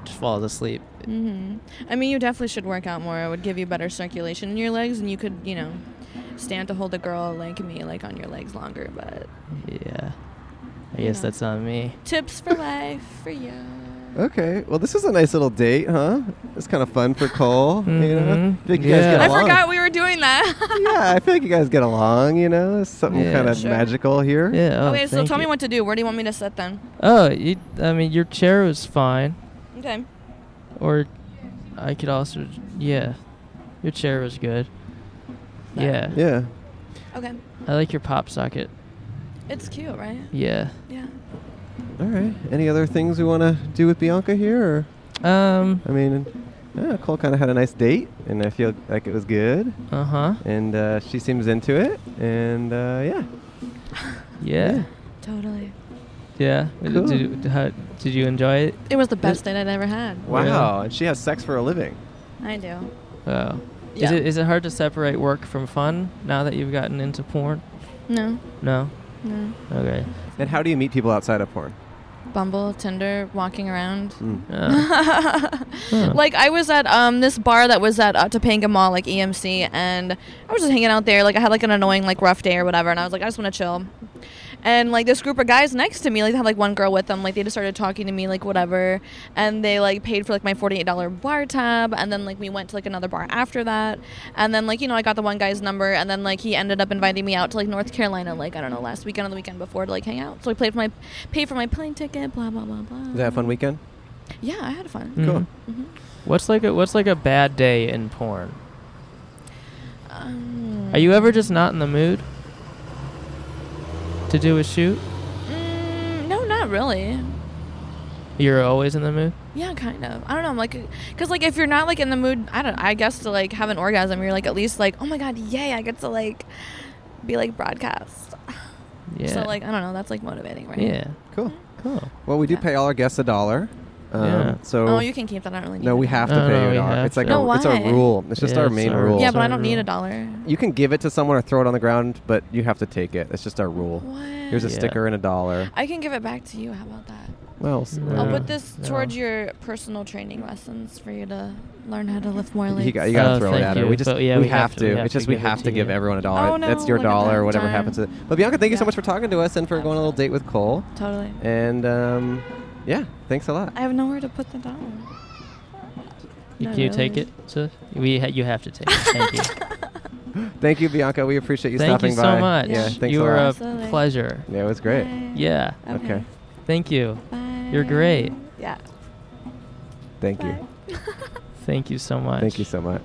Speaker 1: just falls asleep.
Speaker 12: hmm I mean, you definitely should work out more. It would give you better circulation in your legs, and you could, you know, stand to hold a girl like me, like on your legs longer. But
Speaker 1: Yeah. I guess
Speaker 12: Yeah.
Speaker 1: that's on me.
Speaker 12: tips for life for you.
Speaker 2: Okay. Well, this is a nice little date, huh? It's kind of fun for Cole. You know?
Speaker 1: Mhm.
Speaker 2: I feel like you guys
Speaker 1: Yeah.
Speaker 2: get
Speaker 12: I
Speaker 2: along.
Speaker 12: forgot we were doing that.
Speaker 2: yeah, I feel like you guys get along. You know, There's something
Speaker 1: Yeah.
Speaker 2: kind of
Speaker 12: Sure.
Speaker 2: magical here.
Speaker 1: Yeah. Oh,
Speaker 12: okay, so
Speaker 1: thank
Speaker 12: tell me
Speaker 1: you.
Speaker 12: what to do. Where do you want me to sit then?
Speaker 1: Oh, you, I mean, your chair was fine,
Speaker 12: Okay.
Speaker 1: or I could also yeah, your chair was good. Yeah.
Speaker 2: Yeah.
Speaker 12: Okay.
Speaker 1: I like your pop socket.
Speaker 12: It's cute, right?
Speaker 1: Yeah.
Speaker 12: Yeah.
Speaker 2: All right. Any other things we want to do with Bianca here?
Speaker 1: Or? Um.
Speaker 2: I mean, yeah, Cole kind of had a nice date, and I feel like it was good.
Speaker 1: Uh huh.
Speaker 2: And uh, she seems into it, and uh, yeah.
Speaker 1: Yeah.
Speaker 12: Totally.
Speaker 1: Yeah.
Speaker 2: Cool.
Speaker 1: Did, you- how, did you enjoy it?
Speaker 12: It was the best date I'd ever had.
Speaker 2: Wow, and she has sex for a living.
Speaker 12: I do.
Speaker 1: Wow. Oh. Is
Speaker 12: Yeah.
Speaker 1: it is it hard to separate work from fun now that you've gotten into porn?
Speaker 12: No.
Speaker 1: No.
Speaker 12: No.
Speaker 1: Okay.
Speaker 2: And how do you meet people outside of porn?
Speaker 12: Bumble, Tinder, walking around.
Speaker 2: Hmm.
Speaker 1: Uh, Huh.
Speaker 12: Like I was at um this bar that was at uh, Topanga Mall, like EMC, and I was just hanging out there. Like I had like an annoying like rough day or whatever, and I was like, I just want to chill. And like this group of guys next to me, like they had like one girl with them, like they just started talking to me, like whatever, and they like paid for like my forty eight dollar bar tab, and then like we went to like another bar after that, and then like you know I got the one guy's number, and then like he ended up inviting me out to like North Carolina, like I don't know last weekend or the weekend before to like hang out. So I played for my paid for my plane ticket, blah blah blah blah.
Speaker 2: Did they have a fun weekend?
Speaker 12: Yeah, I had fun.
Speaker 1: Mm-hmm. Cool.
Speaker 12: Mhm.
Speaker 1: What's like a what's like a bad day in porn?
Speaker 12: Um,
Speaker 1: Are
Speaker 12: Mm.
Speaker 1: you ever just not in the mood to do a shoot?
Speaker 12: Mm, no, not really.
Speaker 1: You're always in the mood.
Speaker 12: Yeah, kind of. I don't know. I'm like, because like if you're not like in the mood, I don't. I guess to like have an orgasm, you're like at least like, oh my god, yay! I get to like be like broadcast.
Speaker 1: Yeah.
Speaker 12: So like I don't know. That's like motivating, right?
Speaker 1: Yeah.
Speaker 2: Cool.
Speaker 1: Cool.
Speaker 2: Well, we do
Speaker 12: Yeah.
Speaker 2: pay all our guests a dollar. Um,
Speaker 1: Yeah.
Speaker 2: So
Speaker 12: oh, you can keep that. I don't really. Need
Speaker 2: no,
Speaker 12: it.
Speaker 2: we have to
Speaker 1: No,
Speaker 2: pay
Speaker 1: no,
Speaker 2: you a
Speaker 1: we
Speaker 2: dollar.
Speaker 1: have
Speaker 2: It's like
Speaker 12: to. No,
Speaker 2: a, it's a
Speaker 12: why?
Speaker 2: rule. It's just
Speaker 1: Yeah,
Speaker 2: our
Speaker 1: it's
Speaker 2: main
Speaker 1: our-
Speaker 2: rule.
Speaker 12: Yeah, but I
Speaker 1: Sorry,
Speaker 12: don't need
Speaker 1: no.
Speaker 12: a dollar.
Speaker 2: You can give it to someone or throw it on the ground, but you have to take it. It's just our rule.
Speaker 12: What?
Speaker 2: Here's a
Speaker 1: Yeah.
Speaker 2: sticker and a dollar.
Speaker 12: I can give it back to you. How about that?
Speaker 2: Well, s-
Speaker 1: I'll
Speaker 12: I'll
Speaker 1: Yeah.
Speaker 12: put this towards
Speaker 1: No.
Speaker 12: your personal training lessons for you to learn how to lift more
Speaker 2: You,
Speaker 12: legs.
Speaker 2: got, you gotta
Speaker 1: Oh,
Speaker 2: throw it
Speaker 1: thank
Speaker 2: at her.
Speaker 1: you.
Speaker 2: We just
Speaker 1: But, yeah,
Speaker 2: we,
Speaker 1: we
Speaker 2: have to. it's just we
Speaker 1: give it
Speaker 2: have
Speaker 1: to
Speaker 2: to give
Speaker 1: you.
Speaker 2: everyone a dollar.
Speaker 12: Oh, no,
Speaker 2: That's your
Speaker 12: look at
Speaker 2: dollar or
Speaker 12: that.
Speaker 2: whatever
Speaker 12: Darn.
Speaker 2: happens. To it. But Bianca, thank you so
Speaker 12: Yeah.
Speaker 2: much for talking to us and for going on a little date with Cole.
Speaker 12: Totally.
Speaker 2: And um, yeah, thanks a lot.
Speaker 12: I have nowhere to put the dollar.
Speaker 1: You-
Speaker 12: No,
Speaker 1: Can you take
Speaker 12: really.
Speaker 1: it? So we ha- you have to take it. Thank you.
Speaker 2: Thank you, Bianca. We appreciate you
Speaker 1: Thank
Speaker 2: stopping
Speaker 1: you
Speaker 2: by.
Speaker 1: so much.
Speaker 2: Yeah,
Speaker 12: Yeah.
Speaker 2: thanks
Speaker 1: you
Speaker 2: a
Speaker 1: were
Speaker 2: lot.
Speaker 12: Absolutely.
Speaker 1: a pleasure.
Speaker 2: yeah, it was great.
Speaker 12: Bye.
Speaker 1: Yeah.
Speaker 2: Okay.
Speaker 1: Thank you.
Speaker 12: Bye.
Speaker 1: You're great.
Speaker 12: Yeah.
Speaker 2: Thank you.
Speaker 12: Bye.
Speaker 1: Thank you so much.
Speaker 2: Thank you so much.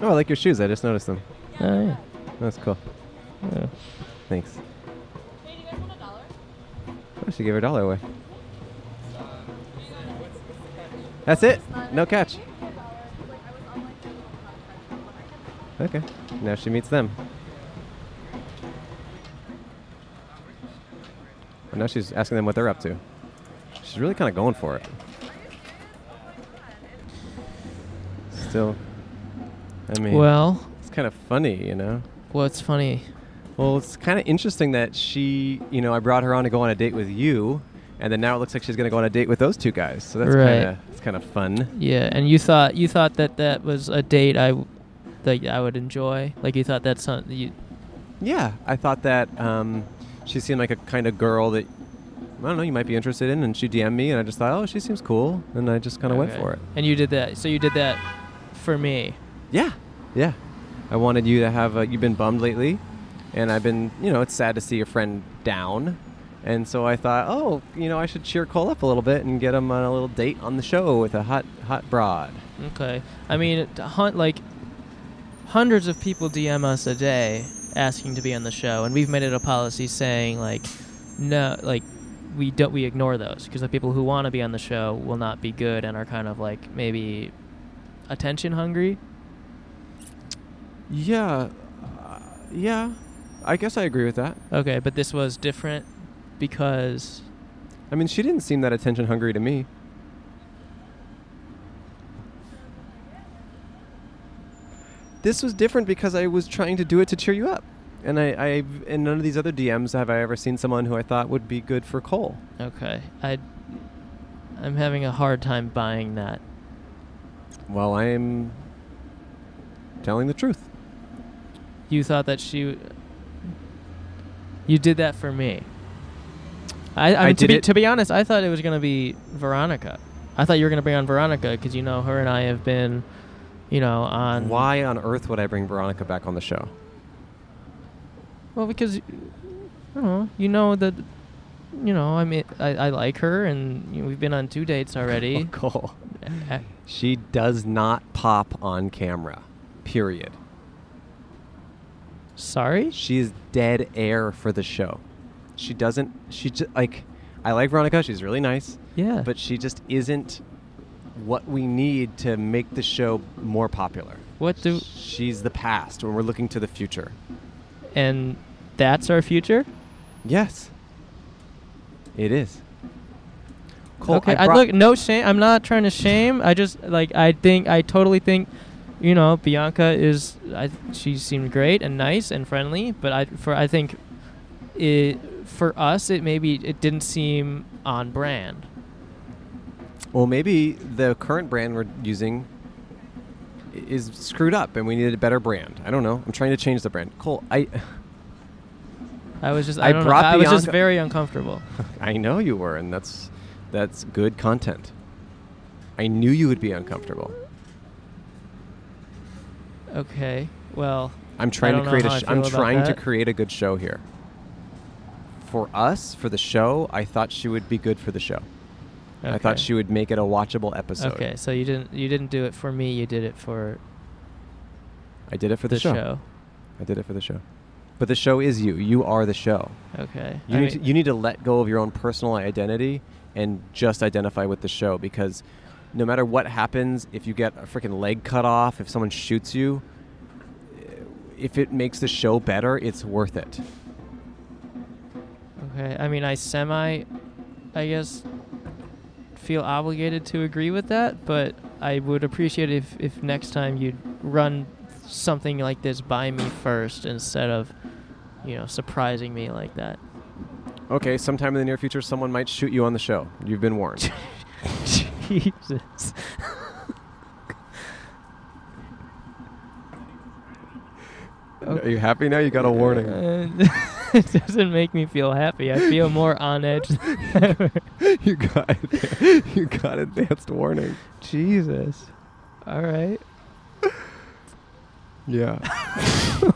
Speaker 2: Oh, I like your shoes. I just noticed them.
Speaker 1: Oh, yeah.
Speaker 2: That's cool.
Speaker 1: Yeah.
Speaker 2: Thanks. I should give her a dollar away. That's it. No catch. Okay. Now she meets them. And now she's asking them what they're up to. She's really kind of going for it. Still, I mean,
Speaker 1: Well,
Speaker 2: it's kind of funny, you know.
Speaker 1: well, it's funny.
Speaker 2: Well, it's kind of interesting that she, you know, I brought her on to go on a date with you, and then now it looks like she's going to go on a date with those two guys. So that's
Speaker 1: Right.
Speaker 2: kind of it's kind of fun.
Speaker 1: Yeah, and you thought you thought that that was a date I w- that I would enjoy. Like you thought that's something you
Speaker 2: Yeah, I thought that um, she seemed like a kind of girl that I don't know you might be interested in, and she DM'd me, and I just thought, oh, she seems cool, and I just kind of went
Speaker 1: Okay.
Speaker 2: for it.
Speaker 1: And you did that. So you did that for me.
Speaker 2: Yeah, yeah. I wanted you to have. A, you've been bummed lately, and I've been, you know, it's sad to see a friend down. And so I thought, oh, you know, I should cheer Cole up a little bit and get him on a little date on the show with a hot, hot broad.
Speaker 1: Okay. I mean, t- hun- like hundreds of people DM us a day asking to be on the show, and we've made it a policy saying like, no, like we don't we ignore those because the people who want to be on the show will not be good and are kind of like maybe attention hungry.
Speaker 2: Yeah, uh, yeah. I guess I agree with that.
Speaker 1: Okay, but this was different because
Speaker 2: I mean, she didn't seem that attention hungry to me. This was different because I was trying to do it to cheer you up, and I, I in none of these other DMs have I ever seen someone who I thought would be good for Cole.
Speaker 1: okay, I I'm having a hard time buying that.
Speaker 2: Well, I'm telling the truth.
Speaker 1: You thought that she you did that for me. I, I,
Speaker 2: I
Speaker 1: mean, to
Speaker 2: did
Speaker 1: be,
Speaker 2: it-
Speaker 1: to be honest, I thought it was going to be Veronica. I thought you were going to bring on Veronica because you know her and I have been, you know, on.
Speaker 2: Why on earth would I bring Veronica back on the show?
Speaker 1: Well, because I don't know. You know that, you know. I mean, I, I like her, and you know, we've been on two dates already.
Speaker 2: Cool.
Speaker 1: Eh,
Speaker 2: She does not pop on camera. Period.
Speaker 1: Sorry?
Speaker 2: She is dead air for the show. She doesn't she just like I like Veronica, she's really nice.
Speaker 1: Yeah.
Speaker 2: But she just isn't what we need to make the show more popular.
Speaker 1: What do
Speaker 2: She's the past when we're looking to the future.
Speaker 1: and that's our future.
Speaker 2: Yes. It is. Cole,
Speaker 1: okay,
Speaker 2: I
Speaker 1: I
Speaker 2: brought-
Speaker 1: look no shame. I'm not trying to shame. I just like I think I totally think, you know, Bianca is. I she seemed great and nice and friendly, but I for I think, it for us it maybe it didn't seem on brand.
Speaker 2: Well, maybe the current brand we're using i- is screwed up and we needed a better brand. I don't know. I'm trying to change the brand. Cole, I
Speaker 1: I was just
Speaker 2: I
Speaker 1: I, don't know.
Speaker 2: brought
Speaker 1: I was just
Speaker 2: Bianca-
Speaker 1: very uncomfortable.
Speaker 2: I know you were and that's that's good content. I knew you would be uncomfortable.
Speaker 1: Okay, well.
Speaker 2: I'm
Speaker 1: I
Speaker 2: trying
Speaker 1: don't
Speaker 2: to
Speaker 1: know
Speaker 2: create a
Speaker 1: how I
Speaker 2: sh- I'm
Speaker 1: feel about
Speaker 2: trying to
Speaker 1: that.
Speaker 2: create a good show here. For us, for the show, I thought she would be good for the show. I thought
Speaker 1: Okay.
Speaker 2: she would make it a watchable episode.
Speaker 1: Okay, so you didn't you didn't do it for me. You did it for
Speaker 2: I did it for the,
Speaker 1: The
Speaker 2: show.
Speaker 1: show.
Speaker 2: I did it for the show. But the show is you. You are the show.
Speaker 1: Okay.
Speaker 2: You
Speaker 1: I
Speaker 2: need
Speaker 1: mean-
Speaker 2: to, you need to let go of your own personal identity and just identify with the show because no matter what happens, if you get a freaking leg cut off, if someone shoots you, if it makes the show better, it's worth it.
Speaker 1: Okay, I mean, I semi, I guess, feel obligated to agree with that, but I would appreciate if, if next time you'd run something like this by me first instead of, you know, surprising me like that.
Speaker 2: Okay, sometime in the near future, someone might shoot you on the show. You've been warned.
Speaker 1: Jesus.
Speaker 2: Are you happy now? You got a warning.
Speaker 1: Uh, it doesn't make me feel happy. I feel more on edge than ever.
Speaker 2: You got it. You got advanced warning.
Speaker 1: Jesus. All right.
Speaker 2: Yeah.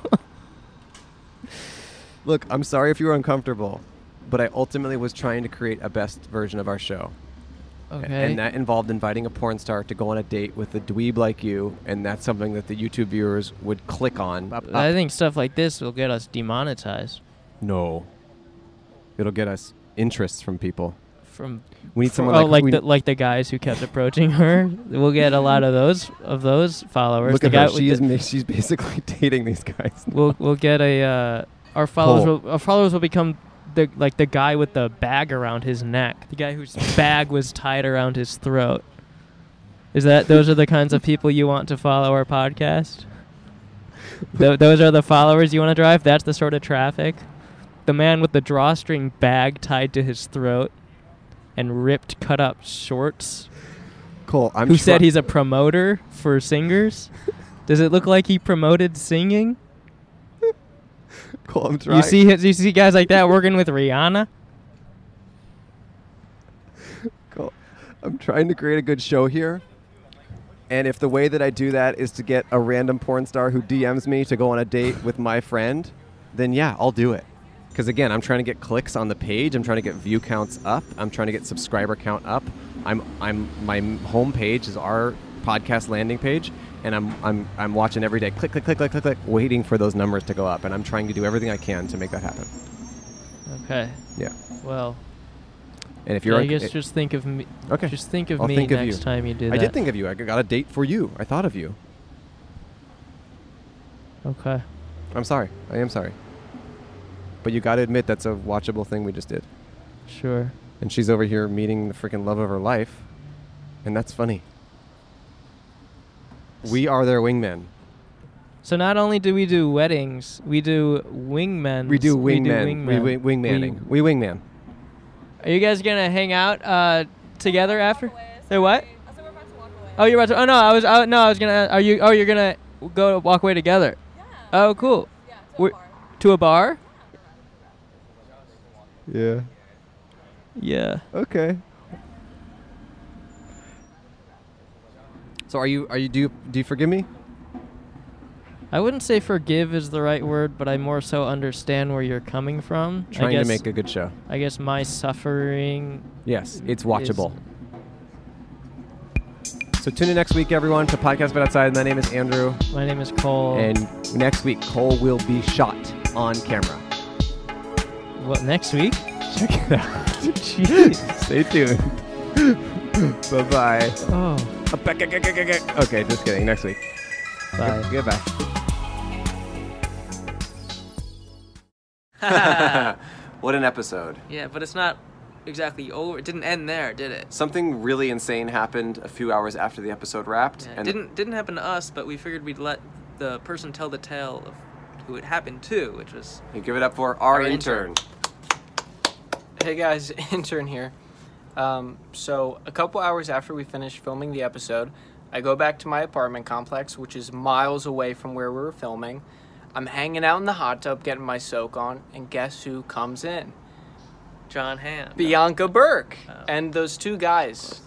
Speaker 2: Look, I'm sorry if you were uncomfortable, but I ultimately was trying to create a best version of our show. A-
Speaker 1: Okay.
Speaker 2: And that involved inviting a porn star to go on a date with a dweeb like you, and that's something that the YouTube viewers would click on. Uh, Up,
Speaker 1: I
Speaker 2: up.
Speaker 1: think stuff like this will get us demonetized.
Speaker 2: No. It'll get us interests from people.
Speaker 1: from
Speaker 2: We need
Speaker 1: fr-
Speaker 2: someone
Speaker 1: oh,
Speaker 2: like-
Speaker 1: like
Speaker 2: we-
Speaker 1: the, like the guys who kept approaching her. We'll get a lot of those of those followers.
Speaker 2: Look
Speaker 1: the
Speaker 2: at
Speaker 1: guy
Speaker 2: her.
Speaker 1: with
Speaker 2: She
Speaker 1: the-
Speaker 2: is, ma- she's basically dating these guys.
Speaker 1: We'll we'll get a uh, our followers.
Speaker 2: Poll.
Speaker 1: Will, our followers will become the like the guy with the bag around his neck. The guy whose bag was tied around his throat. Is that those are the kinds of people you want to follow our podcast? Tho- those are the followers you want to drive. That's the sort of traffic. The man with the drawstring bag tied to his throat and ripped cut up shorts.
Speaker 2: Cole, I'm
Speaker 1: who
Speaker 2: try-
Speaker 1: said he's a promoter for singers? Does it look like he promoted singing?
Speaker 2: Cole, I'm
Speaker 1: You
Speaker 2: trying.
Speaker 1: see his, you see guys like that working with Rihanna?
Speaker 2: Cool. I'm trying to create a good show here. And if the way that I do that is to get a random porn star who DMs me to go on a date with my friend, then yeah, I'll do it. Because again, I'm trying to get clicks on the page. I'm trying to get view counts up. I'm trying to get subscriber count up. I'm I'm my home page is our podcast landing page, and I'm I'm I'm watching every day. Click click click click click click, waiting for those numbers to go up, and I'm trying to do everything I can to make that happen.
Speaker 1: Okay.
Speaker 2: Yeah.
Speaker 1: Well.
Speaker 2: And if you're
Speaker 1: I
Speaker 2: on-
Speaker 1: guess
Speaker 2: it-
Speaker 1: just think of me.
Speaker 2: Okay.
Speaker 1: Just think of
Speaker 2: I'll
Speaker 1: me
Speaker 2: think of
Speaker 1: next
Speaker 2: you.
Speaker 1: time you do
Speaker 2: I
Speaker 1: that.
Speaker 2: did think of you. I got a date for you. I thought of you.
Speaker 1: Okay.
Speaker 2: I'm sorry. I am sorry. But you got to admit that's a watchable thing we just did.
Speaker 1: Sure.
Speaker 2: And she's over here meeting the freaking love of her life. And that's funny. We are their wingmen.
Speaker 1: So not only do we do weddings, we do wingmen.
Speaker 2: We do
Speaker 1: wingmen.
Speaker 2: wingmen. We, wing wingmanning. We, wingman.
Speaker 1: Are you guys gonna hang out uh, together after? Say what? Oh, you're about to. Oh no, I was. Oh, no, I was gonna. Are you? Oh, you're gonna go to walk away together. Oh, cool. Yeah, to a bar. To a bar?
Speaker 2: Yeah.
Speaker 1: Yeah.
Speaker 2: Okay. So are you? Are you? Do you, do you forgive me?
Speaker 1: I wouldn't say forgive is the right word, but I more so understand where you're coming from. I
Speaker 2: Trying to
Speaker 1: guess-
Speaker 2: make a good show.
Speaker 1: I guess my suffering.
Speaker 2: Yes, it's
Speaker 1: Mm, is-
Speaker 2: watchable. So tune in next week, everyone, to Podcast But Outside. My name is Andrew.
Speaker 1: My name is Cole.
Speaker 2: And next week, Cole will be shot on camera.
Speaker 1: What next week?
Speaker 2: Check it out. Stay tuned. bye bye.
Speaker 1: Oh.
Speaker 2: Okay, just kidding. Next week.
Speaker 1: Bye.
Speaker 2: Goodbye. what an episode.
Speaker 13: Yeah, but it's not exactly over. It didn't end there, did it?
Speaker 2: Something really insane happened a few hours after the episode wrapped.
Speaker 13: It didn't didn't happen to us, but we figured we'd let the person tell the tale of who it happened to, which was
Speaker 2: You give it up for our,
Speaker 13: Our
Speaker 2: intern.
Speaker 13: intern.
Speaker 14: Hey guys, intern here. Um, so, a couple hours after we finished filming the episode, I go back to my apartment complex, which is miles away from where we were filming. I'm hanging out in the hot tub getting my soak on, and guess who comes in?
Speaker 13: John Hamm.
Speaker 14: Bianca Burke and those two guys.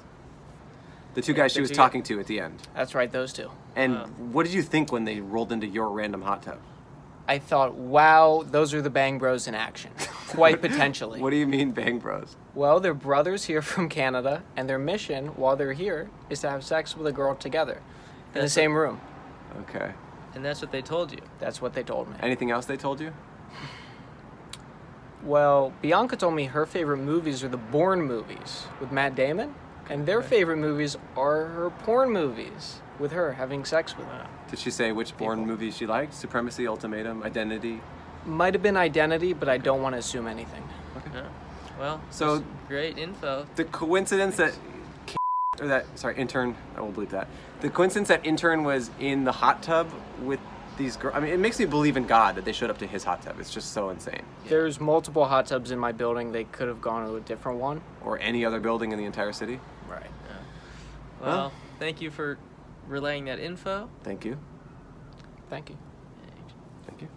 Speaker 2: The two guys she
Speaker 14: The
Speaker 2: was
Speaker 14: two-
Speaker 2: talking to at the end.
Speaker 14: That's right, those two.
Speaker 2: And what did you think when they rolled into your random hot tub?
Speaker 14: I thought, wow, those are the Bang Bros in action. Quite potentially.
Speaker 2: What do you mean, Bang Bros?
Speaker 14: Well, they're brothers here from Canada, and their mission while they're here is to have sex with a girl together in the
Speaker 13: That's
Speaker 14: same room.
Speaker 2: Okay.
Speaker 13: And that's what they told you.
Speaker 14: That's what they told me.
Speaker 2: Anything else they told you?
Speaker 14: Well, Bianca told me her favorite movies are the Bourne movies with Matt Damon, and their favorite movies are her porn movies with her having sex with him.
Speaker 2: Did she say which Bourne movie she liked? Supremacy, Ultimatum, Identity?
Speaker 14: Might have been identity, but I don't want to assume anything.
Speaker 13: Yeah. Well,
Speaker 2: So-
Speaker 13: so great info.
Speaker 2: The coincidence that or that sorry intern I won't believe that the coincidence that intern was in the hot tub with these girls. I mean, it makes me believe in God that they showed up to his hot tub. It's just so insane.
Speaker 14: There's multiple hot tubs in my building. They could have gone to a different one.
Speaker 2: Or any other building in the entire city.
Speaker 14: Right.
Speaker 13: Well, thank you for relaying that info.
Speaker 2: Thank you.
Speaker 14: Thank you.
Speaker 2: Thank you.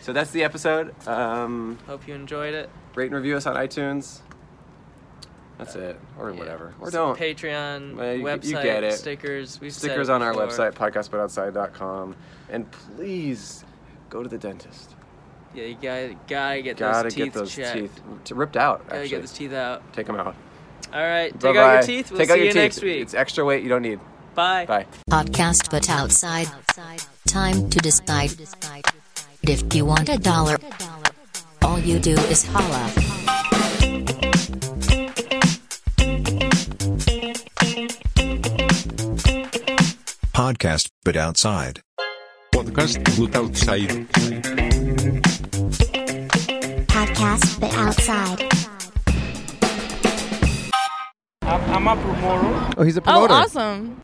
Speaker 2: So that's the episode. Um,
Speaker 13: Hope you enjoyed it.
Speaker 2: rate and review us on iTunes. That's it, or whatever, or
Speaker 13: So
Speaker 2: don't.
Speaker 13: Patreon,
Speaker 2: Well, you,
Speaker 13: website,
Speaker 2: you get it.
Speaker 13: stickers. We've said
Speaker 2: stickers
Speaker 13: it
Speaker 2: on our
Speaker 13: before.
Speaker 2: website, podcastbutoutside.com, and please go to the dentist.
Speaker 13: Yeah, you gotta, gotta get
Speaker 2: Gotta
Speaker 13: those teeth
Speaker 2: get those
Speaker 13: checked.
Speaker 2: teeth t- ripped out.
Speaker 13: Gotta
Speaker 2: actually,
Speaker 13: get those teeth out.
Speaker 2: take them out.
Speaker 13: All right, take out
Speaker 2: Bye-bye.
Speaker 13: your teeth. We'll
Speaker 2: Take
Speaker 13: see
Speaker 2: out your
Speaker 13: you
Speaker 2: teeth.
Speaker 13: next week.
Speaker 2: It's extra weight you don't need.
Speaker 13: Bye.
Speaker 2: Bye.
Speaker 3: Podcast but outside. Time to decide. If you want a dollar, all you do is holla.
Speaker 4: Podcast But Outside.
Speaker 5: Podcast But Outside.
Speaker 15: Podcast but outside.
Speaker 7: I'm, I'm a promoter.
Speaker 2: Oh, he's a
Speaker 12: Oh,
Speaker 2: promoter.
Speaker 12: awesome.